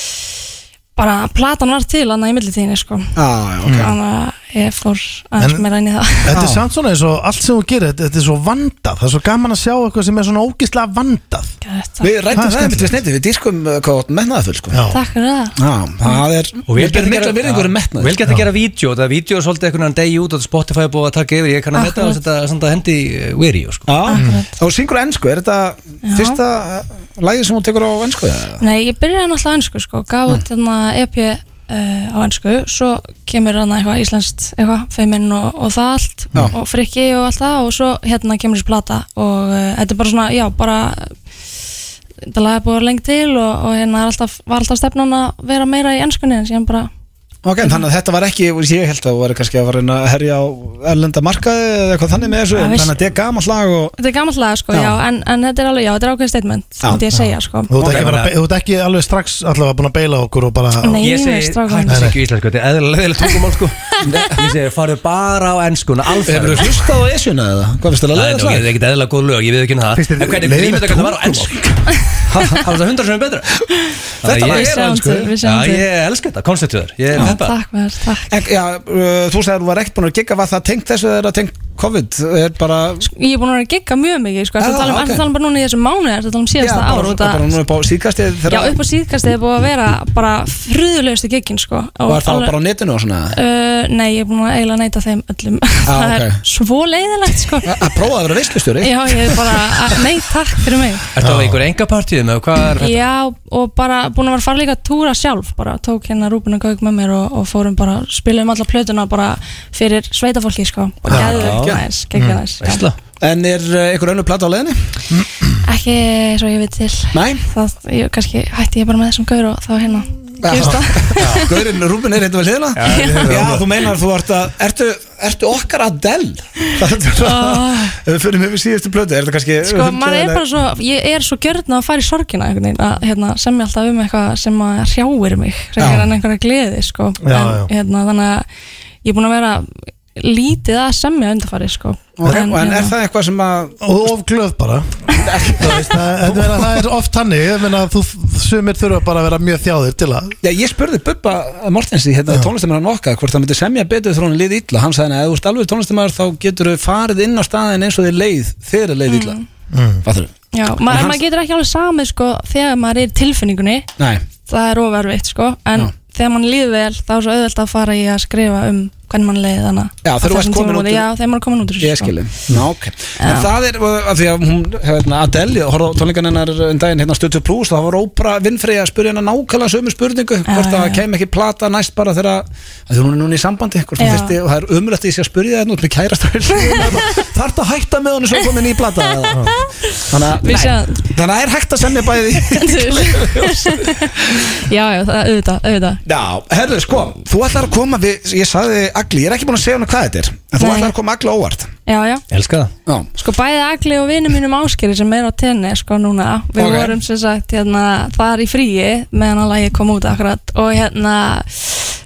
Speaker 8: bara platan var til hann í millitíðinni sko
Speaker 1: Já, já, ok
Speaker 8: þannig að ég fór aðeins
Speaker 3: En-
Speaker 8: meira inn í
Speaker 1: [laughs]
Speaker 8: það
Speaker 3: Þetta er
Speaker 1: Já.
Speaker 3: samt svona eins og allt sem þú gerir þetta- Þetta er svo vandað, það er svo gaman að sjá eitthvað sem er svona ógeðslega vandað
Speaker 8: Gæt,
Speaker 1: Við
Speaker 3: Það
Speaker 1: rættum það
Speaker 3: er
Speaker 1: einmitt við
Speaker 3: skemmtilegt.
Speaker 1: snetti, við diskum uh, hvað átt metnaða full sko
Speaker 3: Já.
Speaker 8: takk fyrir það
Speaker 1: Já, það er
Speaker 2: Og vel gett að
Speaker 1: mikla
Speaker 2: gera
Speaker 1: virðingur um
Speaker 2: Já,
Speaker 1: metnað
Speaker 2: Vel gett að gera vídeo, það er vídeo svolítið einhvern veginn degi út og Spotify er búið að taka yfir, ég kann að metta og
Speaker 8: Akkurat.
Speaker 2: senda senda hendi eh, Weary og sko
Speaker 1: Já,
Speaker 8: Akkurat.
Speaker 1: og syngur á ennsku, er þetta
Speaker 8: Já.
Speaker 1: fyrsta uh, lagið sem hún tekur á ennsku? eða?
Speaker 8: Nei, ég byrjaði náttúrulega á ennsku sko gaf út hérna EP uh, á ennsku svo kemur hann eitthvað íslenskt eitthvað, feiminn og, og það allt
Speaker 1: Já.
Speaker 8: og frikki og allt það og svo hérna kemur þessi plata og uh, þetta er bara svona, já, bara þetta lag er búið að vera lengi til og, og hérna er alltaf, var alltaf stefnan að vera meira í ennskunni en síðan bara
Speaker 1: Ok, þannig að þetta var ekki, ég held að það var kannski að var að herja á erlenda markaði eða eitthvað þannig með þessu,
Speaker 8: Já,
Speaker 1: þannig
Speaker 8: veist-
Speaker 1: að þetta er gamalt lag og
Speaker 8: þetta er gammal lag sko,
Speaker 1: Já.
Speaker 8: já, en, en þetta er alveg, já, þetta er ákveðið statement
Speaker 1: Já,
Speaker 8: þetta ég að segja sko
Speaker 3: Þú ert
Speaker 2: Ok,
Speaker 3: ekki, bara,
Speaker 2: bara-
Speaker 3: þú ert ekki alveg strax allavega búin að beila okkur og bara
Speaker 8: Nei,
Speaker 2: Ég segi,
Speaker 8: strákar.
Speaker 2: hættu þessi ekki íslensku, þetta er eðlilega tungumál
Speaker 8: [laughs]
Speaker 2: sko Ég segi, farðu bara á ennskuna,
Speaker 1: Hefur
Speaker 2: alferð
Speaker 1: þú hlustað á Esjuna eða? Hvað finnst þér að leiða
Speaker 2: Nei, ok, það er
Speaker 1: slag?
Speaker 2: ekkert eðlilega góð lög, ég við ekki hérna
Speaker 3: Finnst þér
Speaker 2: það En hvernig
Speaker 3: leiðilegt
Speaker 2: límið þetta hvernig það var á ennsku [laughs] Það var það hundra sem betra Þetta
Speaker 8: var- Við sjáum til, við sjáum
Speaker 2: Já,
Speaker 8: til.
Speaker 2: ég elska þetta, konstitúður Ég er peppa
Speaker 8: takk með þér, takk
Speaker 1: En, já, uh, þú sagðir þú var ekkert búin að gigga var það tengt þessu eða er það tengt COVID er bara,
Speaker 8: Ég er búin að vera að gigga mjög mikið sko,
Speaker 1: Já,
Speaker 8: ertu að tala um,
Speaker 1: ok.
Speaker 8: ertu að tala um bara núna í þessum mánuði, ertu að tala um síðasta
Speaker 1: bara,
Speaker 8: ár út að-
Speaker 1: bara nú upp á síðkastið
Speaker 8: Já,
Speaker 1: þegar
Speaker 8: upp á síðkast er búið að vera bara fruðulegustu giggin sko Og
Speaker 1: var það
Speaker 8: alveg-
Speaker 1: bara á netinu og svona
Speaker 8: Uh, nei, ég er búin að eiginlega neyta þeim öllum [laughs] Það
Speaker 1: ok.
Speaker 8: er svo leiðilegt
Speaker 1: [laughs]
Speaker 8: sko
Speaker 1: að að prófa að vera veislustjóri
Speaker 8: Já, ég er bara, að- nei, takk fyrir mig
Speaker 2: Ertu á einhver enga partíðum eða hvað er
Speaker 8: Já, og bara búin að vera að fara líka að túra sjálf bara, tók hérna Rúbun og Gauk með mér og, og fórum bara, spilum alla plötuna bara fyrir sveitafólki sko og geðveikt næs, geggjað næs já.
Speaker 2: Veistla.
Speaker 1: en er uh, einhver önnur plata á leiðinni?
Speaker 8: Ekki svo ég veit til
Speaker 1: Nei.
Speaker 8: Það, ég, kannski hætti ég bara með þessum gaur og þá hérna gerist það.
Speaker 1: [laughs] Gaurinn Rúbin er hérna við hliðina já, þú meinar þú ert að ertu, ertu okkar Adele það er það við fyrir mig við síðustu plötu er þetta kannski
Speaker 8: Sko, maður er bara svo, ég er svo gjörðna að fara í sorgina einhvern veginn, að hérna, semja alltaf um eitthvað sem að hrjáir mig,
Speaker 1: Já.
Speaker 8: reynir en einhverja gleði, sko.
Speaker 3: Já,
Speaker 8: en,
Speaker 3: já.
Speaker 8: Hérna, þannig að ég er búin að vera lítið að semja undarfari, sko.
Speaker 1: Ok, en, er það eitthvað sem að
Speaker 3: Og of glöð bara Eh, Þú veist, það, það, er, það er oft hannig ég meina, þú, Sumir þurfa bara að vera mjög þjáðir til að
Speaker 1: Já, ég spurði Bubba Mortensi, hérna tónlistamæður okkar, hvort það myndi semja betur þegar hún liði illa. Hann sagði, "Nei, ef þú ert alveg tónlistamæður þá getur þau farið inn á staðin eins og þið leið, þeir er leið illa.
Speaker 8: Mm.
Speaker 1: Fattar þú?
Speaker 9: Já, ma
Speaker 1: hans-
Speaker 9: maður getur ekki alveg samið sko þegar maður er í tilfinningunni
Speaker 1: Nei,
Speaker 9: það er ofarvitt sko en
Speaker 1: Já.
Speaker 9: þegar mann líður vel þá er svo auðvelt að fara í að skrifa um hvernig mann leiði þannig
Speaker 1: Já, þegar þú varst komin út úr-
Speaker 9: Já, þegar maður er komin út úr þessu,
Speaker 1: ég
Speaker 9: sko.
Speaker 1: skilum Ná, ok En
Speaker 9: Já.
Speaker 1: það er, uh, af því að hún, hérna, Adele ég horfði á tónleikan hennar en daginn hérna stötu plus þá var Ópra Vinfrey að spurja hennar nákvæmlega sömu spurningu hvort
Speaker 9: já,
Speaker 1: það
Speaker 9: já.
Speaker 1: kem ekki plata næst bara þegar að af því hún er núna í sambandi hvort hún
Speaker 9: Já.
Speaker 1: þyrfti og það er umrætt í sig að spurja hennar út með kærasta
Speaker 9: [laughs]
Speaker 1: þarf það að hætta með henni svo komin í plata eða? þannig að
Speaker 9: Við
Speaker 1: Nei.
Speaker 9: sjáum.
Speaker 1: þannig að það er hægt að semja
Speaker 9: [laughs]
Speaker 1: bæði
Speaker 9: já, já, það er auðvitað, auðvitað
Speaker 1: Já, herðu sko, þú ætlar að koma við, ég sagði Agli, ég er ekki búin að segja henni hvað þetta er en þú
Speaker 9: Nei.
Speaker 1: ætlar að koma Agli á óvart
Speaker 9: Já, já,
Speaker 2: Elskar það
Speaker 1: Já,
Speaker 9: sko bæði Agli og vinum mínum áskeri sem er á tenni sko núna við
Speaker 1: Ok.
Speaker 9: vorum sem sagt hérna þar í fríi meðan að lagið kom út akkurat og hérna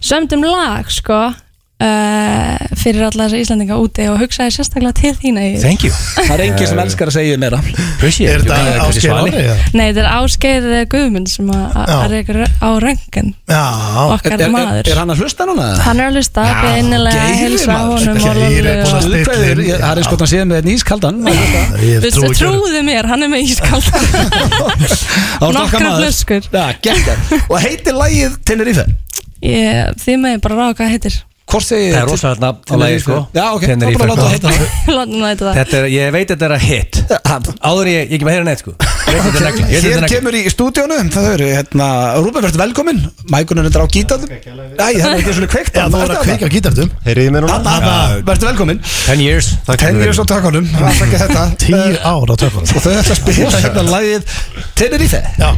Speaker 9: sömdum lag sko uh, fyrir alla þessar Íslandinga úti og hugsaði sérstaklega til þína í
Speaker 2: Thank you
Speaker 1: það er enginn sem elskar að segja meira
Speaker 2: Appreciate you.
Speaker 3: Er
Speaker 2: Ég
Speaker 3: þetta
Speaker 2: kannski
Speaker 3: áskil
Speaker 2: svali.
Speaker 3: orðið?
Speaker 9: Nei, þetta er Ásgeir eh, Guðmund sem að- að
Speaker 3: Já.
Speaker 9: að rekur á röngin
Speaker 3: Já,
Speaker 1: er,
Speaker 9: okkar
Speaker 1: er, er,
Speaker 9: maður
Speaker 1: er hann að hlusta núna?
Speaker 9: Hann er að hlusta,
Speaker 1: Já,
Speaker 9: beinilega að
Speaker 1: Geiri,
Speaker 9: heilsa
Speaker 1: maður.
Speaker 9: honum og
Speaker 3: Geiri er
Speaker 9: Lollu
Speaker 3: búinn að
Speaker 9: og-
Speaker 3: stilla.
Speaker 1: Stutlaður, ég- Það er eins gott að séð með einn ískaldan Það
Speaker 3: ég
Speaker 9: Veistu,
Speaker 3: trúi ekki öðru.
Speaker 9: Trúðu mér, hann er með
Speaker 3: [laughs]
Speaker 9: ískald [laughs]
Speaker 1: var okkar
Speaker 9: Nokkrar
Speaker 1: maður.
Speaker 9: flöskur.
Speaker 1: Já, geggjað. Og heitir lagið Tenerife
Speaker 9: Ég- Þið meði bara ráða hvað það heitir [laughs]
Speaker 1: Hvort segir
Speaker 2: Það er rosalega nafn á lagi, sko.
Speaker 1: Já, ok, það er
Speaker 2: Tenerife. sko.
Speaker 1: bara að láta það heita það.
Speaker 9: Látum það heita það
Speaker 2: Þetta er, ég veit að þetta er að hit Áður en ég, ég ekki með að heyra neitt [laughs] sko Ég veit að þetta er regla Ég veit að
Speaker 1: Hér
Speaker 2: þetta er regla
Speaker 1: kemur í stúdíónu Það eru, hérna, Rúben, verður velkomin Mækunum er þetta á gítarnum Æ, það er ekki svona kveikt
Speaker 3: Já, þú voru að kveika á gítartum
Speaker 10: Heyriði mér núna?
Speaker 1: Anna, verður velkomin
Speaker 2: 10 years
Speaker 1: Tenni ég svo takunum Afsakið þetta.
Speaker 3: Tíu ár á tökum
Speaker 1: Og þau ætla að spila hérna lagið Tenerife
Speaker 3: Já,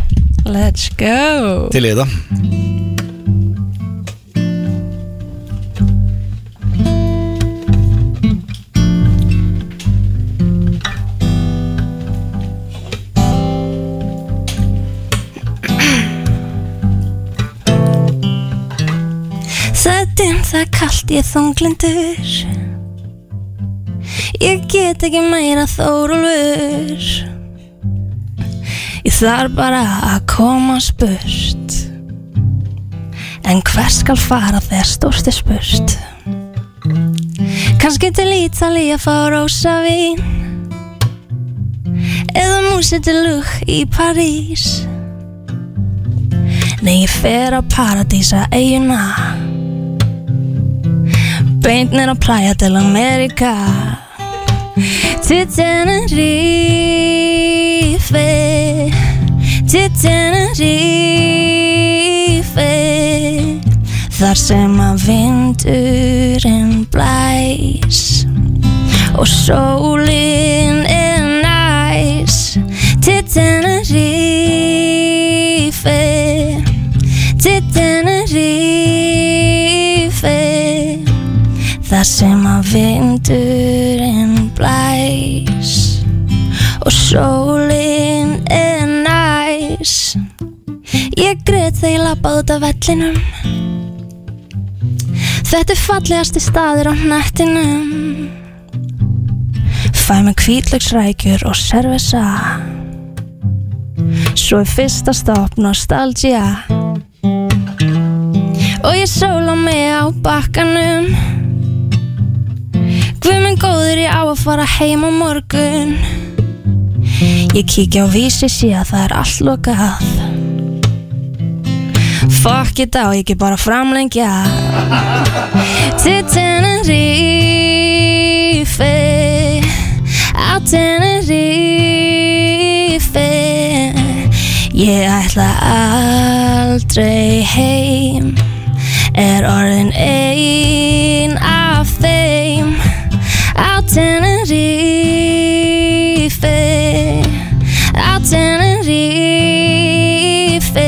Speaker 9: Let's go
Speaker 1: Til í það
Speaker 8: Það er dimm, það er kallt, ég er þunglindur Ég get ekki meira þórulfur Ég þarf bara að komast burt En hver skal fara þegar stórt er spurt Kannski til Ítali að fá rosa vín Eða músi til lúk í París Nei, ég fer á paradísa eiguna Beint nýra playa til Amerika Til Tenerife Til Tenerife Þar sem að vindurinn blæs Og sólin er næs Til Tenerife Til Tenerife Þar sem að vindurinn blæs Og sólin er næs Ég greit þegar ég lappa út af vellinum Þetta er fallegasti staður á nættinum Fæ mig hvítlöksrækjur og servesa Svo er fyrsta stopp nostalgia Og ég sóla mig á bakkanum Guð minn góður ég á að fara heim á morgun Ég kíkja á vísi sé að það er allt lokað Fuck it á, ég get bara framlengja Til Tenerife Á Tenerife Ég ætla aldrei heim er orðin ein af þeim á Tenerife á Tenerife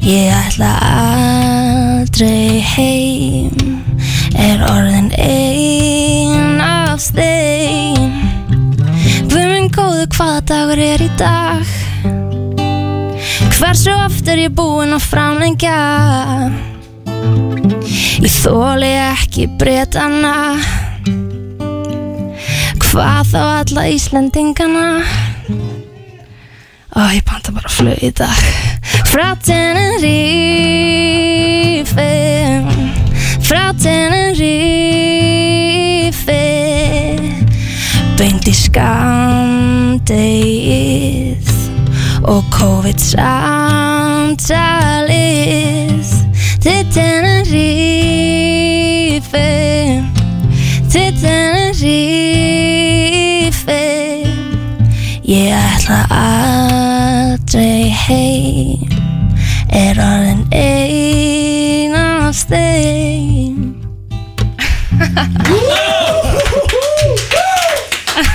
Speaker 8: ég ætla aldrei heim er orðin ein af þeim Guð minn góðu hvaða dagur er í dag Hversu oft er ég búin að framlengja Ég þóli ekki breytana Hvað þá alla Íslendingana Ó, ég panta bara flug í dag Frá Tenerife Frá Tenerife Beint í skamdegið og COVID-samtalið til Tenerife til Tenerife ég ætla aldrei heim er orðin ein af þeim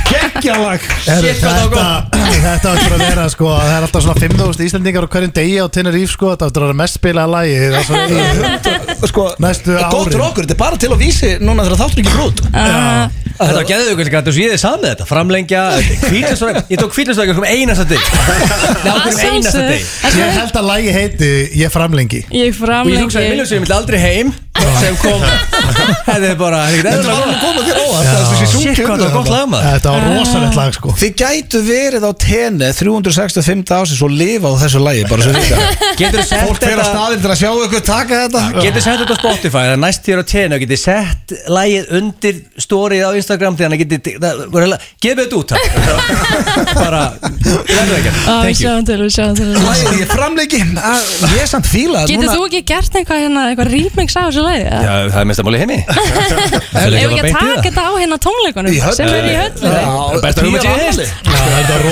Speaker 1: Gekkjalag
Speaker 3: Er, þetta, þetta áttur að vera sko Það er alltaf svona 5.000 Íslendingar á hverjum degi á Tenerife sko Þetta áttur að vera mest spilaða lagi Það er
Speaker 2: [laughs]
Speaker 3: svona
Speaker 1: Sko,
Speaker 3: Næstu
Speaker 1: gott
Speaker 3: árin.
Speaker 1: rokkur, þetta er bara til að vísi núna þegar þáttur ekki brútt
Speaker 9: Ah,
Speaker 2: Þetta var gæðið ykkur þess að ég þið samið þetta [laughs] Framlengja, kvítlustræk Ég tók kvítlustræk um einasta [laughs] dig Nei, á hverjum
Speaker 9: að
Speaker 2: einasta
Speaker 9: sjálfsögðu.
Speaker 2: dig
Speaker 3: Ég held að lagi heiti Ég framlengi
Speaker 9: Ég
Speaker 2: Og ég hugsaði,
Speaker 9: framlengi
Speaker 2: Miljós, ég myndi aldrei heim sem kom Þetta er bara, þetta
Speaker 1: Þetta var
Speaker 2: er eðlilega
Speaker 1: alveg komað þér óvart það er þessi
Speaker 2: Shit,
Speaker 1: sjúki
Speaker 2: hvað þetta var
Speaker 1: umræða.
Speaker 2: gott lag maður Ah.
Speaker 3: Þetta var rosalegt lag sko
Speaker 1: Þið gætu verið á tenni 365 ásins og lifa á þessu lagi bara svo líka
Speaker 2: Getur þú sett
Speaker 1: Fólk fer að
Speaker 2: þetta
Speaker 1: staðin til að sjá ykkur taka þetta
Speaker 2: Ah. Getur sett þetta á Spotify, það er næst þér á tenu Getur sett lagið undir stórið á Instagram Þannig að getur, gefið þetta út [laughs] takk. Bara, verður ekki
Speaker 9: Ah, Við
Speaker 2: Thank you
Speaker 9: sjáum til, við sjáum til
Speaker 1: Lagið ég framleiki að- Ég er samt fíla
Speaker 9: Getur þú ekki gert eitthvað hérna, eitthvað remix á þessu lagi? eða?
Speaker 2: Já, það er mestamáli heimi
Speaker 9: [laughs] Ef við ekki að taka þetta á hérna tónleikunum sem er í höllinni
Speaker 1: Já,
Speaker 2: Besta
Speaker 1: tíu
Speaker 2: hugmynd ég
Speaker 1: afmæli.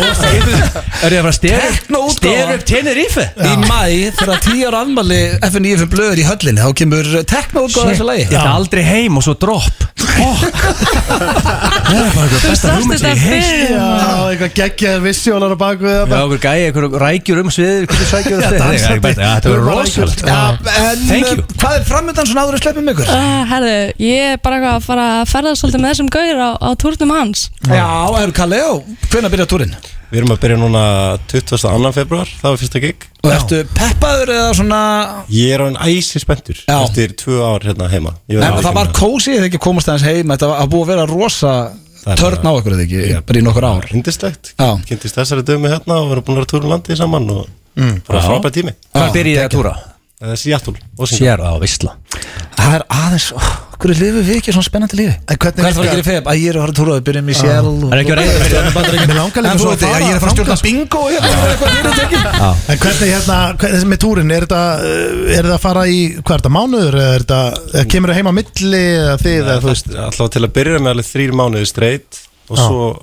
Speaker 2: heist Er ég að fara að stera
Speaker 1: Tekno útgáfa.
Speaker 2: Stera upp Tenerife
Speaker 1: Í mæ þegar 10 ára anmali FNIFM blöður í höllinni þá kemur teknóutgáð þessu lagi
Speaker 2: Ég ætla aldrei heim og svo dropp [laughs] Það er bara eitthvað
Speaker 9: Þú
Speaker 2: besta
Speaker 9: sást
Speaker 2: hugmynd
Speaker 9: þetta
Speaker 2: sem ég heist
Speaker 9: fyrir
Speaker 3: Já, eitthvað geggjaðar vissjólar á baku
Speaker 2: Já,
Speaker 3: þetta
Speaker 2: okkur gæja, eitthvað rækjur um sviðir Hvernig sækjur
Speaker 3: Já,
Speaker 2: þetta Þetta er
Speaker 3: dansandi.
Speaker 2: bara- já, þetta verður
Speaker 3: Bara
Speaker 2: rosalegt
Speaker 3: rækjur.
Speaker 1: Já, en
Speaker 2: Ah. Thank you.
Speaker 1: uh, hvað er framöndan svona áður að sleppum ykkur?
Speaker 9: Ah, Herðu, ég er bara eitthvað að fara að ferða svolítið með þessum gauður á, á túrnum hans
Speaker 1: Já, er Kaleo, hvenær byrja túrin?
Speaker 10: Við erum að byrja núna 22. februar, það var fyrsta gig
Speaker 1: Og ertu peppaður eða svona
Speaker 10: Ég er á enn æsi spenntur
Speaker 1: Já.
Speaker 10: eftir tvö ár hérna heima Ég verð
Speaker 1: En
Speaker 10: að
Speaker 1: það var
Speaker 10: viðurkenna
Speaker 1: kósi eða ekki að komast aðeins heim Þetta var að búið að vera rosa
Speaker 10: Það er
Speaker 1: törn á ykkur eða ekki Bara í nokkur ár
Speaker 10: það. Yndislegt,
Speaker 1: Já.
Speaker 10: kynntist þessari dömi hérna og við erum búin að vera túrum landið saman og mm. bara frábæð tími
Speaker 2: Hvað byrja ég að túra?
Speaker 10: Eh, Seattle, Washington
Speaker 2: Sér á Vistla
Speaker 1: Það er aðeins, ó, hverju lifum við ekki svona spennandi lífi?
Speaker 3: En
Speaker 1: Hvað er það að gera í
Speaker 3: hvernig
Speaker 1: feb? Æ, ég er að fara að túra, við byrjum í sjálf
Speaker 2: Það er ekki að reyða
Speaker 3: Mér langar
Speaker 1: En
Speaker 3: líka
Speaker 1: þú
Speaker 3: svo
Speaker 1: veit, ég
Speaker 3: að fara
Speaker 1: er að fara að stjórna bingo
Speaker 2: Já.
Speaker 3: En hvernig hérna, hvernig, þessi með túrin, er þetta, uh, er þetta að fara í, hvað er þetta, mánuður, eða er þetta, eða kemur það heim á milli eða þið, eða þú veist,
Speaker 10: Alltaf til að byrja með alveg þrýr mánuði streitt og
Speaker 3: Já.
Speaker 10: svo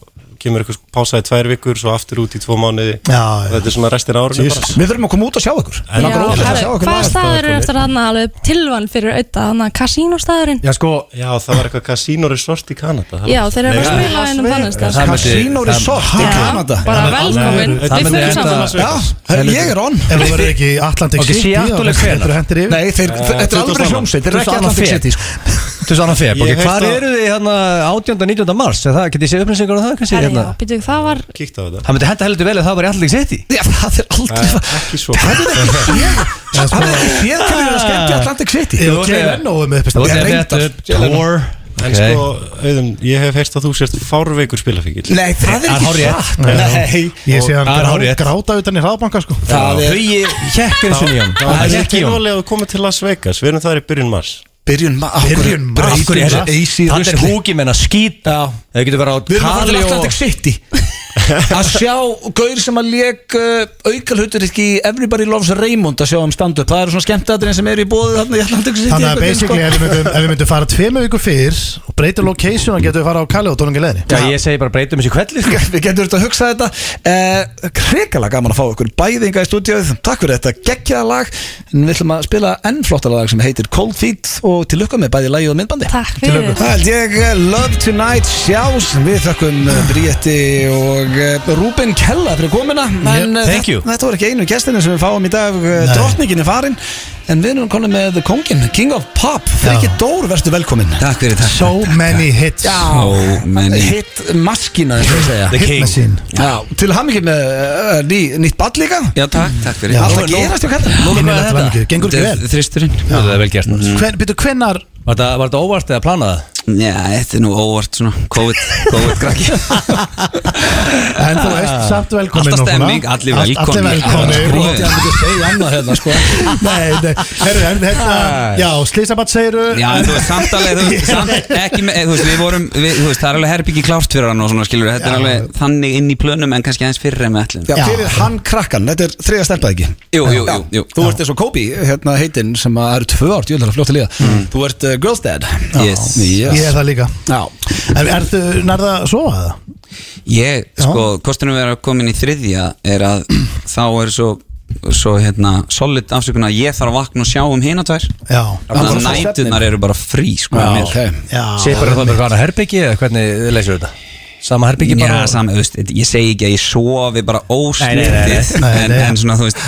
Speaker 10: kemur eitthvað pásaði tvær vikur, svo aftur út í tvo mánuði
Speaker 3: já,
Speaker 10: og
Speaker 3: já.
Speaker 10: þetta er svona restin árunni bara
Speaker 1: Við þurfum að koma út og sjá ykkur Við langar
Speaker 9: Já,
Speaker 1: ótrúlega að sjá
Speaker 9: herðu,
Speaker 1: ykkur
Speaker 9: Hvaða staður eru eftir þarna alveg tilvann fyrir auðvitað, þarna kasínóstaðurinn?
Speaker 2: Já, sko
Speaker 10: Já, það var eitthvað Casino Resort í Kanada það var-
Speaker 9: Já, þeir eru að fara að
Speaker 10: Nei,
Speaker 9: spila á einum þannig stað
Speaker 2: það myndi-
Speaker 1: Casino
Speaker 2: það-
Speaker 1: Resort í Kanada
Speaker 9: Já, bara velkomin,
Speaker 2: það
Speaker 9: við
Speaker 2: myndi
Speaker 9: fyrir
Speaker 2: enda-
Speaker 9: saman
Speaker 1: Já, herri, ég er on
Speaker 3: Ef þú verður ekki í Atlantic
Speaker 2: Ok,
Speaker 3: City,
Speaker 2: Seattle er hvenær?
Speaker 3: Þetta er hendur yfir.
Speaker 1: Nei,
Speaker 2: Eh,
Speaker 1: þeir, þetta er alveg
Speaker 10: 22.
Speaker 1: hljómsveit Þetta er ekki
Speaker 2: 22.
Speaker 1: Atlantic City sko.
Speaker 2: 22. feb,
Speaker 10: Ég
Speaker 2: ok,
Speaker 10: heist
Speaker 2: hvar
Speaker 10: að-
Speaker 2: eru þið hérna 18. 19. mars, Er það, getið séð upplýsingar á það kannski,
Speaker 9: Herri,
Speaker 2: hérna?
Speaker 9: já, býtu, það var
Speaker 10: Kíktu á þetta
Speaker 2: Það myndi henda heldur vel að það var í allir sitt í
Speaker 1: Já, það er aldrei
Speaker 10: Eh,
Speaker 1: sko.
Speaker 10: Ekki svo Það
Speaker 1: Það er ekki séð hvernig það er að skemmti Atlantic City
Speaker 3: Ég
Speaker 2: Þú
Speaker 3: og
Speaker 2: ert-
Speaker 3: Jay Leno er með
Speaker 2: Það
Speaker 3: uppistandi.
Speaker 2: var
Speaker 1: reyndar.
Speaker 2: þetta Tór
Speaker 10: En sko, auðvun, ég hef heist að þú sért fárveikur spilafíkil
Speaker 1: Nei, það er
Speaker 2: Það er
Speaker 1: ekki
Speaker 2: hárrétt.
Speaker 1: satt
Speaker 2: Nei
Speaker 3: Ég sé hann
Speaker 2: Það er hárrétt.
Speaker 3: grá- gráta utan í hraðbanka, sko.
Speaker 1: Það er
Speaker 2: Hugi Hjekkur sinni í hann
Speaker 10: Það er
Speaker 2: Hjekk
Speaker 10: ekki
Speaker 2: í hann
Speaker 10: nálega að koma til Las Vegas Við erum þar í byrjun mars
Speaker 1: byrjun ma- af hverju-
Speaker 3: Byrjun
Speaker 1: af
Speaker 3: mars.
Speaker 1: hverju er
Speaker 3: Af-
Speaker 1: AC í
Speaker 2: Það er
Speaker 1: rusli?
Speaker 2: húki menn að skýta Það getur verið á
Speaker 1: Við erum að fara til
Speaker 2: Kali og
Speaker 1: Atlantic
Speaker 2: [laughs]
Speaker 1: City að sjá gaur sem að leik uh, aukalhutur ekki Everybody Loves Raymond að sjá um standu það eru svona skemmtadrinn sem eru í bóðu þarna í Atlantic City
Speaker 3: Þannig
Speaker 2: [laughs]
Speaker 3: að
Speaker 1: einhvern veginn, sko.
Speaker 3: basically ef við myndum, ef við myndum fara tveimu vikur fyrr og breyta location og getum við fara á Kali og tónungi leðri
Speaker 2: Já ég segi bara breytum þessi kvelli sko.
Speaker 1: [laughs] Við getum þetta að hugsa þetta eh, Hrikalega gaman að fá okkur bæðinga í stúdíóið Takk fyrir þetta geggjaða lag En við ætlum að spila enn flottara lag sem heitir Cold Feet Og til lukka með bæði lagi og myndbandi
Speaker 9: Takk fyrir
Speaker 1: Það held ég eh, Love Tonight sjás Við þakkum Bríetti og eh, Rúben Kella fyrir komina En eh,
Speaker 2: thank you.
Speaker 1: þetta, þetta voru ekki einu gestinni sem við fáum í dag eh,
Speaker 3: Nei.
Speaker 1: Drottningin er farin En við erum komin með kongin King of Pop Friki Dór, verstu velkomin
Speaker 2: Takk fyrir takk
Speaker 3: So many hits
Speaker 1: Hitt maskina þess að segja
Speaker 2: The
Speaker 3: Hit
Speaker 2: King
Speaker 3: machine
Speaker 1: Já, til hamingi með uh, ný, nýtt bad líka
Speaker 11: Já, takk, takk fyrir
Speaker 1: Allt
Speaker 3: nú
Speaker 1: að
Speaker 3: er nóg-
Speaker 1: gerast hjá kallar
Speaker 2: Núna hvað er
Speaker 3: Innilega til hamingju.
Speaker 2: þetta?
Speaker 3: Gengur ekki
Speaker 11: Þetta er
Speaker 3: vel
Speaker 11: Þristurinn
Speaker 2: Það er vel gert
Speaker 3: Hven, Býtu hvennar
Speaker 2: Var þetta var þetta óvart eða planað? Já, þetta er nú óvart svona COVID, COVID krakki
Speaker 3: En þú veist, samt velkomin
Speaker 2: Alltaf stemming, allir velkomin
Speaker 1: Skrítið að
Speaker 3: Allir velkomin
Speaker 1: myndi segja annað hérna sko
Speaker 3: Nei, nei, herru, en hérna Já, slísabat segiru
Speaker 2: Já, en þú veist, samt alveg, þú veist, samt ekki með, þú veist, við vorum, við, þú veist, það er alveg herbyggi klárt fyrir hann og svona, skilur, þetta er alveg þannig inn í plönum en kannski aðeins fyrir en við ætlum.
Speaker 1: Já, fyrir hann krakkan, þetta er þriða stelpað ekki
Speaker 2: Jú, jú,
Speaker 1: Já.
Speaker 2: jú, jú.
Speaker 1: Þú ert eins og Kobe, hérna heitinn sem að það eru tvö árt, ég vil það fljótt að liða Þú ert uh, Girls Dad
Speaker 2: Mm. Yes.
Speaker 3: Ég er það líka
Speaker 1: Já.
Speaker 3: En ertu nærða að sofa það?
Speaker 2: Ég, sko, kostunum við erum komin í þriðja er að [clears throat] þá er svo, svo, hérna, solid afsökun að ég þarf að vakna og sjá um hina tvær.
Speaker 3: Já
Speaker 2: Þannig að nætunar eru bara frí, sko,
Speaker 12: Já,
Speaker 2: mér.
Speaker 12: ok. Sipar það bara hana herbyggi eða hvernig þið leysir þetta? Sama herbyggi bara
Speaker 2: Já, sama, þú veist, ég segi ekki að ég sofi bara
Speaker 12: Nei, nei, nei, nei.
Speaker 2: ósnýttið
Speaker 12: Nei,
Speaker 2: en,
Speaker 12: nei.
Speaker 2: en svona, þú veist,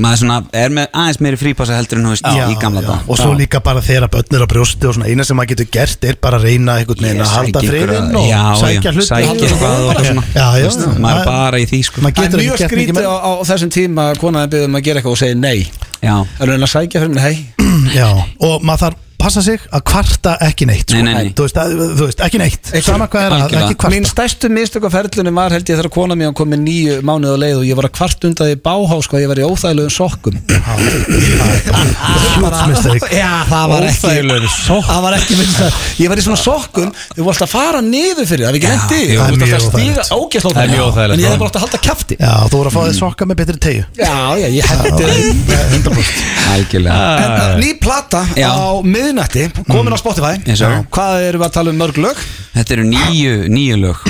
Speaker 2: maður svona er með aðeins meiri frípassa heldur en, þú veist, í gamla dag
Speaker 3: Og svo líka bara þegar að börn er á brjósti og svona eina sem maður getur gert er bara að reyna einhvern veginn að halda friðinn og sækja hluti
Speaker 2: Sækja eitthvað og svona
Speaker 3: Já, já,
Speaker 2: Þú veist, Maður er bara í því, sko
Speaker 1: Það er mjög skrítið á, á þessum tíma að konaði byggðum um að gera eitthvað og segja nei
Speaker 2: Já
Speaker 1: Það er hann að sækja fyrir mig, hei
Speaker 3: Já, og maður þarf passa sig að kvarta ekki neitt sko.
Speaker 1: Nei, nei, nei.
Speaker 3: Þú, veist, að, þú veist, ekki neitt Sama hvað er að ekki
Speaker 1: Mín
Speaker 3: kvarta
Speaker 1: stærstu mistök á ferlunum var held ég þegar kona mér kom með nýju mánuð á leið og ég var að kvart undan því báhás hvað ég var í óþægilegum sokkum
Speaker 3: Hjútsmisteg
Speaker 1: Já, það var ekki
Speaker 12: Óþægilegum sokkum.
Speaker 1: Það var ekki minnst að Ég var í svona sokkum Þú varst að fara niður fyrir það, við ekki
Speaker 12: Já,
Speaker 1: hendi
Speaker 12: jú,
Speaker 1: Þú
Speaker 12: það er
Speaker 1: varst
Speaker 12: mjög
Speaker 1: alltaf að
Speaker 12: óþægilegt.
Speaker 1: stíga ógæsla
Speaker 12: Það er mjög óþægilegt,
Speaker 1: En ég
Speaker 12: já.
Speaker 1: hefði bara átt að halda kæfti
Speaker 3: Já, þú voru að fá þig sokka með betri tegju
Speaker 1: Já, já, ég hendi
Speaker 2: Algjörlega
Speaker 1: En uh, ný plata
Speaker 2: Já.
Speaker 1: á miðnætti Komin á Spotify
Speaker 2: Yes, sir.
Speaker 1: Já. Hvað erum við að tala um mörg lög?
Speaker 2: Þetta eru nýju, nýju lög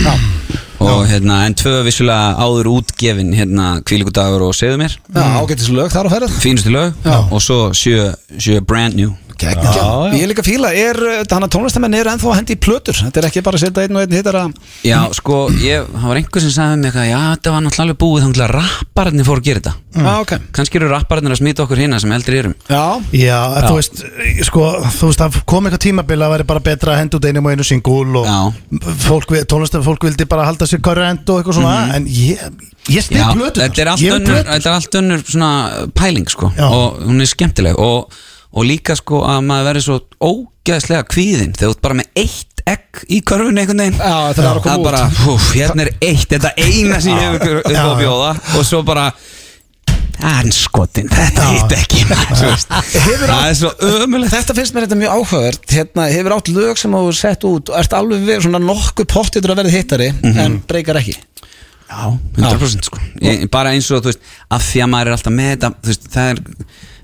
Speaker 2: Og hérna, en tvö vissulega áður útgefin Hérna, kvílíku dagur og segðu mér
Speaker 1: Já, ágættis lög þar á ferð
Speaker 2: Fínustu lög Og svo sjö, sjö brand new
Speaker 1: Geggjað. Ég er líka fíla, er uh, hann að tónlistamenn eru ennþá að hendi í plötur Þetta er ekki bara að setja einn og einn hittar að
Speaker 2: Já, sko, ég, það var einhver sem sagði mér eitthvað Já, þetta var náttúrulega alveg búið Þannig að rappararnir fóru að gera þetta
Speaker 1: Já, ok
Speaker 2: Kannski eru rappararnir að smita okkur hérna sem eldri erum
Speaker 1: Mm. Já,
Speaker 3: Já, þú veist, sko, þú veist að kom eitthvað tímabil að væri bara betra að henda út einum og einu singul og fólk, tónlistar fólk vildi bara halda sér korrent og eitthvað svona
Speaker 1: Mhm.
Speaker 3: en ég, ég stið
Speaker 2: Já,
Speaker 3: plötunar
Speaker 2: þetta er allt
Speaker 3: Ég vil
Speaker 2: önnur,
Speaker 3: plötur.
Speaker 2: þetta er allt önnur svona pæling sko og hún er skemmtileg og, og líka sko að maður verður svo ógæðslega kvíðin þegar þú ert bara með eitt egg í körfunni einhvern veginn
Speaker 1: Já, þetta er að koma
Speaker 2: það
Speaker 1: út.
Speaker 2: bara, húf, hérna er eitt þetta eina sem ég hefur upp á
Speaker 1: Já,
Speaker 2: að
Speaker 1: já.
Speaker 2: bjóða og svo bara anskotin, þetta hitt
Speaker 1: [laughs]
Speaker 2: ekki maður, þú veist. það er svo ömulegt
Speaker 1: Þetta finnst mér þetta mjög áhugavert hérna, Hefur átt lög sem þú hefur sett út og ert alveg verið svona nokkuð pottitur að verið hittari en breykar ekki
Speaker 2: Já, 100% sko ég, bara eins og þú veist, af því að maður er alltaf með þetta þú veist, það er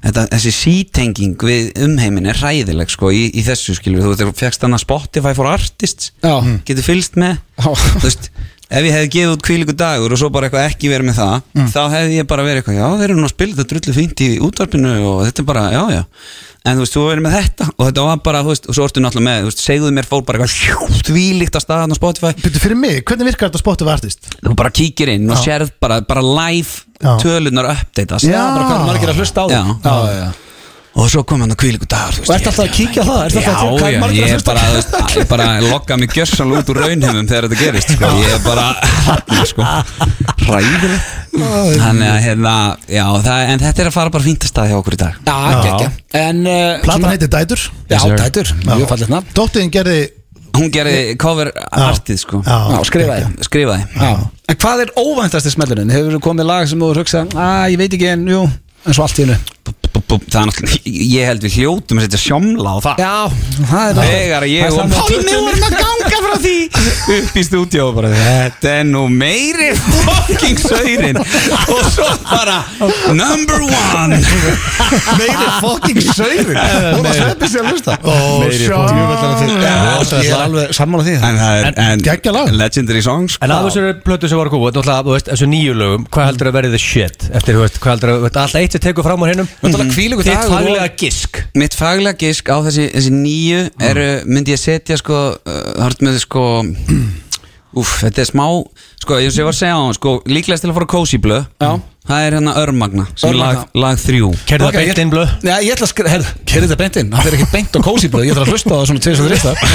Speaker 2: þetta, þessi sítenging við umheimin er ræðileg sko í, í þessu skilur þú veist, þú fegst þannig Spotify for Artists
Speaker 1: Já.
Speaker 2: getur fylgst með þú veist, ef ég hefði gefið út kvílíku dagur og svo bara eitthvað ekki verið með það þá hefði ég bara verið eitthvað, já þeir eru nú að spila þetta drullu fínt í útvarpinu og þetta er bara, já já en þú veist, þú verið með þetta og þetta var bara, þú veist, og svo ertu náttúrulega með, þú veist, segðuðu mér fór bara eitthvað þvílíkt að staðan á Spotify
Speaker 3: Byrju, fyrir mig, hvernig virkar þetta spottu artist?
Speaker 2: þú bara kíkir inn og sérð bara, bara live
Speaker 3: Já.
Speaker 2: tölunar uppdeitast
Speaker 1: Já, bara hvað eru margir að hlusta á þig.
Speaker 2: Já.
Speaker 1: Já, já, já.
Speaker 2: og svo kom hann að kvílíku dagar þú veist,
Speaker 1: Og ert
Speaker 2: ég-
Speaker 1: alltaf að kíkja á það? Ert
Speaker 2: Já,
Speaker 1: alltaf að- hvað eru
Speaker 2: já,
Speaker 1: margir að
Speaker 2: ég er
Speaker 1: hlusta á
Speaker 2: bara,
Speaker 1: þig?
Speaker 2: þú veist, ég er bara lokka mig gjössanlega út úr raunhefum þegar þetta gerist, sko, ég er bara, sko, ræðilegt, þannig að, hérna, já, það, en þetta er að fara bara fínt að staði hjá okkur í dag.
Speaker 1: Já,
Speaker 3: Ah,
Speaker 1: geggja En uh,
Speaker 3: Platan
Speaker 1: svona-
Speaker 3: heitir Dætur
Speaker 1: Já, dætur, mjög fallið nafn
Speaker 3: Dóttiðin gerði
Speaker 2: Hún gerði cover artið, sko,
Speaker 1: Já, skrifaði
Speaker 2: skrifaði.
Speaker 1: Já. En hvað er óvæntasti smellurinn? Hefur þú komið lag sem þú hefur hugsað að ég veit ekki en jú, en svo allt í hennu
Speaker 2: Bú, bú, Það er náttúrulega, ég held við hljótum að setja sjómla á það.
Speaker 1: Já, það er það
Speaker 2: Þegar ég og Pálmi vorum að ganga frá því [laughs] upp í stúdíu og bara þetta er nú meiri fucking saurin og svo bara number one
Speaker 1: Meiri fucking
Speaker 2: [laughs]
Speaker 1: saurin Hún var sveppið sér að hlusta
Speaker 3: Og
Speaker 1: Já, Ég er alveg sammála því
Speaker 2: en það er en,
Speaker 3: Geggjað lag.
Speaker 2: legendary songs
Speaker 12: En að þessu plötu sem var að koma, þetta er náttúrulega, þú veist, þessu nýju lögum, hvað heldur að verði the shit? Eftir, þú veist, hvað heldur að, þetta er alltaf eitt sem tekur fram á hinnum
Speaker 1: Náttúrulega hvílíkur
Speaker 12: Þitt
Speaker 1: dagur og-
Speaker 12: faglega gisk
Speaker 2: mitt faglega gisk á þessi, þessi nýju eru, myndi ég setja sko uh, hort með sko úff, þetta er smá sko, eins og ég var að segja á hann sko, líklegast til að fara kósi blöð
Speaker 1: Já.
Speaker 11: Það er hérna Örmagna sem er lag,
Speaker 1: Örmagna.
Speaker 11: lag þrjú
Speaker 1: Ok, ég- Já, ég ætla að skrifa, herðu, kerði þetta beint inn Það er ekki beint og kósi blöð, ég ætla að hlusta á það svona 2-3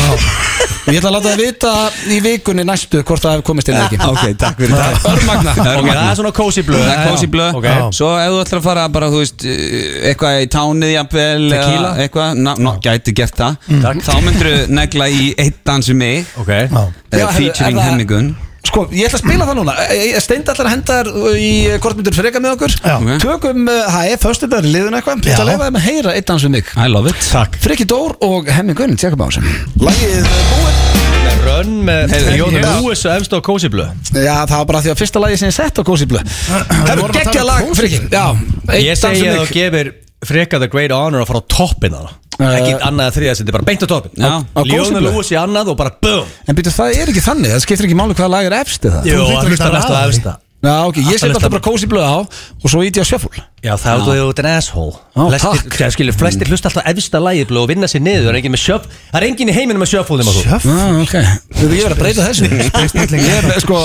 Speaker 1: Og ég ætla að láta það vita í vikunni næstu hvort það hefur komist inn eða ekki
Speaker 11: Ok, takk fyrir það [laughs]
Speaker 1: Örmagna
Speaker 2: Ok, það er svona kósi blöð
Speaker 11: Það er kósi blöð
Speaker 2: Ok.
Speaker 11: Svo ef þú ætlar að fara bara, þú veist eh, Eitthvað í tánið jafnvel eða
Speaker 2: Tequila? Mm.
Speaker 11: Eitthvað, ná, ná, gæti gert það Þá myndir þú negla í eitt dansi mig Eh,
Speaker 2: Ok uh,
Speaker 1: Já, herru, er
Speaker 11: Featuring
Speaker 1: það-
Speaker 11: Henningun
Speaker 1: Sko, ég ætla að spila það núna Steind ætlar að henda þær í kortmyndur freka með okkur
Speaker 11: Ok.
Speaker 1: Tökum, uh, það er föstu dagur í liðun eitthvað Ég ætla að
Speaker 3: Já.
Speaker 1: leifa þeim að heyra einn dans við mig
Speaker 11: I love it
Speaker 2: Takk
Speaker 1: Freki Dór og Hemmi Gunn, tjekkum á þessum Lagið uh, búið
Speaker 2: Rönn með
Speaker 11: Heyrðu,
Speaker 2: Jón
Speaker 11: ég-
Speaker 2: Lúis og efst á kósi blöð
Speaker 1: Já, það var bara því að fyrsta lagið sem ég sett á kósi blöð Það
Speaker 3: vorum
Speaker 1: eru
Speaker 3: að tala
Speaker 1: geggja
Speaker 3: um
Speaker 1: lag,
Speaker 3: Kósí
Speaker 1: Freki Já,
Speaker 2: Ég
Speaker 1: einn dans
Speaker 2: segi
Speaker 1: við
Speaker 2: að þú
Speaker 1: mig
Speaker 2: gefir Freka the great honor að fara á toppin hana
Speaker 1: Eh,
Speaker 2: Ekki annað að þriða sem þetta er bara beint Uh, á toppin
Speaker 11: Já.
Speaker 1: Á
Speaker 2: Jón
Speaker 1: Kósi blöð.
Speaker 2: Lúis í annað og bara BOOM
Speaker 1: En byrju, það er ekki þannig, það skiptir ekki máli hvaða lag er efst eða
Speaker 2: Jú, að
Speaker 3: hlýtur að
Speaker 2: hlusta
Speaker 3: geta
Speaker 2: næsta
Speaker 3: raðað því.
Speaker 2: efsta
Speaker 1: Já, ok, ég set
Speaker 2: Alltaf
Speaker 1: alltaf
Speaker 2: næsta-
Speaker 1: bara kósi blöð á og svo ít ég á sjöfúl
Speaker 2: Já, þá er þú út en asshole
Speaker 1: Ó,
Speaker 2: Flestir-
Speaker 1: takk.
Speaker 2: Já, skilur, flestir hlusta alltaf efsta lagið blöð og vinna sér niður Það er engin með sjöf Það er engin í heiminum með sjöfúðum að þú
Speaker 3: Sjöf
Speaker 1: Já, Ah, ok Þú veit, ég verð að breyta þessu Ég er með, sko,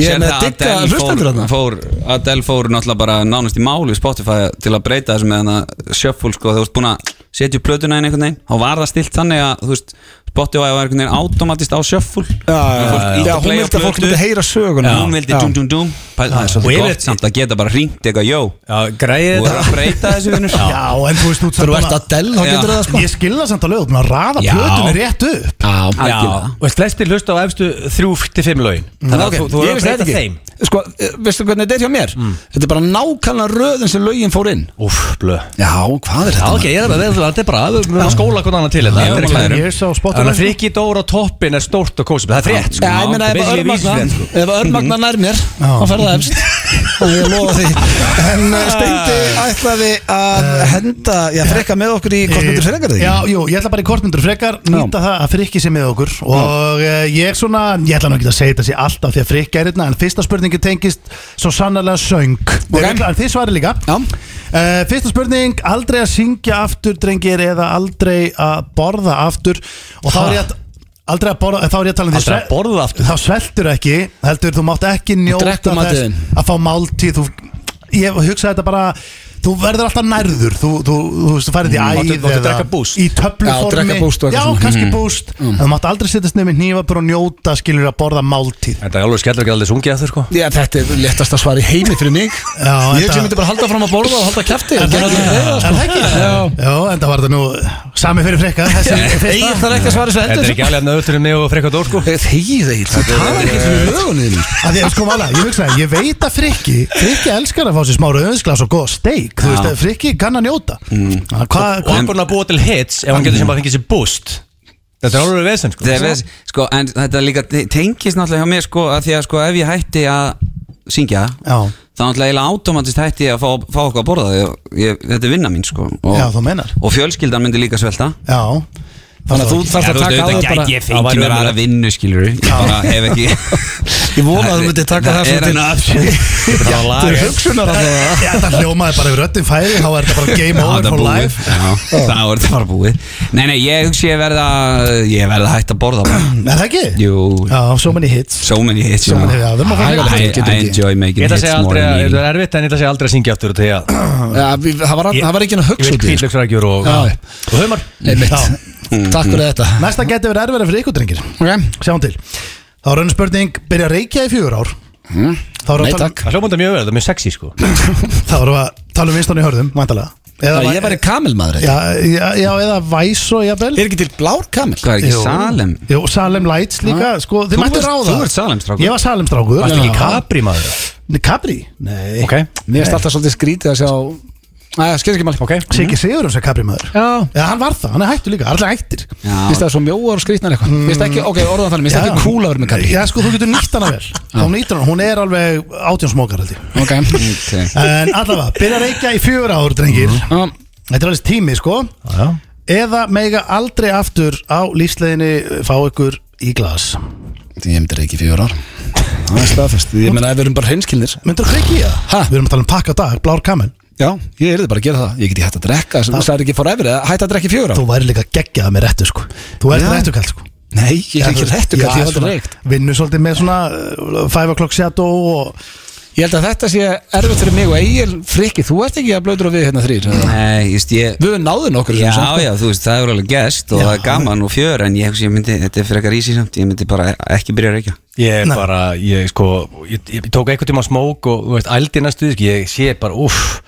Speaker 1: ég er
Speaker 11: Sérðu
Speaker 1: með
Speaker 11: að
Speaker 1: digga
Speaker 11: Adele
Speaker 1: hlustendur
Speaker 11: fór-
Speaker 1: þarna
Speaker 11: fór, Adele fór náttúrulega bara nánast í máli Spotify til að breyta þessu með hana shuffle sko, þú ert búin að setja upp plötuna inn einhvern veginn þá var það stilt þannig að þú veist Spotify var einhvern veginn automatist á shuffle
Speaker 1: Já, já,
Speaker 11: Fólk
Speaker 1: já,
Speaker 11: ýtti
Speaker 1: já, hún
Speaker 11: play á
Speaker 1: vildi að fólk
Speaker 11: plötu.
Speaker 1: myndi heyra söguna
Speaker 11: hún vildi dum dum dum það er
Speaker 2: Og
Speaker 11: svolítið
Speaker 2: yfir-
Speaker 11: gott samt að geta bara hringt eitthvað jó,
Speaker 2: Já, græðið
Speaker 11: þú ert
Speaker 2: [laughs]
Speaker 11: að breyta þessu vinnur
Speaker 3: Já, en þú veist út
Speaker 1: Þú ert að del, þá
Speaker 11: Já.
Speaker 1: getur það
Speaker 3: En
Speaker 1: sko
Speaker 3: Ég skilða samt alveg, þú ert búin að raða
Speaker 2: Já.
Speaker 3: plötunni rétt upp
Speaker 1: Já,
Speaker 2: Já,
Speaker 11: Algjörlega.
Speaker 2: og flestir hlusta á efstu 3-5 lögin
Speaker 1: Mm,
Speaker 2: Þannig að
Speaker 1: ok,
Speaker 2: þú- þú
Speaker 1: ég
Speaker 2: er að
Speaker 1: vissi þetta
Speaker 2: breyta
Speaker 1: ekki.
Speaker 2: þeim
Speaker 1: Sko, eh, veistu hvernig þetta er hjá mér?
Speaker 11: Mm.
Speaker 1: Þetta er bara nákvæmlega röðin sem lögin fór inn
Speaker 2: Úf, blöð
Speaker 1: Já, hvað er
Speaker 2: Já,
Speaker 1: þetta?
Speaker 2: ok, ég er bara, þetta er bara, við erum að skóla hvernig annað til þetta
Speaker 11: Já,
Speaker 2: Þetta er ekki-
Speaker 11: maður.
Speaker 3: Ég er sá á Spotify.
Speaker 2: Þannig að friki dóra á toppin er stórt og kósið, það er frétt sko.
Speaker 1: Já, ég meina ef að
Speaker 2: Þetta er
Speaker 1: örmagna
Speaker 2: basically vísfrétt, sko.
Speaker 1: Ef að örmagna nær mér, þá fer það [laughs] efst Og ég lofa því Eh. En eh, Steindi ætlaði að henda Já, frekka með okkur í kostmyndur frekar þig
Speaker 3: Já, jú, ég ætla bara í kortmyndur frekar Nýta það að Frikki sé með okkur Og uh, ég er svona, ég ætla nú ekki að segja þetta sé alltaf Því að Frikki er hérna En fyrsta spurningi tengist svo sannarlega söng okay. En þið svarið líka
Speaker 1: Já.
Speaker 3: Eh, Fyrsta spurning, aldrei að syngja aftur drengir Eða aldrei að borða aftur Og þá er ég að Aldrei að borða, þá er ég að tala um því
Speaker 2: Aldrei að
Speaker 3: sve-
Speaker 2: borða aftur?
Speaker 3: Þá sveltur ekki, heldur þú mátt ekki njóta
Speaker 1: drekkur
Speaker 3: þess
Speaker 1: matinn.
Speaker 3: að fá máltíð þú, Ég hugsaði þetta bara Þú verður alltaf nærður Þú, þú, þú, veist, þú færið í
Speaker 2: Máttu-
Speaker 3: æð
Speaker 2: máttu
Speaker 3: eða
Speaker 2: drekka boost?
Speaker 3: Í töfluformi
Speaker 1: Já, drekka boost og eitthvað
Speaker 3: Já,
Speaker 1: svona.
Speaker 3: kannski búst mm. Það mátt aldrei sittast nefnir nýfa bara og njóta skilur að borða máltíð
Speaker 2: Þetta er alveg skellur ekki aldrei sungið að þau sko
Speaker 1: Já, þetta er léttast að svara í heimi fyrir mig
Speaker 3: Já,
Speaker 1: Ég
Speaker 3: þetta-
Speaker 1: myndi bara halda fram að borða og halda sko. kæfti
Speaker 3: Er það ekki? Er það ekki? Já, en það var þetta nú Sami fyrir frekka Þessi
Speaker 1: Egil þarf ekki að svara þessu
Speaker 2: Þetta er
Speaker 1: endur
Speaker 2: ekki alveg nöður fyrir mig og frikka dór sko
Speaker 1: Þegið Egil, þú talar ekki fyrir lögunni
Speaker 3: að ég sko mála, ég hugsaði, ég veit að Frikki Frikki elskar að fá sér smára öðsglas og góða steik, þú veist, að Frikki kann að njóta mm. Hvað,
Speaker 2: Og hann er búin að búa til hits ef hann getur sem bara fengið sér boost Þetta er alveg vesen sko
Speaker 11: [laughs] Þegar við, sko, en þetta líka te- tengist náttúrulega hjá mér sko, að því að sko, ef ég hætti að syngja
Speaker 3: Já.
Speaker 11: þá náttúrulega eiginlega automatist hætti ég að fá, fá okkur að borða ég, ég, þetta er vinna mín sko, og,
Speaker 3: Já, þú meinar.
Speaker 11: og fjölskyldan myndi líka svelta
Speaker 3: Já,
Speaker 1: Þannig að þú þarft að taka á þig bara
Speaker 11: ég fengi mér aðra vinnu skilur ég bara hef ekki
Speaker 1: Ég vona að þú myndir taka það
Speaker 11: er
Speaker 1: svona
Speaker 11: enn
Speaker 1: til
Speaker 2: [laughs] Þetta er
Speaker 11: option
Speaker 1: Til
Speaker 2: lag
Speaker 1: hugsunar að það
Speaker 3: Já, það hljómaði bara yfir öllum færi Þá er þetta bara game
Speaker 11: Já,
Speaker 3: over
Speaker 11: það er
Speaker 3: for
Speaker 11: búið.
Speaker 3: life
Speaker 11: Já, það var þetta bara búið Nei, nei, ég hugsi ég verða ég verða hætt að borða bara.
Speaker 2: [clears throat]
Speaker 3: Er það ekki?
Speaker 11: Jú,
Speaker 3: Já, so many hits
Speaker 11: so many hits so
Speaker 3: many- já, það má fara
Speaker 11: sko. I, I, I enjoy
Speaker 2: Ég
Speaker 11: making
Speaker 2: ætla að
Speaker 11: hits
Speaker 2: segja
Speaker 11: more
Speaker 2: aldrei,
Speaker 11: than
Speaker 2: að- þetta er
Speaker 11: eating
Speaker 2: erfitt en ég ætla að segja aldrei að syngja aftur Því að
Speaker 1: Já, við- Það var- það var ekki hann að
Speaker 2: ég
Speaker 1: hugsa út í
Speaker 2: vil
Speaker 1: þessu.
Speaker 2: kvítlöksrækjur
Speaker 11: sko.
Speaker 2: og
Speaker 1: Já.
Speaker 2: og humar
Speaker 1: Einmitt.
Speaker 3: Já.
Speaker 1: Takk fyrir þetta
Speaker 3: Næsta geti verið erfæra fyrir ykkur drengir
Speaker 1: Ok.
Speaker 3: Sjáum til Þá er önnur spurning Byrja að reykja í fjögur ár Þá erum
Speaker 1: Nei,
Speaker 3: við að
Speaker 1: takk
Speaker 2: Það hljóma þetta mjög vel, þetta er mjög sexy
Speaker 11: [clears throat]
Speaker 2: sko
Speaker 3: tala- þá erum við að tala um vinstun í hörðum Væntalega
Speaker 1: Já, Ég væri kamilmaður Egil.
Speaker 3: Já, já, já, eða væs og jafnvel
Speaker 1: Er ekki til blár kamil?
Speaker 11: Hvað er ekki Salem?
Speaker 3: Jú, Salem Lights líka Sko, þið mættu
Speaker 11: ert-
Speaker 3: ráða
Speaker 11: þú ert Salem, strákur.
Speaker 3: Ég var Salem strákur
Speaker 2: Varst ekki
Speaker 3: Já.
Speaker 2: kapri maður
Speaker 3: Nei, Capri? Nei
Speaker 2: Ok,
Speaker 1: Mér er alltaf svolítið skrítið að sjá Æja, skilur ekki máli
Speaker 2: ok
Speaker 3: Siggi Sigurum sem Capri maður
Speaker 1: Já,
Speaker 3: Já, hann var það, hann er hættur líka, allir hættir
Speaker 1: Mér finnst það svo mjóar og skrýtnar eitthvað
Speaker 11: Mm.
Speaker 1: Mér finnst ekki, ok, orðan þannig, mér finnst
Speaker 3: Já.
Speaker 1: ekki cool að vera með kalli
Speaker 3: Já, sko, þú getur nýtt hana vel Þá nýttur hann, hún er alveg átjónsmókar held ég
Speaker 1: Ok
Speaker 11: Okay.
Speaker 3: En allavega, byrja að reykja í fjögur ár, drengir
Speaker 1: Já.
Speaker 3: Þetta er alveg tími, sko
Speaker 2: Mhm. já.
Speaker 3: Eða mega aldrei aftur á lífsleginni fá ykkur í glas
Speaker 1: Ég myndi ekki fjögur ár Það er staðfest, ég menna ef við erum bara hreinskilnir
Speaker 3: Myndur þú kveikið það?
Speaker 1: Ha?
Speaker 3: Við erum að tala um pakka á dag, blár kamen
Speaker 1: Já, ég er bara að gera það Ég geti hætt að drekka, sem það er ekki forever eða Hætt að drekka í fjögur ár
Speaker 3: Þú væri líka geggjað með réttu, sko Þú ert
Speaker 1: Já.
Speaker 3: réttu kall, sko
Speaker 1: Nei, ég er ekki réttur kalli, ég er alltaf reykt
Speaker 3: Vinnu svolítið með svona 5 o'clock uh, shadow og
Speaker 1: Ég held að þetta sé erfitt fyrir mig og Egil Frikki, þú ert ekki að blöður og við hérna þrýr
Speaker 11: Nei, ég veist ég
Speaker 1: Við náðum okkur
Speaker 11: Já, já, þú veist, það er alveg gest og það er gaman og fjör en ég, hugsa, ég myndi, þetta er fyrir eitthvað rísi samt ég myndi bara ekki byrja að reykja
Speaker 2: Ég
Speaker 1: Hérna.
Speaker 2: Nei. bara, ég sko Ég, ég tók einhvern tíma smók og þú veist, ældi næstu því, sko, Ég sé bara, uff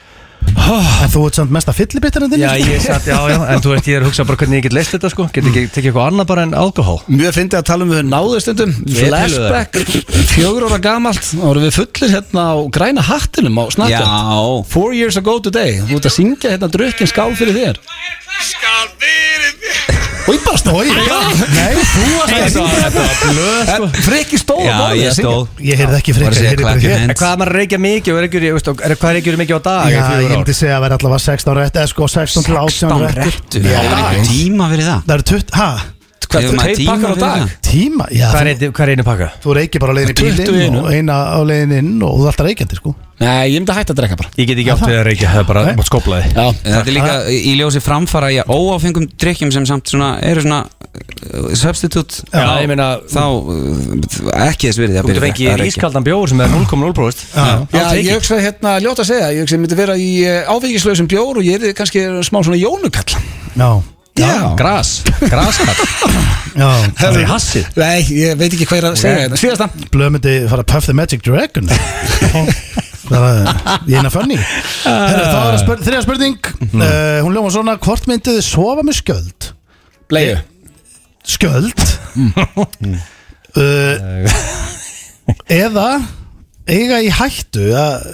Speaker 3: En þú ert samt mesta fyllibittar en þinn sko.
Speaker 2: Já, ég satt, já, já, en þú veist, ég er að hugsa bara hvernig ég get leist þetta, sko Get ekki tekið eitthvað annað bara en alkohól
Speaker 1: Mjög fyndi að tala um við náðu stundum
Speaker 2: Ég pílu það.
Speaker 1: Flashback, fjögur ára gamalt þá vorum við fullir hérna á græna hattinum á Snapchat Four years ago today Þú ert að syngja hérna drukkin skál fyrir þér Skál fyrir þér Og ég bara stóð
Speaker 3: Nei, þú varst að syngja
Speaker 2: sko.
Speaker 1: En Frikki stóð á
Speaker 11: Já,
Speaker 1: borðinu
Speaker 11: ég
Speaker 1: að syngja.
Speaker 11: stóð.
Speaker 3: Ég heyrði ekki
Speaker 11: Bara
Speaker 3: frekar,
Speaker 11: segja
Speaker 3: ég heyrði bara
Speaker 11: clap your
Speaker 3: hér
Speaker 11: hands.
Speaker 2: En hvað er maður að reykja mikið og reykjur, ég veist, og er, hvað reykjur mikið á dag í
Speaker 3: Já,
Speaker 2: fjögur
Speaker 3: ég
Speaker 2: ár?
Speaker 3: myndi segja að vera allavega 16 rétt eða sko 16 til 18
Speaker 11: Stán
Speaker 3: rétt
Speaker 11: réttu, við hefum einhver tíma fyrir það
Speaker 3: Það eru 20, hæ?
Speaker 11: Hvað, Hefur maður
Speaker 1: tveir
Speaker 11: tíma
Speaker 1: pakkar á
Speaker 11: fyrir
Speaker 1: dag?
Speaker 11: það?
Speaker 3: Tíma? Já,
Speaker 2: Hvað er
Speaker 3: þú,
Speaker 2: einn- hvað er einu pakka?
Speaker 3: þú reykir bara á leiðin í
Speaker 1: 20 í
Speaker 3: bílinn
Speaker 1: einu.
Speaker 3: og eina á leiðin inn og þú ert alltaf reykjandi sko
Speaker 1: Nei, ég myndi að hætta að drekka bara
Speaker 2: Ég get ekki átt við að reykja, það er bara, bara skoplaði
Speaker 1: Já,
Speaker 11: Þetta er líka í ljósi framfara í óáfengum drikkjum sem samt svona, eru svona uh, substitute
Speaker 2: Já, ég meina,
Speaker 11: þá uh, ekki þess virði að
Speaker 2: þú getur
Speaker 11: byrja að
Speaker 2: fengið
Speaker 11: reykja.
Speaker 2: ískaldan bjóður sem er 0,0%
Speaker 1: Já, ég hugsa hérna ljóta að segja Ég hugsa ég myndi vera í uh, áfengislausum bjór og ég er kannski smá svona jónukall
Speaker 3: Já,
Speaker 1: Já,
Speaker 2: Gras, graskall
Speaker 3: já
Speaker 2: [laughs] Það er hassið
Speaker 1: Nei, ég veit ekki hvað ég er að segja hérna Síðasta
Speaker 3: Blöð myndi fara að puff the magic [laughs] dragon Það er ég er funny Herra, Það var spyr, þriða spurning uh, Hún ljóma svona, hvort myndið þið sofa með skjöld?
Speaker 1: Bleiðu
Speaker 3: Skjöld uh, Eða eiga í hættu að,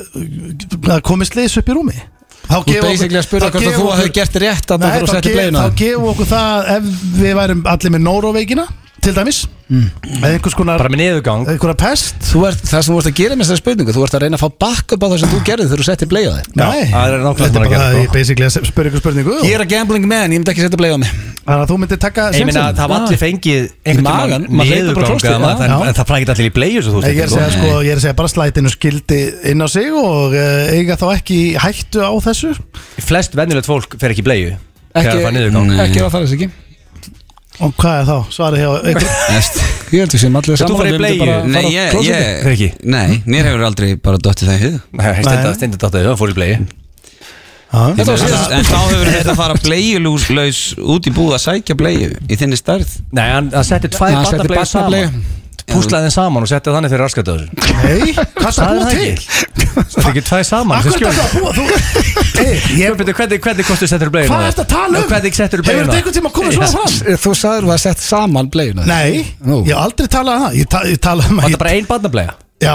Speaker 3: að komist leys upp í rúmi Þá
Speaker 1: Þú ert basically að spyrja
Speaker 3: þá
Speaker 1: hvort að
Speaker 3: gefum
Speaker 1: þú
Speaker 3: okkur-
Speaker 1: hefur gert rétt að þú
Speaker 3: Nei,
Speaker 1: fyrir að
Speaker 3: þá
Speaker 1: setja
Speaker 3: ge-
Speaker 1: bleina
Speaker 3: Þá gefum við okkur það ef við værum allir með nóróveikina til dæmis
Speaker 1: Mm.
Speaker 3: eða einhvers konar
Speaker 2: Bara með niðurgang
Speaker 3: einhverja pest
Speaker 1: Þú ert, það sem þú ert að gera með þessari spurningu Þú ert að reyna að fá backup á það sem þú gerði þegar þú settir bleið á þig
Speaker 3: Nei,
Speaker 2: það er nákvæmlega bara að
Speaker 3: þetta er bara
Speaker 2: gera,
Speaker 3: að
Speaker 2: sko.
Speaker 3: ég basically að spyrja ykkur spurningu
Speaker 1: Ég er að gambling man, ég myndi ekki setja bleið á mig
Speaker 3: Þannig að þú myndir taka
Speaker 2: Ég meina
Speaker 3: sénsinn.
Speaker 2: það var allir fengið einhvern
Speaker 1: magann,
Speaker 2: tímann
Speaker 1: maður hleypur bara
Speaker 2: niðurgang
Speaker 1: klostið,
Speaker 2: eða maður-
Speaker 1: já.
Speaker 2: en-
Speaker 3: Já.
Speaker 2: en Það frækir allir í bleiðu svo þú
Speaker 3: Nei, Ég er að
Speaker 2: ert
Speaker 3: segja
Speaker 2: ekki,
Speaker 3: sko, ég er að segja bara slætinu skildi inn á sig og uh, eiga þá ekki í hættu á þessu
Speaker 2: sko. Flest vennilegt fólk fer ekki Mm. í bleiðu Þegar það fær niðurgang
Speaker 1: Ekki, ekki að fara þess ekki
Speaker 3: Og hvað er þá? Svarið hjá ykkur
Speaker 11: Næst.
Speaker 1: Ég held við sem allir
Speaker 2: Þú
Speaker 1: saman
Speaker 2: farið í
Speaker 1: við myndum
Speaker 2: um bleiu.
Speaker 1: bara
Speaker 11: Nei,
Speaker 1: fara á
Speaker 11: ég,
Speaker 1: klósettið.
Speaker 11: ég,
Speaker 2: Freki?
Speaker 11: nei, mér hefur aldrei bara dottið það í hug
Speaker 3: Nei.
Speaker 2: Stendur dátta þau, fór í bleiðu
Speaker 3: Já.
Speaker 1: var síðasta
Speaker 11: En þá hefur þetta að fara bleiulúslaus út í búð að sækja bleiu í þinni stærð
Speaker 2: Nei, hann hann setti
Speaker 1: Hann
Speaker 2: tvær
Speaker 1: setti
Speaker 2: barnableiðu
Speaker 1: barnableiu.
Speaker 2: saman Púslaði þeim saman og setti þannig fyrir raskatöður
Speaker 3: Nei, hvað það búið til?
Speaker 2: Þetta ekki tvær saman
Speaker 3: Akkur þetta að búa þú Hey, ég-
Speaker 2: Byrju, hvernig, hvernig kostu settur bleiðuna?
Speaker 3: Hvað er þetta að tala um?
Speaker 2: Hvernig settur
Speaker 3: Hefur
Speaker 2: bleiðuna?
Speaker 3: þetta einhvern tíma komið svona fram?
Speaker 1: Þú sagður þú að sett saman bleiðuna
Speaker 3: Nei,
Speaker 1: Nú.
Speaker 3: ég hef aldrei talað um það Ég, ta ég tala um
Speaker 2: Var
Speaker 3: að
Speaker 2: þetta bara ein barnableiða?
Speaker 3: Já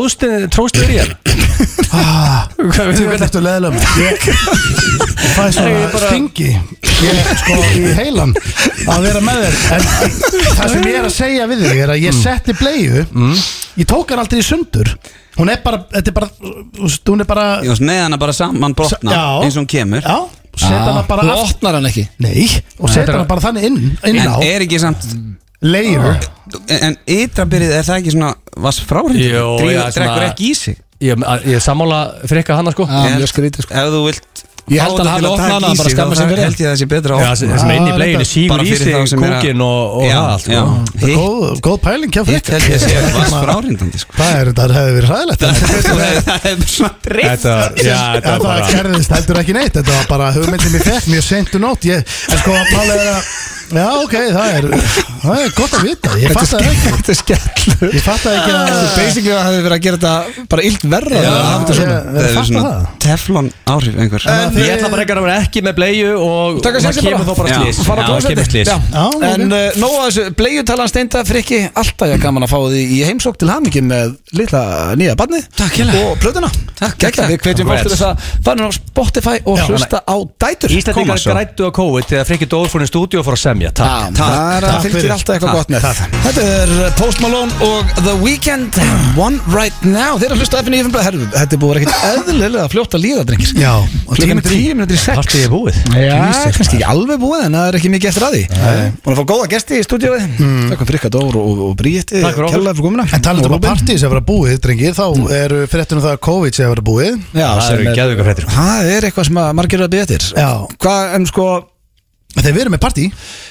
Speaker 2: Tróðstu þér í hann?
Speaker 3: Ah.
Speaker 2: Hvað
Speaker 3: Þú veit eftir leðilegum Ég Það er svona
Speaker 2: Ég bara-
Speaker 3: stingi Ég sko í heilan Að vera með þér En það sem ég er að segja við þig Er að ég setti bleiðu Ég tók hann aldrei í sundur Hún er bara Þetta er bara þú veist, Hún er bara
Speaker 11: Ég veist með hana bara saman brotna
Speaker 3: Já.
Speaker 11: eins og hún kemur
Speaker 3: Já
Speaker 1: Ah,
Speaker 3: Sett hana bara
Speaker 1: Þú
Speaker 3: aft
Speaker 1: opnar hann ekki
Speaker 3: Nei Og sett
Speaker 2: Þetta er-
Speaker 3: hana bara þannig inn Inn
Speaker 11: En
Speaker 3: á
Speaker 11: er ekki samt
Speaker 3: Leiður
Speaker 11: En ytrabyrðið er það ekki svona Vass fráhrið
Speaker 2: Jó, já, svona-
Speaker 11: Drekkur ekki í sig
Speaker 2: Ég, ég er sammála frikka hana sko
Speaker 1: Já,
Speaker 11: Ég held-
Speaker 1: mjög skrítið, sko.
Speaker 11: Ef þú vilt
Speaker 1: Ég
Speaker 11: fá
Speaker 1: held að
Speaker 11: þetta
Speaker 1: hann hafi
Speaker 11: til
Speaker 1: opnað
Speaker 11: taka
Speaker 1: hana,
Speaker 11: í
Speaker 1: bara
Speaker 11: sig,
Speaker 1: skammast
Speaker 11: þá
Speaker 1: sín fyrir
Speaker 11: Held ég að það sé betra
Speaker 2: Já, sem sem inn í bleiðinu sígur
Speaker 11: Bara
Speaker 2: í
Speaker 11: fyrir
Speaker 2: sig
Speaker 11: þá sem er að-
Speaker 2: kúkin og, og
Speaker 11: Já,
Speaker 2: það allt
Speaker 11: já.
Speaker 2: sko.
Speaker 11: Hitt-
Speaker 3: Góð, góð pæling hjá Hérna,
Speaker 11: Hitt held ég að
Speaker 1: [laughs]
Speaker 11: sé Vass fráhrindandi sko
Speaker 3: Það er, það hefði verið hræðilegt
Speaker 11: Það er svona drift
Speaker 2: Þetta var, já, þetta
Speaker 3: það
Speaker 2: var
Speaker 3: bara...
Speaker 2: bara
Speaker 3: gerðist heldur ekki neitt Þetta var bara hugmyndin mér fekk mjög seint og nótt ég, En sko að mála er að Já ok, það er, það er gott að vita Ég fatt að ekki
Speaker 1: Þetta er skellur
Speaker 3: Ég fatt að ekki að
Speaker 1: Þú basically að hefði verið að gera þetta bara illt verra
Speaker 11: Já,
Speaker 1: en að hafa þetta
Speaker 3: ég-
Speaker 1: svona. Eh,
Speaker 3: ég
Speaker 11: Það er
Speaker 3: fatta
Speaker 11: svona
Speaker 3: það.
Speaker 11: teflon áhrif einhver
Speaker 2: Ég ætla bara ekki að vera ekki með bleiðu og
Speaker 1: Taka
Speaker 2: það
Speaker 1: sénsinn
Speaker 2: kemur
Speaker 1: bara.
Speaker 2: þá bara
Speaker 11: Já.
Speaker 2: slís
Speaker 1: fara á
Speaker 2: það
Speaker 1: klósetti
Speaker 2: kemur slís
Speaker 1: Já.
Speaker 3: Já, ok.
Speaker 1: En uh, nóa þessu, bleiutalan steinda frikki Alltaf ég gaman að fá því í heimsók til hamingi með litla nýja barni
Speaker 11: Takk hérlega.
Speaker 1: Og plötuna
Speaker 11: Takk,
Speaker 1: Geggjað.
Speaker 11: takk.
Speaker 1: Við hvetjum fólk til
Speaker 2: Congrats.
Speaker 1: þess að fara á Spotify og
Speaker 3: Já,
Speaker 1: hlusta á dætur
Speaker 2: Íslandingar grættu á COVID þegar frikki dórfórin stúdíu og fór að semja Takk
Speaker 1: Takk, takk,
Speaker 3: takk
Speaker 1: takk
Speaker 3: fyrir.
Speaker 1: fylgir alltaf eitthvað gott með Þetta er uh, Post Malone og The Weeknd One Right Now Þeir eru að hlusta FNF Herru, Þetta er búið að vera ekkert eðlilega fljótt að líða drengir
Speaker 3: Já, og
Speaker 1: Klukkan
Speaker 3: tími
Speaker 1: er tíu minútur í sex
Speaker 2: Haltu ég búið
Speaker 1: Já, kannski ekki alveg búið en það er ekki mikið eftir að því Búin að fá góða gesti í stúdíói Takk fyrir Rikka Dór og, og Bríetti
Speaker 2: Mm. Takk fyrir okkur.
Speaker 1: Kjærlega fyrir komuna
Speaker 3: En talandum
Speaker 1: Og
Speaker 3: um að
Speaker 1: Rúben.
Speaker 3: partí sem vera búið, drengir Þá eru fréttunum það að COVID sem vera búið
Speaker 1: Já,
Speaker 2: Það
Speaker 1: sem
Speaker 2: eru
Speaker 1: er-
Speaker 2: geðvika fréttir
Speaker 1: Það er eitthvað sem að margir eru að býja eftir
Speaker 3: Já.
Speaker 1: Hvað, en sko
Speaker 3: Þegar við erum með partí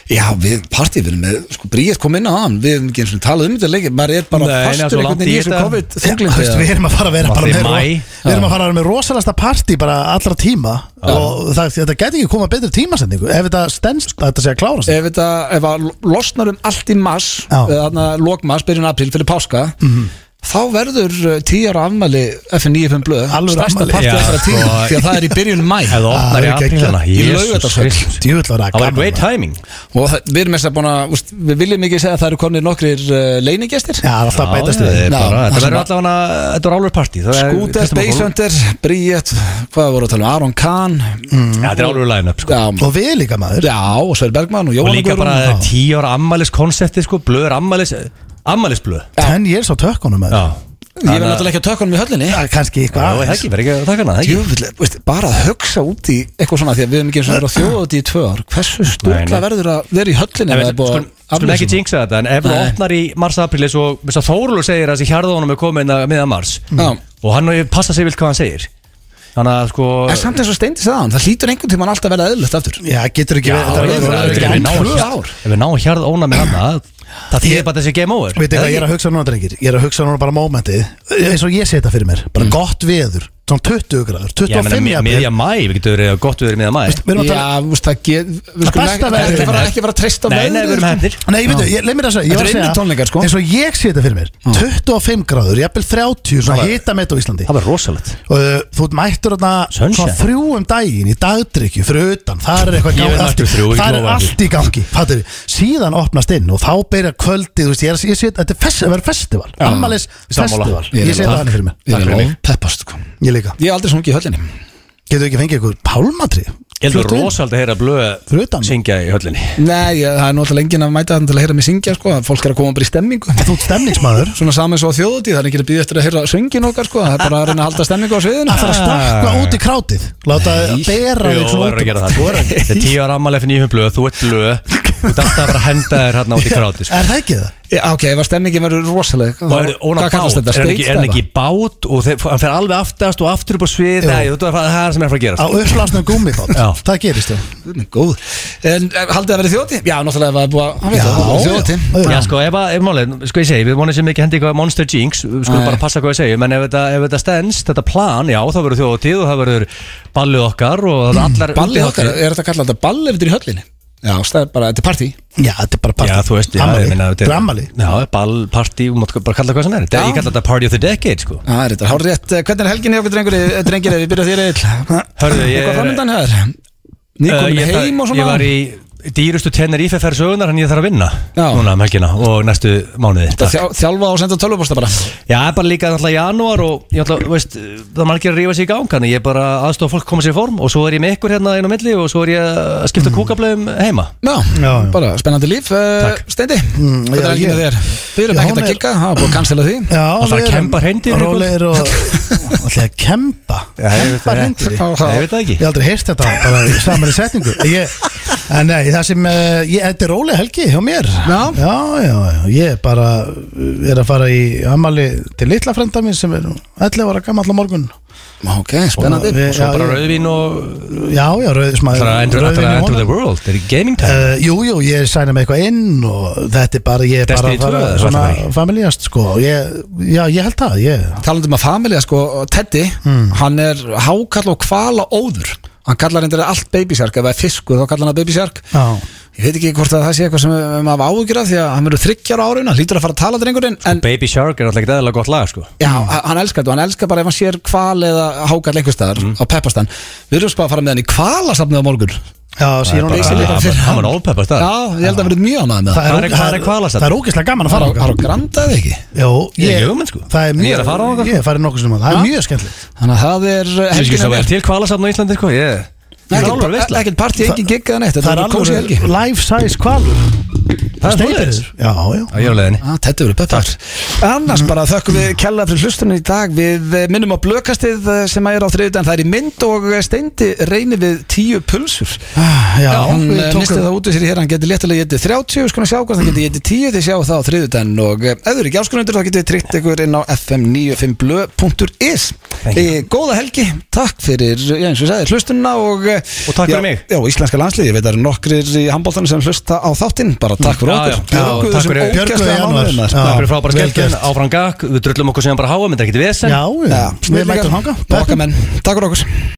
Speaker 1: Já, við partí, við erum með, sko, Bríett kom inn á hann Við hefum ekki eins og talað um þetta leikir Maður er bara
Speaker 2: Nei, nei,
Speaker 1: fastur
Speaker 2: svo
Speaker 1: einhvern
Speaker 2: langt
Speaker 1: veginn í
Speaker 2: í
Speaker 1: þessu
Speaker 2: þetta.
Speaker 1: COVID
Speaker 2: Já,
Speaker 1: þunglyndi,
Speaker 2: veistu,
Speaker 1: eða-
Speaker 3: Við erum að fara að vera bara
Speaker 2: Maður er
Speaker 3: með
Speaker 2: í maí.
Speaker 3: Við erum að fara að vera með rosalasta partí bara allra tíma og það, þetta gæti ekki koma betri tímasendingu ef þetta stendst að þetta sé að klára sig
Speaker 1: Ef þetta, ef að losnar um allt í mars Þannig að lókmars, byrjun april, fyrir páska Þá verður uh, tíu ára afmæli FN95 blöð
Speaker 3: Alvöru
Speaker 1: Stærsta
Speaker 3: afmæli.
Speaker 1: partí
Speaker 3: Já,
Speaker 1: allra tíu
Speaker 2: sko.
Speaker 1: Því að það er í byrjun [laughs] mæ
Speaker 2: Ef það opnar í
Speaker 1: Ah,
Speaker 2: apríl,
Speaker 1: geggjað.
Speaker 2: hana,
Speaker 1: Í
Speaker 2: Jesus
Speaker 1: laugardagsöll
Speaker 2: Kristus.
Speaker 3: Djúvill var
Speaker 2: Það var great timing
Speaker 1: Og það, við erum þess að búin að, úst, við viljum ekki segja að það eru konir nokkrir uh, leinigestir
Speaker 3: Já, það er alltaf að bætast við.
Speaker 2: það er
Speaker 1: Já,
Speaker 2: bara-
Speaker 1: það
Speaker 2: Þetta
Speaker 1: sem
Speaker 2: verður
Speaker 1: að-
Speaker 2: allavega Þetta er álur partí það er-
Speaker 1: Skúter,
Speaker 2: Kristján Már Kolbrún.
Speaker 1: Beisöndir, Bríett, hvað voru að tala um, Aron Kahn
Speaker 2: Já, Þetta er álur line-up sko.
Speaker 1: Og
Speaker 3: við líka maður
Speaker 1: Já, og Sver Bergmann og
Speaker 2: Og
Speaker 1: Jóhann
Speaker 2: líka
Speaker 1: Guðrún.
Speaker 2: bara
Speaker 1: Já.
Speaker 2: tíu ára ammælis koncepti sko Blöður ammælis Ammælisblöð
Speaker 3: Ten years á tökkunum maður.
Speaker 1: Ég verði náttúrulega ekki að tökka hann með höllinni
Speaker 3: Já, kannski
Speaker 2: Já,
Speaker 3: eitthvað
Speaker 2: það er ekki, verður ekki að taka hana, það er ekki.
Speaker 1: Djöfull, veist, bara að hugsa út í eitthvað svona Því að við hefum ekki eins og verið á þjóðaði í tvö ár Hversu stúrla
Speaker 2: nei.
Speaker 1: verður að vera í höllinni
Speaker 2: En við skulum- Skulum ekki jinxa þetta En ef það
Speaker 1: Nei.
Speaker 2: opnar í mars-april eins og þess að Þórulur segir að þessi hjarðónum er komin að miða mars
Speaker 1: Já.
Speaker 2: Og hann passa sig vilt hvað hann segir Þannig að sko
Speaker 1: En samt eins og steindi sagðan, það hlýtur einhvern tímann alltaf að vera eðlust aftur
Speaker 3: Já, getur ekki
Speaker 2: Já,
Speaker 3: verið-
Speaker 2: ég meina,
Speaker 3: þetta verður
Speaker 2: ef
Speaker 3: ekki
Speaker 2: við
Speaker 3: enn
Speaker 2: náum
Speaker 3: tvö
Speaker 2: hjarð-
Speaker 3: ár.
Speaker 2: Ef við náum hjarðóna með hann Það þýðir bara þessi game over
Speaker 3: Veitir hvað ég er að hugsa núna drengir Ég er að hugsa núna bara mómentið eins og ég sé þetta fyrir mér bara
Speaker 2: Mm.
Speaker 3: gott veður svona 20 gráður 25
Speaker 2: mið, miðja mæ, við getum verið að gott við erum miðja mæ
Speaker 3: við erum að tala-
Speaker 1: Já, veist, það get Við
Speaker 3: Það
Speaker 1: skulum
Speaker 3: besta
Speaker 1: ekki-
Speaker 3: veður.
Speaker 1: ekki fara- ekki fara að treysta á
Speaker 2: Nei, nei, við erum
Speaker 1: veðrið,
Speaker 2: hefnir
Speaker 1: sko.
Speaker 3: Nei, ég veit, ég- leið mér að segja,
Speaker 1: Þetta
Speaker 3: ég
Speaker 1: er
Speaker 3: var að segja
Speaker 1: innir tónleikar, sko
Speaker 3: eins og ég sé þetta fyrir mér 25 gráður, jafnvel 30 svona hitamett á Íslandi
Speaker 2: Það var rosalegt
Speaker 3: og uh, þú ert mættur þarna
Speaker 2: Sunshine.
Speaker 3: svona þrjú um daginn í dagdrykju fyrir utan, það er eitthvað
Speaker 2: Ég er
Speaker 3: gangi allt,
Speaker 2: mættur
Speaker 3: í-
Speaker 2: þrjú, ég
Speaker 3: þar er
Speaker 2: lofa
Speaker 3: allt í gangi fattir, síðan opnast inn og þá byrja kvöldi þú veist, ég, er, ég sé, þetta er fest, verður festival ammales
Speaker 2: Sammála.
Speaker 3: festival,
Speaker 2: Ég er
Speaker 3: ég sé
Speaker 2: alveg-
Speaker 3: þetta hann fyrir mér
Speaker 1: Ég
Speaker 2: Takk fyrir
Speaker 1: er
Speaker 2: mig.
Speaker 1: alveg peppast, sko.
Speaker 3: ég líka,
Speaker 1: Ég er aldrei sungið í höllinni
Speaker 3: getur við ekki fengið ykkur pálmatri
Speaker 2: Ég heldur rosalega að heyra
Speaker 3: Fyrir
Speaker 2: blöð
Speaker 3: utan.
Speaker 2: syngja í höllinni
Speaker 1: Nei, ég, það er náttúrulega enginn að mæta þannig til að heyra mig syngja sko. að Fólk er að koma bara í stemmingu [laughs]
Speaker 3: þú ert stemningsmaður
Speaker 1: Svona saman svo á þjóðutíð, það er ekki að býða eftir að heyra söngin okkar sko. Það er bara að reyna að halda stemmingu á sviðinu
Speaker 3: að fara að stakka út í krátið láta það bera
Speaker 2: Ah. Jú,
Speaker 3: þig svona
Speaker 2: verður að gera
Speaker 3: út um
Speaker 2: það
Speaker 3: Þú verður að-
Speaker 2: Þetta er tíu ára ammali fyrir nýjum blöð, þú ert blöð Þú ert alltaf að vera að henda þér hérna út í kráti sko.
Speaker 3: er það ekki það?
Speaker 1: Já, ok, ef að stemningin verður rosaleg
Speaker 2: Og er óna
Speaker 1: Hvað kallast
Speaker 2: bát,
Speaker 1: þetta?
Speaker 2: er hann ekki, er hann
Speaker 1: Steikstaða?
Speaker 2: ekki í bát og þeir, hann fer alveg aftast og aftur upp á svið
Speaker 3: Jú.
Speaker 2: Nei, þú veit að það er það sem er að fara að
Speaker 3: á
Speaker 2: gera
Speaker 3: upplasnum gúmibátt,
Speaker 2: Já.
Speaker 3: það gerist það
Speaker 1: Guð minn Góð En eh, haldið að verið þjóti? Já, náttúrulega ef það er búið að hann veit
Speaker 3: Já,
Speaker 1: það, það er
Speaker 3: já.
Speaker 1: þjóti
Speaker 2: Já, sko, ef, að- ef málið, sko ég segi, við vonum sem ekki hendi eitthvað Monster Jinx, við skulum
Speaker 1: Nei.
Speaker 2: bara passa hvað ég segi menn ef þetta, ef þetta stendst, þetta plan, já, þá verður þjóðtíð og það verður ballið okkar og það allar
Speaker 1: Ballið okkar, er þetta kallað þetta ball eftir í höllinni? Já, það er bara, þetta er partí
Speaker 3: Já, þetta er bara
Speaker 2: Já, þú veist, já,
Speaker 3: Ammali.
Speaker 2: ég meina
Speaker 3: Þetta er ammali
Speaker 2: Já, ball, party, þú mátt bara kalla það hvað sem er Þetta- Ég kalla þetta party of the decade, sko
Speaker 1: Já, það er þetta, hár rétt Eh, Hvernig er helginni hjá okkur drengir, eh, drengir ef við byrjum á þér eil?
Speaker 2: Hörðu, ég
Speaker 1: Eitthvað
Speaker 2: er-
Speaker 1: framöndan hér? Nýkomin
Speaker 2: Eh, ég-
Speaker 1: heim og svona?
Speaker 2: Ég var í dýrustu tennir ífefer sögunar en ég þarf að vinna
Speaker 1: Já.
Speaker 2: núna um helgina og næstu mánuði
Speaker 1: Þetta þjá- Þjálfa og senda tölvuposta bara
Speaker 2: Já, bara líka náttúrulega janúar og ég ætla, veist, það er margir að rífa sig í gang þannig ég er bara aðstofa fólk koma sér í form og svo er ég með ykkur hérna inn á milli og svo er ég að skipta kúkablöðum heima
Speaker 1: Já,
Speaker 3: Já, já.
Speaker 1: bara spennandi líf uh,
Speaker 2: Takk.
Speaker 1: Steindi, hvernig
Speaker 3: Mm, já,
Speaker 1: er helginni
Speaker 3: ég-
Speaker 1: þér? Við erum
Speaker 3: Já,
Speaker 1: ekkert
Speaker 3: hún
Speaker 1: að
Speaker 3: er-
Speaker 1: kikka, það er búið að cancela því
Speaker 3: Já,
Speaker 2: Það þarf að
Speaker 3: við erum
Speaker 2: kemba hreindýrin í kvöld. [laughs]
Speaker 3: Rólegir og Það er að kemba Kemba hreindir
Speaker 2: Ég veit það
Speaker 3: Ég
Speaker 2: ekki
Speaker 3: hef aldrei heyrst þetta bara í saman í setningu ég, En nei, það sem eh, ég, Þetta er róleg helgi hjá mér Já, já, já, Ég er bara eh, er að fara í ammali til litla frenda mín sem er nú 11 ára gamall á morgun
Speaker 1: Ah, Ok, spennandi
Speaker 3: Við-
Speaker 2: Svo
Speaker 3: já,
Speaker 2: bara
Speaker 3: ég-
Speaker 2: rauðvín og
Speaker 3: Já, já, rauð smá-
Speaker 2: Það er að enter,
Speaker 3: rauðvín
Speaker 2: enter,
Speaker 3: í
Speaker 2: enter
Speaker 3: honum.
Speaker 2: the world, þetta er gaming time
Speaker 3: Uh, jú, jú, ég sæna með eitthvað inn og þetta er bara, ég er bara
Speaker 2: Destiny 2
Speaker 3: fara
Speaker 2: eða
Speaker 3: svona
Speaker 2: hvað það er?
Speaker 3: familjast sko og ég, Já, ég held það, ég
Speaker 1: talandi um að familja sko, Teddy, hann er hákall og kvala óður hann kallar hendur allt babysjark, ef það er fiskur þá kallar hann það babysjark
Speaker 3: Já,
Speaker 1: ég veit ekki hvort að það sé eitthvað sem eh, maður hafa áhugjur af því að hann verður þryggjar á árinu, hann lítur að fara að tala drengurinn en
Speaker 2: Baby Shark er alltaf ekki eðalega gott lag sko
Speaker 1: já, h- hann elskar þetta og hann elskar bara ef hann sér kval eða hákall einhverstaðar
Speaker 2: Mm.
Speaker 1: á peppastann við erum bara að fara með hann í kvalasafnið á morgun
Speaker 3: já síðan
Speaker 1: bara-
Speaker 3: hún
Speaker 1: líka fyrir
Speaker 2: Það
Speaker 1: hann.
Speaker 2: var allpeppast það
Speaker 1: já, ég held að hann verður mjög ánægð með það
Speaker 2: Hvar er- hvar er hvalasamt?
Speaker 3: Það er ógeðslega gaman að
Speaker 1: það
Speaker 3: fara
Speaker 1: er á- það er á grandaði ekki
Speaker 3: Jó,
Speaker 2: Ég er ekki hugmynd, sko.
Speaker 3: Það er
Speaker 2: Ég
Speaker 3: mjög,
Speaker 2: er að fara á það.
Speaker 3: Ég er farið nokkuð sem að það er mjög skemmtilegt
Speaker 1: þannig að það er eh,
Speaker 2: Ég skil
Speaker 1: helgin
Speaker 2: svo
Speaker 1: að
Speaker 2: vel
Speaker 1: vera
Speaker 2: til kvalasafn á Íslandi sko Ég Það er alveg veistla
Speaker 1: ekkert partí, engin gigg eða neitt
Speaker 3: Það
Speaker 1: þetta
Speaker 3: er
Speaker 1: er kósi helgi
Speaker 3: alveg life size kvalur
Speaker 1: Það er svoleiðis.
Speaker 3: Já, já
Speaker 2: Á jólæðinni
Speaker 1: Ah, þetta verður peppar
Speaker 2: Mm.
Speaker 1: Annars bara þökkum við kella fyrir hlustunum í dag Við eh, minnum á blökastið eh, sem að er á þriðutan Það er í mynd og eh, steindi reynir við tíu pulsur
Speaker 3: já,
Speaker 1: Hann
Speaker 3: við
Speaker 1: eh,
Speaker 3: tókum-
Speaker 1: misti það út í sér í hér Hann getur léttilega getið 30 Skulum sjá hvort hann getið getið 10 Þið sjáu það á þriðutan Og eh, ef þið eru ekki áskunundur þá getið þið tryggt ykkur inn á fm95blö.is e, Góða helgi, takk fyrir eh, já, eins og ég sagði, hlustunna og, eh,
Speaker 2: Og takk
Speaker 1: já,
Speaker 2: fyrir mig.
Speaker 1: Já, íslenska landslið, ég veit að það eru nokkrir í handbóltanum sem hlusta á þáttinn Bara takk fyrir
Speaker 2: Já,
Speaker 1: okkur
Speaker 2: já. Já, takk fyrir- Björguðu
Speaker 1: ógeðslega
Speaker 2: í janúar.
Speaker 1: mánuðinn, maður.
Speaker 2: Takk fyrir frábæra
Speaker 1: Vel
Speaker 2: skemmtun,
Speaker 1: gert.
Speaker 2: áfram gag Við drullum okkur sem bara háa, menn það er ekkit vesen
Speaker 1: Já,
Speaker 3: við mætum þangað.
Speaker 1: Okkar menn, takk fyrir okkur